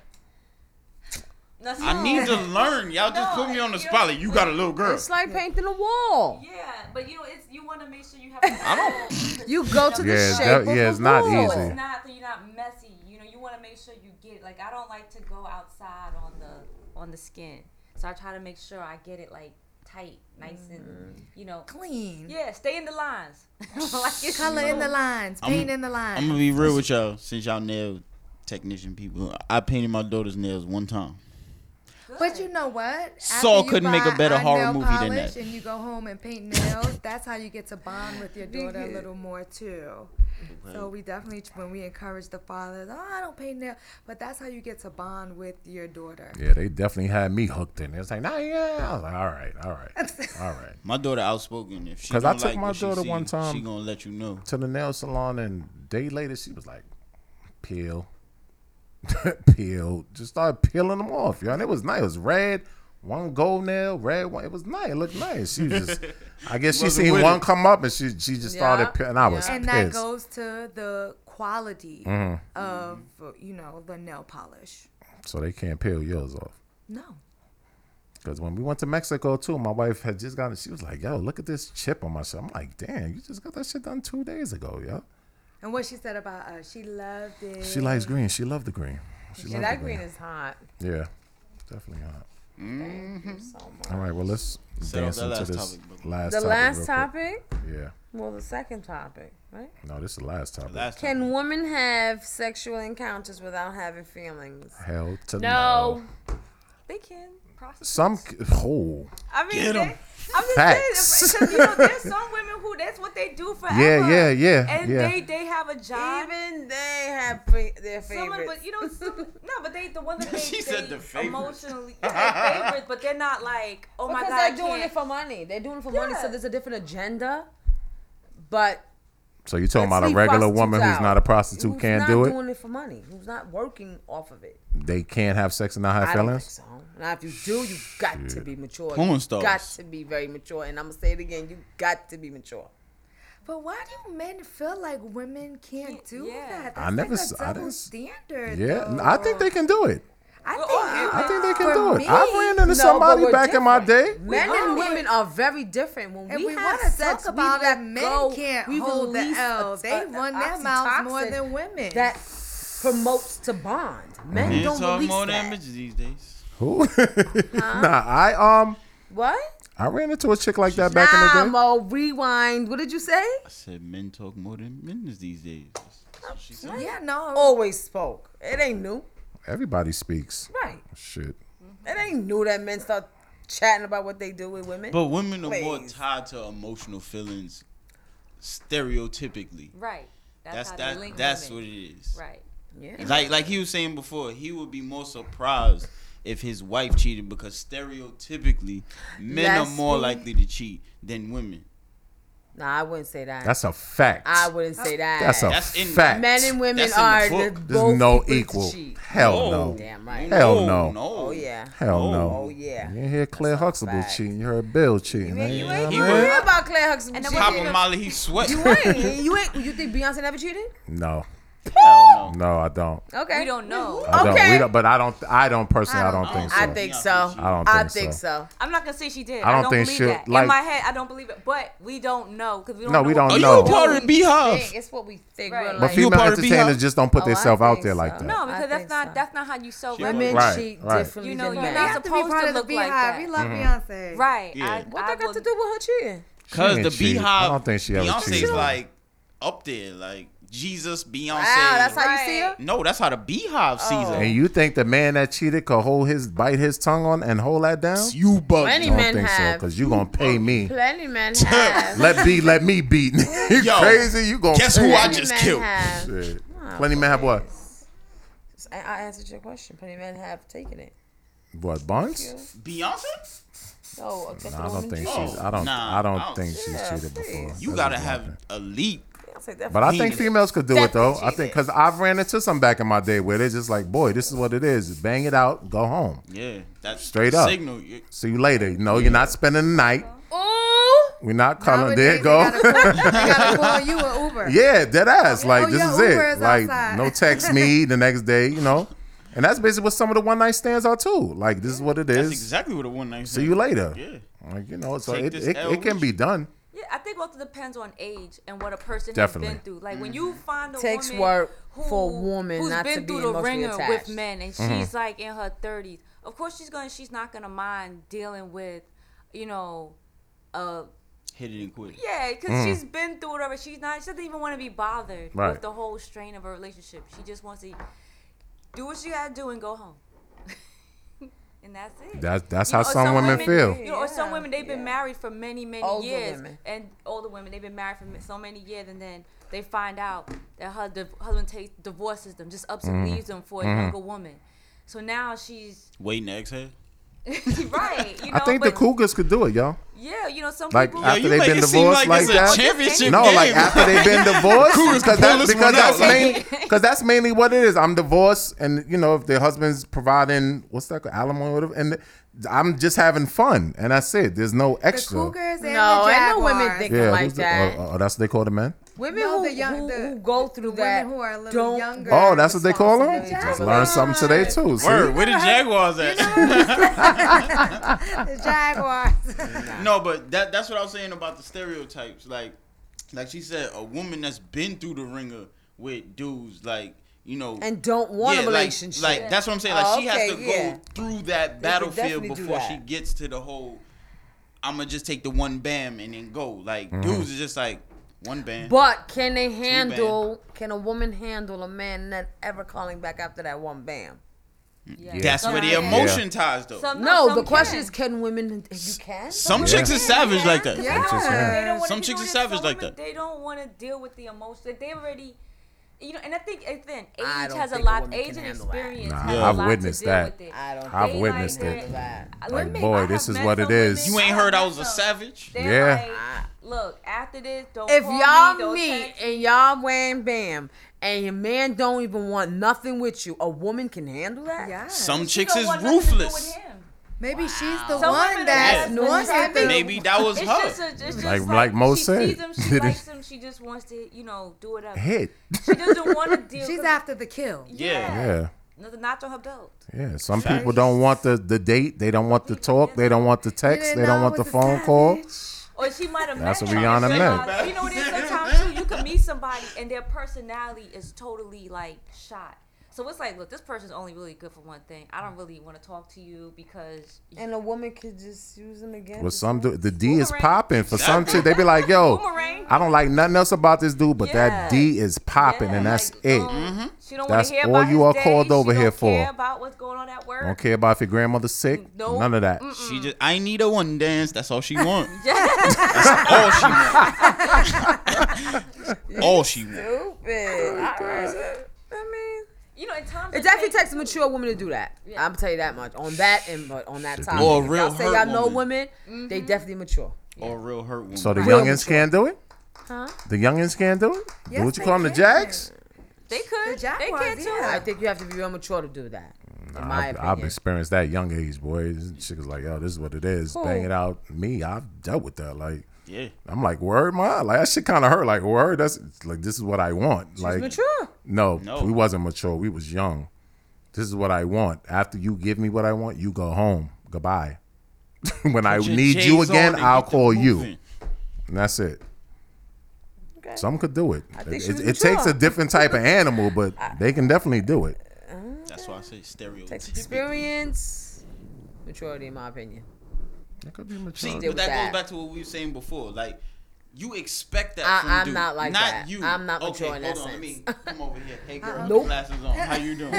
Speaker 8: No,
Speaker 4: I need to learn. Y'all just
Speaker 8: No,
Speaker 4: put me on the
Speaker 8: you
Speaker 4: spot.
Speaker 8: know-
Speaker 4: Like you got a little girl.
Speaker 11: It's like painting a wall.
Speaker 8: Yeah, but you know, it's you want to make sure you have. I don't.
Speaker 11: You go to the
Speaker 5: Yeah,
Speaker 11: shape
Speaker 5: that-
Speaker 11: of
Speaker 5: yeah,
Speaker 11: the
Speaker 5: it's not
Speaker 11: wall.
Speaker 5: easy.
Speaker 8: It's not that you're not messy. You know, you want to make sure you get it. Like I don't like to go outside on the on the skin, so I try to make sure I get it like tight, nice
Speaker 5: Mm.
Speaker 8: and you know
Speaker 6: Clean.
Speaker 8: Yeah, stay in the lines. like it's
Speaker 6: Color in the lines,
Speaker 4: I'm-
Speaker 6: paint in the lines.
Speaker 4: I'm gonna be real with y'all, since y'all nail technician people. I painted my daughter's nails one time.
Speaker 6: But you know what? After
Speaker 4: Saul
Speaker 6: you
Speaker 4: couldn't make a
Speaker 6: buy
Speaker 4: better
Speaker 6: eye
Speaker 4: horror
Speaker 6: nail
Speaker 4: movie than
Speaker 6: polish
Speaker 4: that.
Speaker 6: And you go home and paint nails. That's how you get to bond with your daughter a little more too. So we definitely, when we encourage the fathers, oh, I don't paint nails, but that's how you get to bond with your daughter.
Speaker 5: Yeah, they definitely had me hooked in. It was like, nah, yeah. I was like, all right, all right, all right.
Speaker 4: My daughter outspoken. If she
Speaker 5: Because I
Speaker 4: don't
Speaker 5: took
Speaker 4: like
Speaker 5: my
Speaker 4: what she
Speaker 5: daughter
Speaker 4: see,
Speaker 5: one time-
Speaker 4: she gonna let you know.
Speaker 5: To the nail salon, and day later she was like, peel, peel. Just started peeling them off, yo. And it was nice. It was red, one gold nail, red one. It was nice. It looked nice. She was just. I guess she
Speaker 4: Wasn't
Speaker 5: seen
Speaker 4: with
Speaker 5: one
Speaker 4: it.
Speaker 5: come up, and she she just started peeling. I was
Speaker 6: and that
Speaker 5: pissed.
Speaker 6: goes to the quality
Speaker 5: Mhm.
Speaker 6: of you know the nail polish.
Speaker 5: so they can't peel yours off.
Speaker 6: No.
Speaker 5: Because when we went to Mexico too, my wife had just gotten. She was like, "Yo, look at this chip on my shit." I'm like, "Damn, you just got that shit done two days ago, yo."
Speaker 6: And what she said about us, she loved it.
Speaker 5: She likes green. She loved the green. She
Speaker 3: Yeah,
Speaker 5: loved
Speaker 3: that
Speaker 5: the
Speaker 3: green is hot.
Speaker 5: Yeah, definitely hot.
Speaker 3: Thank you so much.
Speaker 5: All right, well let's
Speaker 4: Settle
Speaker 5: dance
Speaker 4: that
Speaker 5: into
Speaker 4: last
Speaker 5: this
Speaker 4: topic,
Speaker 5: last
Speaker 3: the
Speaker 5: topic
Speaker 3: last
Speaker 5: real quick.
Speaker 3: topic?
Speaker 5: Yeah.
Speaker 3: Well, the second topic, right?
Speaker 5: No, this is the last topic.
Speaker 3: Can women have sexual encounters without having feelings?
Speaker 5: Hell to
Speaker 3: No.
Speaker 6: They can.
Speaker 5: Some c- oh
Speaker 6: I mean,
Speaker 5: Get
Speaker 6: they-
Speaker 5: 'em.
Speaker 6: I'm just
Speaker 5: Facts.
Speaker 6: saying, because you know, there's some women who that's what they do forever.
Speaker 5: yeah, yeah,
Speaker 6: And
Speaker 5: yeah.
Speaker 6: they they have a job.
Speaker 3: Even they have fa- their
Speaker 6: Some of,
Speaker 3: favorites.
Speaker 6: but you know, some, no, but they the one that they, they
Speaker 3: She said the favorites.
Speaker 6: emotionally yeah, they favorites, but they're not like, oh my
Speaker 3: because
Speaker 6: god, I
Speaker 3: they're doing
Speaker 6: can't.
Speaker 3: it for money. They're doing it for money, so there's a different agenda. But
Speaker 5: So you talking
Speaker 3: Let's
Speaker 5: about a
Speaker 3: leave
Speaker 5: regular
Speaker 3: prostitutes
Speaker 5: woman who's
Speaker 3: out.
Speaker 5: not a prostitute
Speaker 3: who's
Speaker 5: can't
Speaker 3: not
Speaker 5: do it?
Speaker 3: Doing it for money. Who's not working off of it?
Speaker 5: They can't have sex and not have
Speaker 3: I don't think
Speaker 5: feelings.
Speaker 3: so. Now, if you do, you got to
Speaker 5: Shit.
Speaker 3: be mature.
Speaker 5: Porn
Speaker 3: You
Speaker 5: stars.
Speaker 3: got to be very mature. And I'm gonna say it again. You got to be mature.
Speaker 6: But why do men feel like women can't do that? That's
Speaker 5: I never
Speaker 6: like
Speaker 5: s-
Speaker 6: a
Speaker 5: I
Speaker 6: double
Speaker 5: didn't s-
Speaker 6: standard.
Speaker 5: Yeah,
Speaker 6: though.
Speaker 5: I think they can do it.
Speaker 6: I think, I
Speaker 5: think they can
Speaker 6: for
Speaker 5: do it.
Speaker 6: me-
Speaker 5: I ran into
Speaker 3: No,
Speaker 5: somebody
Speaker 3: but we're
Speaker 5: back in my day.
Speaker 3: different. Men and women are very different. When
Speaker 6: And
Speaker 3: we,
Speaker 6: we
Speaker 3: have
Speaker 6: wanna
Speaker 3: sex,
Speaker 6: talk
Speaker 3: we
Speaker 6: about it.
Speaker 3: let
Speaker 6: Men
Speaker 3: go.
Speaker 6: can't
Speaker 3: we
Speaker 6: hold the
Speaker 3: release a-
Speaker 6: L.
Speaker 3: a-
Speaker 6: They
Speaker 3: a
Speaker 6: run their mouths more
Speaker 3: oxytocin
Speaker 6: than women.
Speaker 3: That promotes to bond. Men
Speaker 4: They
Speaker 3: don't
Speaker 4: talk
Speaker 3: release
Speaker 4: more
Speaker 3: that.
Speaker 4: than bitches these days.
Speaker 5: Who? nah, I um
Speaker 3: What?
Speaker 5: I ran into a chick like that back in the
Speaker 3: nah,
Speaker 5: day.
Speaker 3: Mo, rewind. What did you say?
Speaker 4: I said men talk more than men these days.
Speaker 3: Yeah, no. Always spoke. It ain't new.
Speaker 5: Everybody speaks.
Speaker 3: Right.
Speaker 5: Shit.
Speaker 3: It ain't new that men start chatting about what they do with women.
Speaker 4: But women are more
Speaker 3: Please.
Speaker 4: tied to emotional feelings, stereotypically.
Speaker 8: Right.
Speaker 4: That's
Speaker 8: how they
Speaker 4: that.
Speaker 8: link
Speaker 4: That's what
Speaker 8: women.
Speaker 4: it is.
Speaker 8: Right.
Speaker 3: Yeah.
Speaker 4: Like like he was saying before, he would be more surprised if his wife cheated because stereotypically, men are more
Speaker 3: Leslie.
Speaker 4: likely to cheat than women.
Speaker 3: Nah, I wouldn't say that.
Speaker 5: That's a fact.
Speaker 3: I wouldn't
Speaker 8: Oh.
Speaker 3: say that.
Speaker 5: That's a fact.
Speaker 3: Men and women
Speaker 4: That's in the
Speaker 3: are the
Speaker 4: book.
Speaker 5: There's
Speaker 3: both
Speaker 5: no
Speaker 3: equally
Speaker 5: equal.
Speaker 3: cheat.
Speaker 5: Hell no.
Speaker 3: Damn right.
Speaker 5: Hell no.
Speaker 3: Oh yeah.
Speaker 5: Hell no.
Speaker 3: Oh yeah.
Speaker 5: You ain't hear Claire Huxtable cheating. You heard Bill cheating. You ain't,
Speaker 3: You
Speaker 5: know what I mean?
Speaker 3: hear about Claire Huxtable
Speaker 4: And
Speaker 3: cheating?
Speaker 4: Papa Molly, he sweat.
Speaker 3: You ain't. You ain't. You think Beyonce never cheated?
Speaker 5: No.
Speaker 4: Hell
Speaker 5: no. No, I don't.
Speaker 3: Okay. We don't know.
Speaker 5: I
Speaker 3: okay.
Speaker 5: don't. We don't. But I don't. I don't personally. I don't, think so.
Speaker 3: I think so.
Speaker 5: I don't
Speaker 3: I
Speaker 5: think
Speaker 3: think
Speaker 5: so.
Speaker 3: so.
Speaker 8: I'm not gonna say she did.
Speaker 5: I
Speaker 8: I
Speaker 5: don't
Speaker 8: don't,
Speaker 5: think
Speaker 8: believe
Speaker 5: she'll-
Speaker 8: that.
Speaker 5: like-
Speaker 8: In my head, I don't believe it. But we don't know because we don't.
Speaker 5: No,
Speaker 8: know
Speaker 5: we
Speaker 8: what
Speaker 5: don't know.
Speaker 4: part of Beehive.
Speaker 8: think.
Speaker 3: It's what we think.
Speaker 8: Right.
Speaker 5: But female entertainers just don't put
Speaker 3: Oh, I
Speaker 5: themselves out
Speaker 3: think
Speaker 5: there like
Speaker 3: so.
Speaker 5: that.
Speaker 8: No, because that's not that's not how you sell
Speaker 5: She
Speaker 8: women.
Speaker 5: women Right, cheat right. differently
Speaker 8: You know,
Speaker 3: than
Speaker 8: you're
Speaker 3: men.
Speaker 8: not
Speaker 3: They have
Speaker 6: to be
Speaker 8: supposed
Speaker 6: part
Speaker 8: to
Speaker 6: of the
Speaker 8: look like
Speaker 6: beehive.
Speaker 8: that.
Speaker 6: We love
Speaker 5: Mhm.
Speaker 6: Beyonce.
Speaker 8: Right.
Speaker 4: Yeah.
Speaker 8: I,
Speaker 3: What that got to do with her cheating?
Speaker 5: She
Speaker 4: Because
Speaker 5: ain't
Speaker 4: the
Speaker 5: cheating.
Speaker 4: Beehive.
Speaker 5: I don't think she ever
Speaker 4: Beyonce's
Speaker 5: cheated.
Speaker 4: like up there, like Jesus, Beyonce.
Speaker 3: Wow, that's how you see her?
Speaker 4: No, that's how the Beehive sees her.
Speaker 5: And you think the man that cheated could hold his bite his tongue on and hold that down?
Speaker 4: You bug.
Speaker 3: Plenty
Speaker 5: don't
Speaker 3: men
Speaker 5: think so
Speaker 3: have.
Speaker 5: because you gonna pay me.
Speaker 3: Plenty men have.
Speaker 5: Let be, let me beat. you
Speaker 4: Yo,
Speaker 5: crazy? You gonna
Speaker 4: guess
Speaker 5: pay
Speaker 4: who
Speaker 5: me.
Speaker 4: I just
Speaker 3: Plenty men killed? have.
Speaker 5: Shit.
Speaker 3: Nah,
Speaker 5: Plenty man have what?
Speaker 3: I, I answered your question. Plenty men have taken it.
Speaker 5: What buns?
Speaker 4: Beyonce? Oh,
Speaker 3: No, except
Speaker 5: Nah, I
Speaker 3: for
Speaker 5: don't
Speaker 3: women
Speaker 5: think
Speaker 3: cheat.
Speaker 5: she's. I don't.
Speaker 4: Nah,
Speaker 5: I don't
Speaker 4: I don't-
Speaker 5: think she's
Speaker 3: Yeah,
Speaker 5: cheated
Speaker 3: please.
Speaker 5: before.
Speaker 4: You
Speaker 5: That's
Speaker 4: gotta
Speaker 5: just
Speaker 4: have elite.
Speaker 3: Beyonce definitely-
Speaker 5: But I think
Speaker 4: Penis.
Speaker 5: females could do it though.
Speaker 3: Definitely
Speaker 5: I think because I've ran into some back in my day where they're just like, boy, this is what it is. Bang it out, go home.
Speaker 4: Yeah, that's
Speaker 5: Straight
Speaker 4: the
Speaker 5: up.
Speaker 4: Signal. You-
Speaker 5: See you later. No, you're not spending the night.
Speaker 3: Ooh.
Speaker 5: We're not calling. There you go.
Speaker 6: gotta call you an Uber.
Speaker 5: yeah, dead ass. Like
Speaker 6: Oh,
Speaker 5: this
Speaker 6: your
Speaker 5: is
Speaker 6: Uber
Speaker 5: it.
Speaker 6: is
Speaker 5: like
Speaker 6: outside.
Speaker 5: no text me the next day. You know, and that's basically what some of the one night stands are too. Like this is what it is.
Speaker 4: That's exactly what a one night.
Speaker 5: See you later.
Speaker 4: Yeah.
Speaker 5: Like you know, so
Speaker 4: Take
Speaker 5: it
Speaker 4: this
Speaker 5: it,
Speaker 4: L
Speaker 5: it can
Speaker 4: with
Speaker 5: be done.
Speaker 8: Yeah, I think it also depends on age and what a person has
Speaker 5: Definitely.
Speaker 8: been through. Like when you find a
Speaker 3: Mm-hmm. Takes
Speaker 8: woman
Speaker 3: work
Speaker 8: who,
Speaker 3: for a woman
Speaker 8: who's
Speaker 3: not
Speaker 8: been
Speaker 3: to
Speaker 8: through
Speaker 3: be
Speaker 8: the
Speaker 3: emotionally
Speaker 8: ringer
Speaker 3: attached.
Speaker 8: with men, and
Speaker 5: Mhm.
Speaker 8: she's like in her thirties. Of course, she's gonna she's not gonna mind dealing with, you know, uh,
Speaker 4: Hit it and quit. it.
Speaker 8: yeah, because
Speaker 4: Mm.
Speaker 8: she's been through whatever. She's not. She doesn't even want to be bothered
Speaker 4: Right.
Speaker 8: with the whole strain of a relationship. She just wants to do what she gotta do and go home. and that's it.
Speaker 5: That's that's
Speaker 8: You
Speaker 5: how
Speaker 8: know, or
Speaker 5: some, women, feel.
Speaker 8: You know, or some women they've been married for many, many
Speaker 3: Older
Speaker 8: years,
Speaker 3: women.
Speaker 8: and older women they've been married for so many years, and then they find out that her div- husband takes divorces them, just ups and
Speaker 5: Mm.
Speaker 4: Mhm.
Speaker 8: leaves them for a
Speaker 4: Mhm.
Speaker 5: Mm-hmm.
Speaker 8: younger woman. So now she's
Speaker 4: Waiting to exhale.
Speaker 8: right. You know,
Speaker 5: I think the
Speaker 8: but
Speaker 5: cougars could do it, y'all.
Speaker 8: yeah, you know, some
Speaker 5: Like
Speaker 8: people
Speaker 5: after they've been divorced, like, that. no, like after they've been divorced,
Speaker 4: Cougars
Speaker 5: because
Speaker 4: can
Speaker 5: that,
Speaker 4: pull this
Speaker 5: because that's
Speaker 4: one out.
Speaker 5: mainly because that's mainly what it is. I'm divorced, and you know if the husband's providing what's that called? alimony, or whatever, and I'm just having fun, and that's it. There's no extra.
Speaker 6: Cougars and
Speaker 3: No,
Speaker 6: the
Speaker 3: ain't no women
Speaker 6: Jaguars.
Speaker 3: thinking
Speaker 5: yeah,
Speaker 3: like
Speaker 5: who's the-
Speaker 3: that.
Speaker 5: oh, oh, that's what they call the men.
Speaker 3: Women
Speaker 6: No,
Speaker 3: who,
Speaker 6: the young-
Speaker 3: who,
Speaker 6: the-
Speaker 3: who go through that
Speaker 6: who are a little
Speaker 3: don't
Speaker 6: younger.
Speaker 5: Oh, that's what they call them. Just learn something today too. See?
Speaker 4: Word, where the Jaguars at?
Speaker 6: the Jaguars.
Speaker 4: no, but that that's what I was saying about the stereotypes. Like like she said, a woman that's been through the ringer with dudes, like you know,
Speaker 3: And don't want a
Speaker 4: Yeah, like-
Speaker 3: relationship.
Speaker 4: Like, that's what I'm saying. Like
Speaker 3: Oh,
Speaker 4: she
Speaker 3: okay,
Speaker 4: has to go
Speaker 3: yeah.
Speaker 4: through that
Speaker 3: could
Speaker 4: battlefield
Speaker 3: definitely do
Speaker 4: before
Speaker 3: that.
Speaker 4: she gets to the whole. I'm gonna just take the one bam and then go. Like
Speaker 5: Mhm.
Speaker 4: dudes is just like one bam.
Speaker 11: But can they
Speaker 4: two bam.
Speaker 11: handle? Can a woman handle a man not ever calling back after that one bam?
Speaker 4: Yeah. That's where the
Speaker 11: Some-
Speaker 4: emotion
Speaker 11: yeah.
Speaker 4: ties though. Some,
Speaker 11: no,
Speaker 3: some
Speaker 11: the question is, can women? You can.
Speaker 4: chicks are savage like that.
Speaker 8: Yeah. Some chicks are. They don't wanna-
Speaker 4: Some
Speaker 8: you
Speaker 4: chicks
Speaker 8: know,
Speaker 4: are
Speaker 8: there's
Speaker 4: savage
Speaker 8: some
Speaker 4: like
Speaker 8: women,
Speaker 4: that.
Speaker 8: They don't want to deal with the emotion. Like, they already, you know, and I think again, age
Speaker 3: I don't
Speaker 8: has a
Speaker 3: think a
Speaker 8: lot.
Speaker 3: woman
Speaker 8: age
Speaker 3: can
Speaker 8: and
Speaker 3: handle that.
Speaker 8: experience.
Speaker 5: Nah,
Speaker 8: has a
Speaker 5: I've
Speaker 8: lot to
Speaker 5: witnessed
Speaker 8: deal
Speaker 5: that.
Speaker 8: with it.
Speaker 3: I don't
Speaker 5: I've
Speaker 8: They
Speaker 5: witnessed
Speaker 8: like
Speaker 5: it.
Speaker 8: that.
Speaker 5: Like,
Speaker 8: Women-
Speaker 5: boy,
Speaker 8: I
Speaker 5: this
Speaker 8: have
Speaker 5: is
Speaker 8: met
Speaker 5: what it
Speaker 8: some
Speaker 5: is.
Speaker 4: You ain't heard I was a savage.
Speaker 8: They're
Speaker 5: Yeah.
Speaker 8: like, look, after this, don't
Speaker 11: If
Speaker 8: call me,
Speaker 11: y'all
Speaker 8: don't
Speaker 11: meet
Speaker 8: text
Speaker 11: and y'all wham bam and your man don't even want nothing with you, a woman can handle that.
Speaker 6: Yeah.
Speaker 4: Some
Speaker 8: She
Speaker 4: chicks
Speaker 8: don't
Speaker 4: is
Speaker 8: want nothing to do
Speaker 4: ruthless.
Speaker 8: with him.
Speaker 6: Maybe she's the
Speaker 8: Some
Speaker 6: one
Speaker 8: women
Speaker 6: that's
Speaker 8: are
Speaker 6: north
Speaker 8: just like-
Speaker 4: Maybe that was
Speaker 8: it's
Speaker 4: her.
Speaker 8: Just a, it's just
Speaker 5: Like-
Speaker 8: like,
Speaker 5: like Mo
Speaker 8: she
Speaker 5: said.
Speaker 8: sees him, she likes him, she just wants to, you know, do it up.
Speaker 5: Hit.
Speaker 8: She doesn't want to deal.
Speaker 6: She's
Speaker 8: with
Speaker 6: after the kill.
Speaker 4: yeah.
Speaker 5: Yeah.
Speaker 8: nothing not on her belt.
Speaker 5: Yeah, some
Speaker 4: Facts.
Speaker 5: people don't want the, the date. They don't want the talk. They don't want the text. They don't want the phone call.
Speaker 8: Or she might have
Speaker 5: That's
Speaker 8: met
Speaker 5: what
Speaker 8: him.
Speaker 5: Rihanna
Speaker 8: She
Speaker 5: meant.
Speaker 8: might- You know what it is? Sometimes too, you can meet somebody and their personality is totally like shot. So it's like, look, this person's only really good for one thing. I don't really want to talk to you because
Speaker 11: And a woman could just use them again.
Speaker 5: Well,
Speaker 11: to
Speaker 5: some
Speaker 11: say-
Speaker 5: do, the D is
Speaker 8: Boomerang.
Speaker 5: popping for some shit. They be like, yo,
Speaker 8: boomerang.
Speaker 5: I don't like nothing else about this dude, but that
Speaker 8: Yes.
Speaker 5: D is popping,
Speaker 8: Yeah,
Speaker 5: and that's
Speaker 8: like,
Speaker 5: it.
Speaker 8: um, She don't
Speaker 5: That's
Speaker 8: want to hear
Speaker 5: all
Speaker 8: about
Speaker 5: you
Speaker 8: his
Speaker 5: are
Speaker 8: day.
Speaker 5: called
Speaker 8: She
Speaker 5: over
Speaker 8: don't
Speaker 5: here for.
Speaker 8: Care about what's going on at work.
Speaker 5: Don't care about if your grandmother's sick.
Speaker 8: Nope.
Speaker 5: None of that.
Speaker 4: She just I need a one dance. That's all she want. That's all she want. all she want.
Speaker 11: Stupid. All right. I mean,
Speaker 8: You know, at times
Speaker 11: it
Speaker 8: it
Speaker 11: definitely
Speaker 8: takes-
Speaker 11: takes a mature woman to do that. i will tell you that much on that and but on that topic.
Speaker 4: Or a
Speaker 11: If
Speaker 4: real
Speaker 11: y'all say
Speaker 4: hurt
Speaker 11: y'all know
Speaker 4: woman.
Speaker 11: women, they definitely mature.
Speaker 4: Or real hurt woman.
Speaker 5: So the
Speaker 11: Real
Speaker 5: youngins
Speaker 11: mature.
Speaker 5: can't do it?
Speaker 11: Huh?
Speaker 5: The youngins can't do it? do
Speaker 6: Yes,
Speaker 5: what you
Speaker 6: they
Speaker 5: call them, the
Speaker 6: can.
Speaker 5: Jags?
Speaker 8: They could.
Speaker 6: The
Speaker 8: they
Speaker 6: Jaguars,
Speaker 8: can too.
Speaker 6: yeah.
Speaker 11: I think you have to be real mature to do that. in my
Speaker 5: I've,
Speaker 11: opinion.
Speaker 5: I've experienced that young age, boy. This Chick was like, yo, this is what it is. Bang it out. Me, I've dealt with that. Like,
Speaker 4: Yeah.
Speaker 5: I'm like, word, my like that shit kind of hurt. Like, word, that's it's like this is what I want. like,
Speaker 11: mature.
Speaker 5: No,
Speaker 4: No.
Speaker 5: we wasn't mature. We was young. This is what I want. After you give me what I want, you go home. Goodbye. when I
Speaker 4: Put your
Speaker 5: need you
Speaker 4: J's on
Speaker 5: again,
Speaker 4: and
Speaker 5: I'll
Speaker 4: get the
Speaker 5: call you,
Speaker 4: moving.
Speaker 5: and that's it.
Speaker 11: Okay.
Speaker 5: Some could do it.
Speaker 11: think
Speaker 5: It,
Speaker 11: she was
Speaker 5: it- it takes a
Speaker 11: mature.
Speaker 5: different type of animal, but they can definitely do it.
Speaker 4: That's why I say
Speaker 11: Takes
Speaker 4: stereotypical.
Speaker 11: experience, maturity, in my opinion.
Speaker 5: It could be
Speaker 4: See,
Speaker 5: mature.
Speaker 11: Deal with
Speaker 4: but that,
Speaker 11: that.
Speaker 4: goes back to what we were saying before. Like, you expect that
Speaker 11: I-
Speaker 4: from
Speaker 11: I'm
Speaker 4: dude,
Speaker 11: not like that.
Speaker 4: you.
Speaker 11: I'm not
Speaker 4: okay,
Speaker 11: mature in
Speaker 4: hold
Speaker 11: that
Speaker 4: on, Let
Speaker 11: sense.
Speaker 4: me come over here. Hey, girl,
Speaker 11: Nope.
Speaker 4: glasses on. How you doing?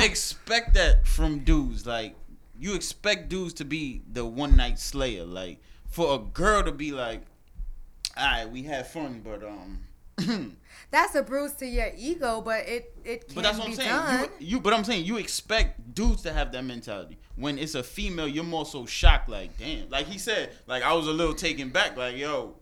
Speaker 4: you expect that from dudes. Like, you expect dudes to be the one night slayer. Like, for a girl to be like, all right, we had fun, but um.
Speaker 6: That's a bruise to your ego, but it it can
Speaker 4: But that's what
Speaker 6: be
Speaker 4: I'm saying.
Speaker 6: done.
Speaker 4: You, you, but I'm saying you expect dudes to have that mentality. When it's a female, you're more so shocked, like damn. Like he said, like I was a little taken back, like yo,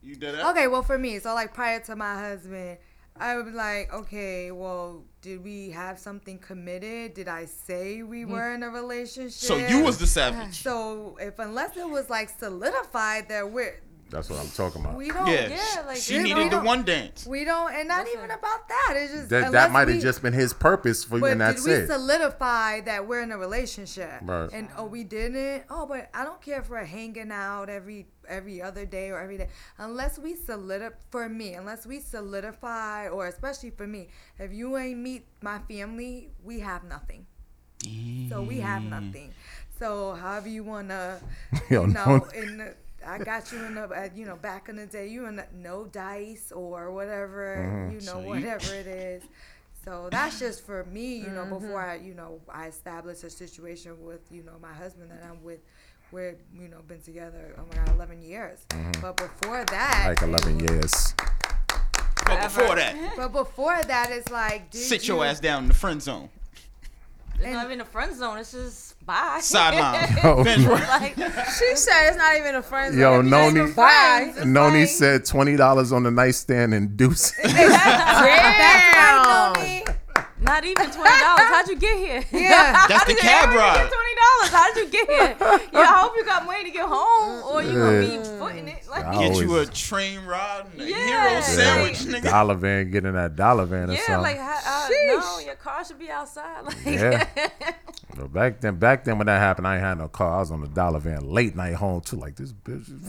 Speaker 4: you did that.
Speaker 6: Okay, well for me, so like prior to my husband, I would be like, okay, well, did we have something committed? Did I say we were in a relationship?
Speaker 4: So you was the savage.
Speaker 6: So if unless it was like solidified that we're
Speaker 5: That's what I'm talking about.
Speaker 6: we don't
Speaker 4: yeah,
Speaker 8: yeah, like,
Speaker 4: she
Speaker 8: you
Speaker 4: needed the
Speaker 6: know-
Speaker 4: one dance.
Speaker 6: we don't and not even about that. It's just
Speaker 5: That,
Speaker 6: unless
Speaker 5: that might have
Speaker 6: we-
Speaker 5: just been his purpose for you,
Speaker 6: But
Speaker 5: and that's
Speaker 6: did we
Speaker 5: it.
Speaker 6: solidify that we're in a relationship?
Speaker 5: Right.
Speaker 6: And oh, we didn't. Oh, but I don't care if we're hanging out every every other day or every day, unless we solidify. For me, unless we solidify, or especially for me, if you ain't meet my family, we have nothing. So we
Speaker 5: Mm.
Speaker 6: have nothing. So however you wanna,
Speaker 5: Yo,
Speaker 6: you know,
Speaker 5: no.
Speaker 6: in the, I got you in the uh, you know back in the day, you in the, no dice or whatever,
Speaker 5: Mm-hmm.
Speaker 6: you know
Speaker 4: So you-
Speaker 6: whatever it is. So that's just for me, you know.
Speaker 4: Mm-hmm.
Speaker 6: Before I, you know, I established a situation with you know my husband that I'm with. We're you know been together oh my god 11 years, but before that,
Speaker 5: Mm-hmm. like
Speaker 6: it
Speaker 5: 11
Speaker 6: was-
Speaker 5: years.
Speaker 4: But before that,
Speaker 6: But before that, it's like did
Speaker 4: sit
Speaker 6: you-
Speaker 4: your ass down in the friend zone,
Speaker 8: It's not even a friend zone. It's just bye.
Speaker 4: sideline,
Speaker 5: Oh,
Speaker 4: bench
Speaker 5: no.
Speaker 4: press.
Speaker 8: like,
Speaker 11: She said it's not even a friend.
Speaker 5: Yo, Noni,
Speaker 11: Bye.
Speaker 5: Noni said twenty dollars on the nightstand and deuce.
Speaker 11: Damn.
Speaker 8: not even twenty dollars. Howd you get here?
Speaker 6: Yeah.
Speaker 4: That's the cab ride.
Speaker 8: Twenty dollars. How'd you get here? Yeah, I hope you got money to get home, or you gonna be
Speaker 5: Yeah.
Speaker 8: footing it. Like,
Speaker 5: I
Speaker 4: Get you a
Speaker 5: always-
Speaker 4: train ride and a
Speaker 8: Yeah.
Speaker 4: hero sandwich, nigga.
Speaker 5: dollar van, getting that dollar van or
Speaker 8: yeah,
Speaker 5: something.
Speaker 8: like how, uh, no, your car should be outside. Like,
Speaker 5: yeah, But back then, back then when that happened, I ain't had no car. I was on the dollar van late night home too. Like this bitch,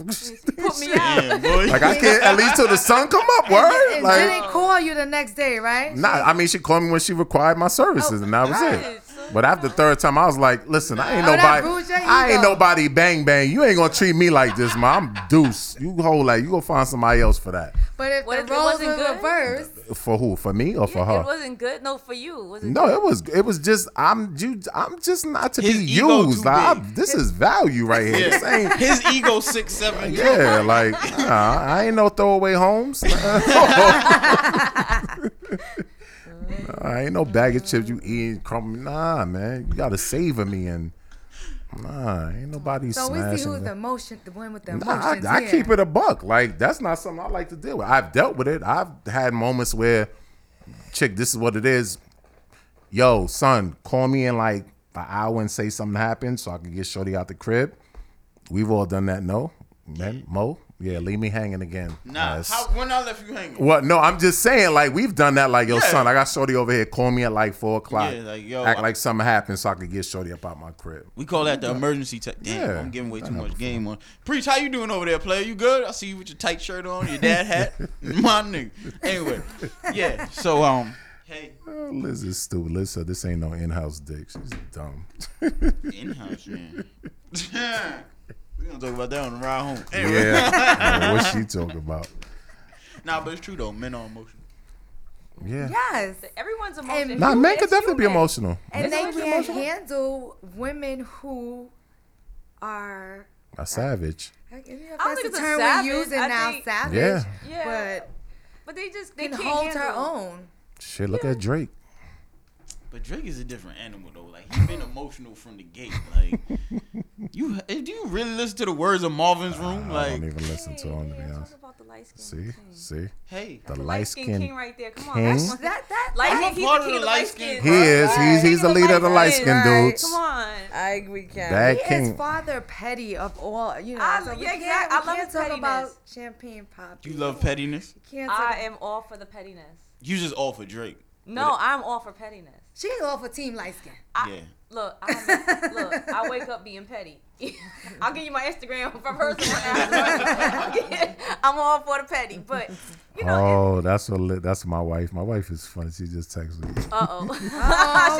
Speaker 8: Put me out.
Speaker 5: like I can't at least till the sun come up. Word,
Speaker 6: And didn't
Speaker 5: like
Speaker 6: call you the next day, right?
Speaker 5: nah. I mean, she called me when she required my services, and that was it. But after the third time, I was like, "Listen, I ain't
Speaker 6: Oh, that
Speaker 5: nobody,
Speaker 6: bruised your
Speaker 5: I ain't
Speaker 6: ego.
Speaker 5: nobody bang bang. You ain't gonna treat me like this, ma. I'm deuce. You hold like you gonna find somebody else for that.
Speaker 6: But if
Speaker 8: What
Speaker 6: the
Speaker 8: if it
Speaker 6: roles
Speaker 8: wasn't
Speaker 6: were
Speaker 8: good?
Speaker 6: reversed,
Speaker 5: For who? For me or for her?
Speaker 8: It wasn't good. No, for you. Was it
Speaker 5: No, it was it was just I'm you I'm just not to
Speaker 4: His
Speaker 5: be
Speaker 4: ego too
Speaker 5: used. Like I'm-
Speaker 4: big.
Speaker 5: this is value right here. This ain't
Speaker 4: His ego six seven.
Speaker 5: yeah, like nah, I ain't no throwaway homes. nah, ain't no bag of chips you eating crumb. Nah, man, you gotta savor me and nah, ain't nobody
Speaker 6: so
Speaker 5: smashing.
Speaker 6: we see who's
Speaker 5: it.
Speaker 6: the emotion, the one with the
Speaker 5: Nah, I,
Speaker 6: emotions.
Speaker 5: I
Speaker 6: here.
Speaker 5: keep it a buck. Like that's not something I like to deal with. I've dealt with it. I've had moments where, chick, this is what it is. Yo, son, call me in like an hour and say something happened so I can get shorty out the crib. We've all done that. No, man, Mo, yeah, leave me hanging again.
Speaker 4: Nah,
Speaker 5: Yes.
Speaker 4: how, when I left you hanging.
Speaker 5: What? No, I'm just saying. Like we've done that. Like yo,
Speaker 4: Yeah.
Speaker 5: son, I got shorty over here. Call me at like four o'clock.
Speaker 4: Yeah, like, yo,
Speaker 5: act
Speaker 4: I-
Speaker 5: like something happened so I could get shorty up out my crib.
Speaker 4: We call that the emergency tech. Damn,
Speaker 5: Yeah,
Speaker 4: I'm giving way
Speaker 5: done
Speaker 4: too
Speaker 5: that
Speaker 4: much game on. Preach, how you doing over there, player? You good? I see you with your tight shirt on, your dad hat. My nigga. Anyway, yeah. So um, hey,
Speaker 5: Oh, Liz is stupid. Liz said this ain't no in-house dick. She's dumb.
Speaker 4: in house, man. we gonna talk about that on the ride home. Anyway,
Speaker 5: Yeah. I know what she talking about?
Speaker 4: nah, but it's true though. Men are emotional.
Speaker 5: Yeah.
Speaker 6: Yes.
Speaker 8: Everyone's emotion.
Speaker 5: Nah,
Speaker 8: You-
Speaker 5: men could
Speaker 8: it's
Speaker 5: definitely be
Speaker 8: human.
Speaker 5: emotional.
Speaker 6: And
Speaker 5: Men
Speaker 6: they
Speaker 5: could be
Speaker 6: can't
Speaker 5: emotional.
Speaker 6: handle women who are.
Speaker 5: A savage.
Speaker 6: I don't know if
Speaker 8: I don't
Speaker 6: that's
Speaker 8: think
Speaker 6: the
Speaker 8: it's a
Speaker 6: term
Speaker 8: savage.
Speaker 6: we're using
Speaker 8: I
Speaker 6: now,
Speaker 8: think-
Speaker 6: savage.
Speaker 5: Yeah.
Speaker 8: Yeah,
Speaker 6: But
Speaker 8: but they just
Speaker 6: they
Speaker 8: they
Speaker 6: can
Speaker 8: can't
Speaker 6: hold her
Speaker 8: handle-
Speaker 6: own.
Speaker 5: Shit, look at Drake.
Speaker 4: But Drake is a different animal though. Like he been emotional from the gate. Like you, do you really listen to the words of Marvin's room?
Speaker 5: I
Speaker 4: Like,
Speaker 5: don't even listen to him to be honest.
Speaker 8: Talk about the light skin.
Speaker 5: See, see,
Speaker 4: hey,
Speaker 5: the light
Speaker 8: Light skin king
Speaker 5: skin.
Speaker 8: right there. Come on,
Speaker 5: king?
Speaker 8: that's one-
Speaker 6: That that
Speaker 8: light skin.
Speaker 4: a
Speaker 8: He's
Speaker 4: part
Speaker 8: the
Speaker 4: of
Speaker 8: king
Speaker 4: the
Speaker 8: of the
Speaker 4: light
Speaker 8: light
Speaker 4: skin.
Speaker 8: skin.
Speaker 5: He is. He's he's the leader of the light skin
Speaker 6: Right.
Speaker 5: dudes.
Speaker 8: Come on.
Speaker 11: I agree, Ken.
Speaker 5: Bad
Speaker 6: He is
Speaker 5: king.
Speaker 6: Father Petty of all, you know.
Speaker 8: I-
Speaker 6: so we
Speaker 8: yeah,
Speaker 6: can't,
Speaker 8: exact-
Speaker 6: we
Speaker 8: I love
Speaker 6: can't
Speaker 8: his
Speaker 6: talk about
Speaker 8: pettiness.
Speaker 6: champagne pop.
Speaker 4: you love pettiness.
Speaker 6: Can't talk
Speaker 8: I am all for the pettiness.
Speaker 4: You just all for Drake.
Speaker 8: No, I'm all for pettiness.
Speaker 6: She all for team light skin.
Speaker 8: I,
Speaker 4: Yeah.
Speaker 8: Look, I, look, I wake up being petty. I'll give you my Instagram for personal. I'm, I'm all for the petty, but you know,
Speaker 5: oh, that's what li- that's my wife. My wife is funny. She just texted me.
Speaker 8: uh oh. she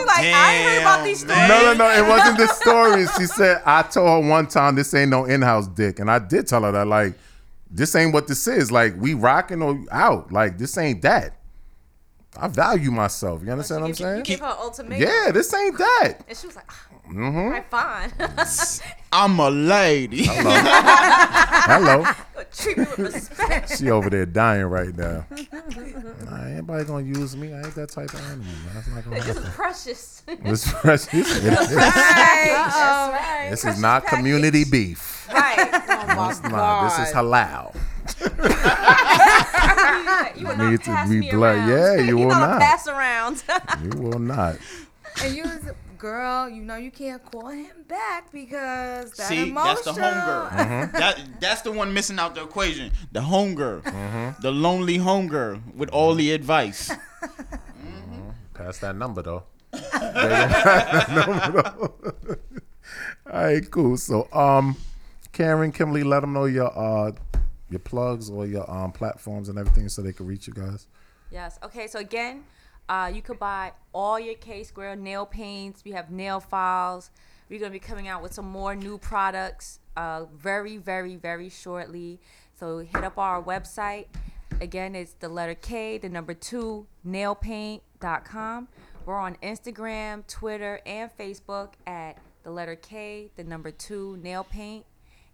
Speaker 8: like, I ain't heard about these
Speaker 4: Damn,
Speaker 8: stories.
Speaker 5: No, no, no. It wasn't the stories. She said I told her one time this ain't no in-house dick, and I did tell her that like this ain't what this is. Like we rocking or out. Like this ain't that. I value myself. You understand what I'm
Speaker 8: You
Speaker 5: saying?
Speaker 8: give her ultimatum.
Speaker 5: Yeah, this ain't that. Mm-hmm.
Speaker 8: And she was like, mm fine.
Speaker 4: I'm a lady.
Speaker 5: Hello.
Speaker 8: Treat me with respect.
Speaker 5: She over there dying right now. Nah, anybody gonna use me? I ain't that type of animal. Man. That's not gonna happen.
Speaker 8: Precious.
Speaker 5: This, precious- this is not community beef.
Speaker 8: Right.
Speaker 5: It's not. This is halal.
Speaker 8: You will not
Speaker 5: Need to
Speaker 8: pass
Speaker 5: be
Speaker 8: me
Speaker 5: blood.
Speaker 8: around.
Speaker 5: Yeah, you will
Speaker 8: not
Speaker 5: not.
Speaker 8: pass around.
Speaker 5: You will not.
Speaker 6: And you, was, girl, you know you can't call him back because that
Speaker 4: See,
Speaker 6: emotion.
Speaker 4: that's the homegirl. That that's the one missing out the equation. The homegirl,
Speaker 5: Mm-hmm.
Speaker 4: the lonely homegirl with all the advice.
Speaker 5: Pass that number though. They don't pass that number, though. All right, cool. So, um, Karen, Kimberly, let them know your uh, your plugs or your um platforms and everything so they can reach you guys.
Speaker 8: Yes. Okay. So again, uh, you could buy all your K Square nail paints. We have nail files. We're gonna be coming out with some more new products uh, very, very, very shortly. So hit up our website. Again, it's the letter K, the number two, nailpaint.com. We're on Instagram, Twitter, and Facebook at the letter K, the number two, nail paint.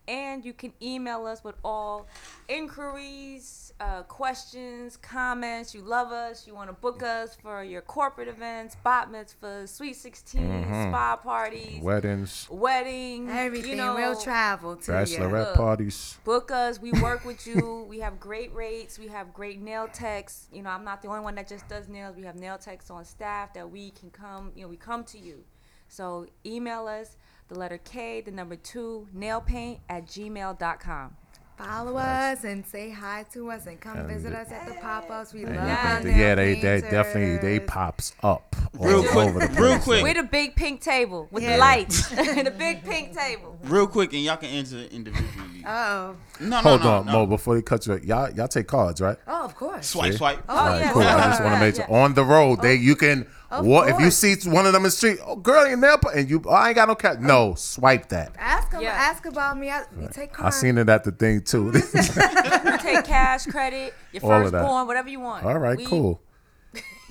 Speaker 8: And you can email us with all inquiries, uh, questions, comments. You love us. You want to book us for your corporate events, bat mitzvahs, sweet 16, spa parties,
Speaker 5: Weddings,
Speaker 8: wedding.
Speaker 6: Everything,
Speaker 8: you know,
Speaker 6: real travel to
Speaker 5: bachelorette
Speaker 8: Look.
Speaker 5: parties.
Speaker 8: Book us. We work with you. we have great rates. We have great nail techs. You know, I'm not the only one that just does nails. We have nail techs on staff that we can come, you know, we come to you. So email us the letter K, the number two, nail paint at gmail.com.
Speaker 6: follow us and say hi to us and come
Speaker 5: And
Speaker 6: visit
Speaker 5: the-
Speaker 6: us at the pop ups. We
Speaker 5: And
Speaker 6: love
Speaker 5: you
Speaker 6: them.
Speaker 5: think- yeah, they, they definitely they pops up all
Speaker 4: Real quick,
Speaker 5: over the place.
Speaker 4: real quick.
Speaker 8: We're the big pink table with the lights. the big pink table.
Speaker 4: Real quick, and y'all can answer individually.
Speaker 6: Oh,
Speaker 4: No, no,
Speaker 5: Hold
Speaker 4: no,
Speaker 5: on,
Speaker 4: no.
Speaker 5: Mo. Before you cut you, y'all y'all take cards, right?
Speaker 6: oh, of course.
Speaker 4: Swipe,
Speaker 5: See?
Speaker 4: swipe.
Speaker 5: All right, cool. I just want to make sure on the road they you can.
Speaker 6: Of
Speaker 5: What if you
Speaker 6: course.
Speaker 5: see one of them in the street? Oh, girl, in there, and you. Oh, I ain't got no cat. No, swipe that.
Speaker 6: Ask them.
Speaker 8: Yeah.
Speaker 6: Ask about me. I, we take
Speaker 5: I
Speaker 6: cards.
Speaker 5: seen it at the thing too.
Speaker 8: You take cash, credit, your
Speaker 5: All of that.
Speaker 8: firstborn, whatever you want.
Speaker 5: All right,
Speaker 8: We-
Speaker 5: cool.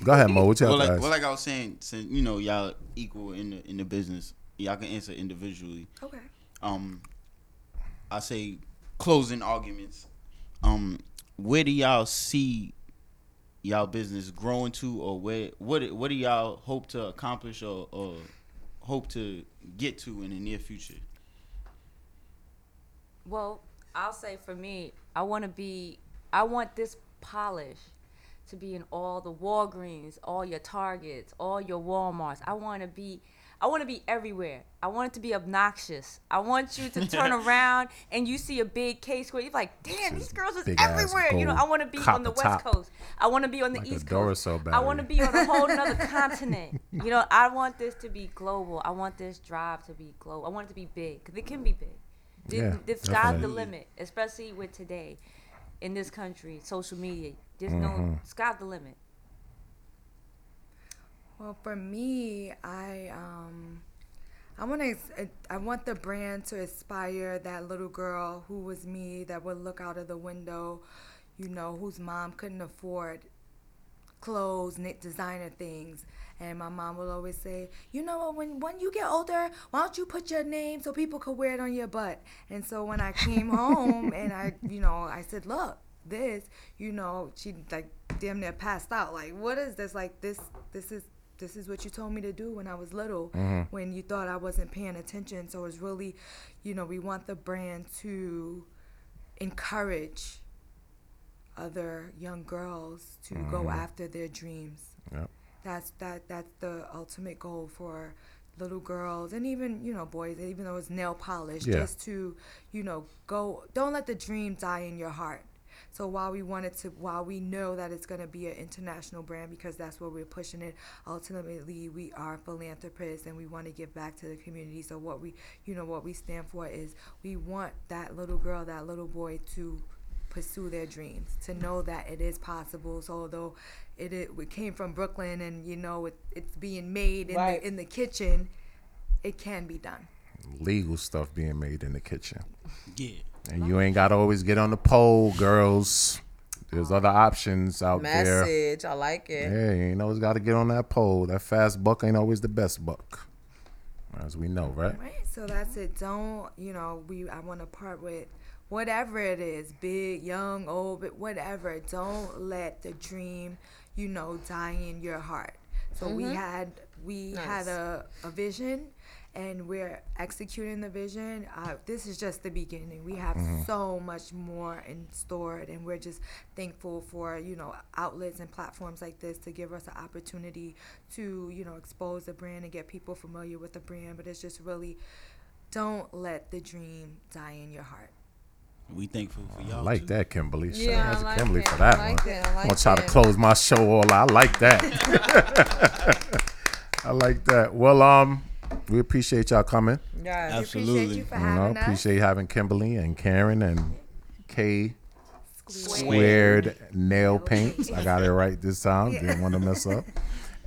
Speaker 5: Go ahead, Mo. What you have
Speaker 4: Well, like,
Speaker 5: to
Speaker 4: well,
Speaker 5: ask?
Speaker 4: like I was saying, since you know y'all equal in the in the business, y'all can answer individually.
Speaker 6: Okay.
Speaker 4: Um, I say closing arguments. Um, where do y'all see y'all business growing to, or where what what do y'all hope to accomplish, or, or hope to get to in the near future?
Speaker 8: Well, I'll say for me, I want to be, I want this polish to be in all the Walgreens, all your Targets, all your Walmarts. I want to be, I want to be everywhere. I want it to be obnoxious. I want you to turn around and you see a big case where you're like, damn, these girls is
Speaker 5: big ass
Speaker 8: everywhere. You know, I
Speaker 5: gold
Speaker 8: want to be on the
Speaker 5: copper
Speaker 8: West
Speaker 5: top.
Speaker 8: Coast. I want to be on the
Speaker 5: Like a
Speaker 8: East Coast.
Speaker 5: Duracell
Speaker 8: I want to
Speaker 5: battery.
Speaker 8: be on a whole nother continent. You know, I want this to be global. I want this drive to be global. I want it to be big because it can be big. The,
Speaker 5: Yeah,
Speaker 8: the sky's the
Speaker 5: definitely.
Speaker 8: limit, especially with today in this country, social media. There's
Speaker 5: Mm-hmm.
Speaker 8: no sky's the limit.
Speaker 6: Well, for me, I um, I want to. I want the brand to inspire that little girl who was me that would look out of the window, you know, whose mom couldn't afford clothes, knit designer things. And my mom will always say, you know what, when, when you get older, why don't you put your name so people could wear it on your butt? And so when I came home and I, you know, I said, look, this, you know, she like damn near passed out. Like, what is this? Like this, this is, this is what you told me to do when I was little, when you thought I wasn't paying attention. So it's really, you know, we want the brand to encourage other young girls to go after their dreams.
Speaker 5: Yep.
Speaker 6: That's that that's the ultimate goal for little girls and even you know boys even though it's nail polish
Speaker 5: Yeah.
Speaker 6: just to you know go don't let the dream die in your heart so while we wanted to while we know that it's going to be an international brand because that's where we're pushing it ultimately we are philanthropists and we want to give back to the community so what we you know what we stand for is we want that little girl that little boy to pursue their dreams to know that it is possible so although it, it, it came from brooklyn and you know it, it's being made in,
Speaker 11: Right.
Speaker 6: the, in the kitchen it can be done
Speaker 5: Legal stuff being made in the kitchen,
Speaker 4: Yeah.
Speaker 5: and you ain't got to always get on the pole, girls. There's other options out there.
Speaker 11: Message. I like it.
Speaker 5: Yeah, you ain't always got to get on that pole. That fast buck ain't always the best buck, as we know, right?
Speaker 6: right so that's it don't you know we i want to part with whatever it is big young old but whatever don't let the dream you know die in your heart so we had we had a, a vision and we're executing the vision uh, this is just the beginning we have so much more in store and we're just thankful for you know outlets and platforms like this to give us an opportunity to you know expose the brand and get people familiar with the brand but it's just really don't let the dream die in your heart
Speaker 4: We thankful for
Speaker 5: I
Speaker 4: y'all.
Speaker 5: like
Speaker 4: too.
Speaker 5: that, Kimberly. Shout
Speaker 11: Yeah,
Speaker 5: out
Speaker 11: I
Speaker 5: to
Speaker 11: like
Speaker 5: Kimberly
Speaker 11: it.
Speaker 5: for that
Speaker 11: I
Speaker 5: one.
Speaker 11: like it. I
Speaker 5: I'm
Speaker 11: like
Speaker 5: gonna try to
Speaker 11: it.
Speaker 5: close my show all. out. I like that. I like that. Well, um, we appreciate y'all coming.
Speaker 11: Yes.
Speaker 6: appreciate you for
Speaker 5: You know,
Speaker 6: having us
Speaker 5: appreciate having Kimberly and Karen and K
Speaker 4: Squared.
Speaker 5: squared nail paint. I got it right this time. Didn't want to mess up.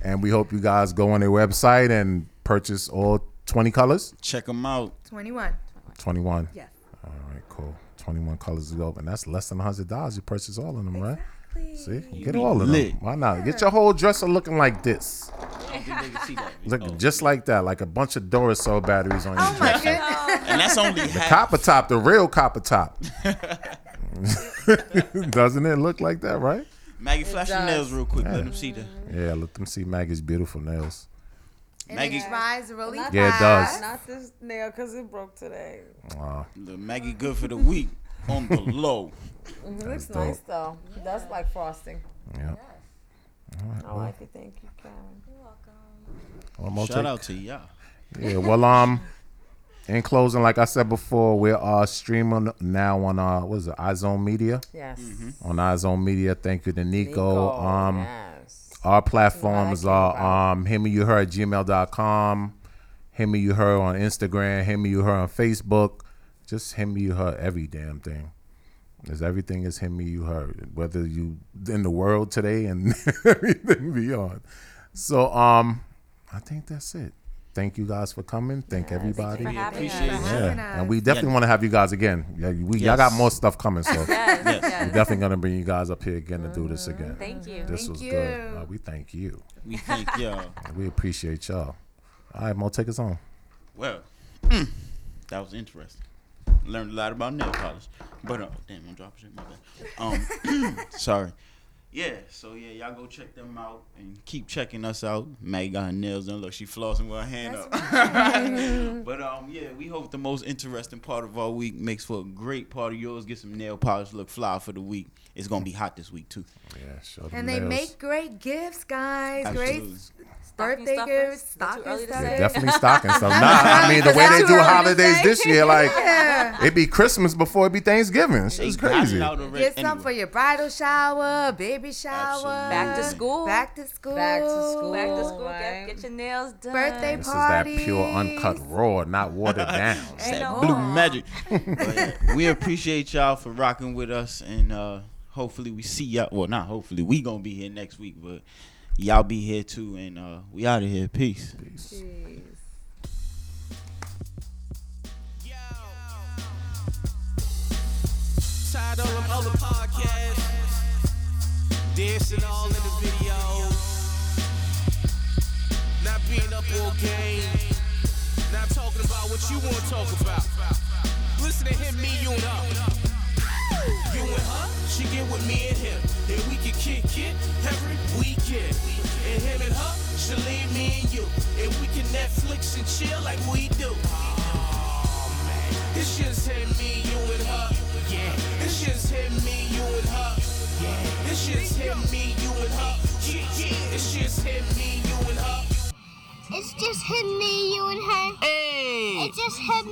Speaker 5: And we hope you guys go on their website and purchase all 20 colors.
Speaker 4: Check them out.
Speaker 6: 21
Speaker 5: 21.
Speaker 6: yes
Speaker 5: All right, cool. 21 colors to go. And that's less than $100. You purchase all of them, right? See? Get
Speaker 4: be
Speaker 5: all of
Speaker 4: lit.
Speaker 5: them. Why not? Get your whole dresser looking like this.
Speaker 4: I don't think they can see that.
Speaker 5: Looking
Speaker 4: Oh.
Speaker 5: just like that, like a bunch of Duracell batteries on your
Speaker 6: Oh.
Speaker 5: dresser.
Speaker 4: and that's only half.
Speaker 5: Copper top, the real copper top. Doesn't it look like that, right?
Speaker 4: Maggie, flash your
Speaker 11: does.
Speaker 4: nails real quick. Let them see the.
Speaker 5: Yeah, let them see Maggie's beautiful nails.
Speaker 6: and
Speaker 4: Maggie-
Speaker 6: it dries really fast.
Speaker 5: Yeah, it does.
Speaker 11: Not this nail because it broke today.
Speaker 5: Wow.
Speaker 4: The Maggie good for the week on the low.
Speaker 11: Mm, It looks
Speaker 5: dope.
Speaker 11: Mm-hmm. nice though. That's like frosting.
Speaker 5: Yeah.
Speaker 11: Oh, I
Speaker 4: Mm.
Speaker 11: like it. Thank you, Karen.
Speaker 5: One more
Speaker 4: Shout
Speaker 5: take.
Speaker 4: out to y'all.
Speaker 5: Yeah, well, um, In closing, like I said before, we are streaming now on uh what is it, iZone Media?
Speaker 11: Yes.
Speaker 5: On iZone Media. Thank you to Nico.
Speaker 11: Nico,
Speaker 5: um
Speaker 11: yes.
Speaker 5: our platforms are um him you her at gmail.com, him you her on Instagram, him you her on Facebook, just him you her every damn thing. Is everything is him you her, whether you in the world today and everything beyond. So um I think that's it. Thank you guys for coming. Thank everybody.
Speaker 8: for having us.
Speaker 4: Appreciate
Speaker 8: Thanks
Speaker 4: it.
Speaker 8: for having
Speaker 5: Yeah, and we
Speaker 6: us.
Speaker 5: definitely
Speaker 4: Yeah.
Speaker 5: want to have you guys again. Yeah, we y'all got
Speaker 4: Yes.
Speaker 5: more stuff coming, so
Speaker 8: Yes,
Speaker 4: Yes.
Speaker 5: we're
Speaker 8: yes. Mm-hmm.
Speaker 5: definitely gonna bring you guys up here again to do this again.
Speaker 8: Thank you.
Speaker 5: This
Speaker 6: Mm-hmm. Thank
Speaker 5: was
Speaker 6: you.
Speaker 5: good. Uh, we thank you.
Speaker 4: We think, y'all.
Speaker 5: We appreciate y'all. All right, Mo, take us home.
Speaker 4: Well, that was interesting. Learned a lot about nail polish. But uh, damn, I'm dropping shit. My bad. Um, sorry. Yeah, so yeah, y'all go check them out and keep checking us out. Meg got her nails done. Look, she flossing with her hand up. but um, yeah, we hope the most interesting part of our week makes for a great part of yours. Get some nail polish, look fly for the week. It's gonna be hot this week too.
Speaker 5: Oh, Yeah, show them
Speaker 6: And they
Speaker 5: nails.
Speaker 6: make great gifts, guys.
Speaker 4: Absolutely.
Speaker 6: Great birthday gifts,
Speaker 8: stuffers? Is it too
Speaker 5: They
Speaker 6: stocking
Speaker 8: early to say?
Speaker 6: stuffers.
Speaker 5: definitely stocking stuff. Nah, I mean the way they
Speaker 6: That's
Speaker 5: do
Speaker 6: what I'm
Speaker 5: holidays
Speaker 6: saying.
Speaker 5: this year, like
Speaker 6: Yeah.
Speaker 5: it be Christmas before it be Thanksgiving.
Speaker 4: They
Speaker 5: It's
Speaker 4: got it
Speaker 5: crazy.
Speaker 4: out already
Speaker 6: Get some
Speaker 4: anyway.
Speaker 6: for your bridal shower, baby shower.
Speaker 4: Absolutely.
Speaker 8: Back to school.
Speaker 6: Back to school.
Speaker 11: Back to school.
Speaker 8: Back to school.
Speaker 11: Right.
Speaker 8: Get, get your nails done.
Speaker 6: Birthday
Speaker 5: This is that
Speaker 6: parties.
Speaker 5: pure uncut raw, not watered down.
Speaker 8: Ain't no
Speaker 4: blue
Speaker 8: harm.
Speaker 4: magic. But, yeah, we appreciate y'all for rocking with us, and uh, hopefully we see y'all. Well, not hopefully. We gonna be here next week, but y'all be here too, and uh, we out of here. Peace.
Speaker 1: Tired of them other podcasts. Dancing all in the videos. Not being up all game. Not talking about what you want to talk about. Listen to him, me, you and her. You and her, she get with me and him. And we can kick it every weekend. And him and her, she leave me and you. And we can Netflix and chill like we do. This shit's hit me, you and her. Yeah. This shit's hit me, you and her. Yeah. This shit's hit me, you and her. Yeah, yeah. This shit's hit me, you and her.
Speaker 2: It's just him, me, you, and her.
Speaker 1: Hey.
Speaker 2: It's just him,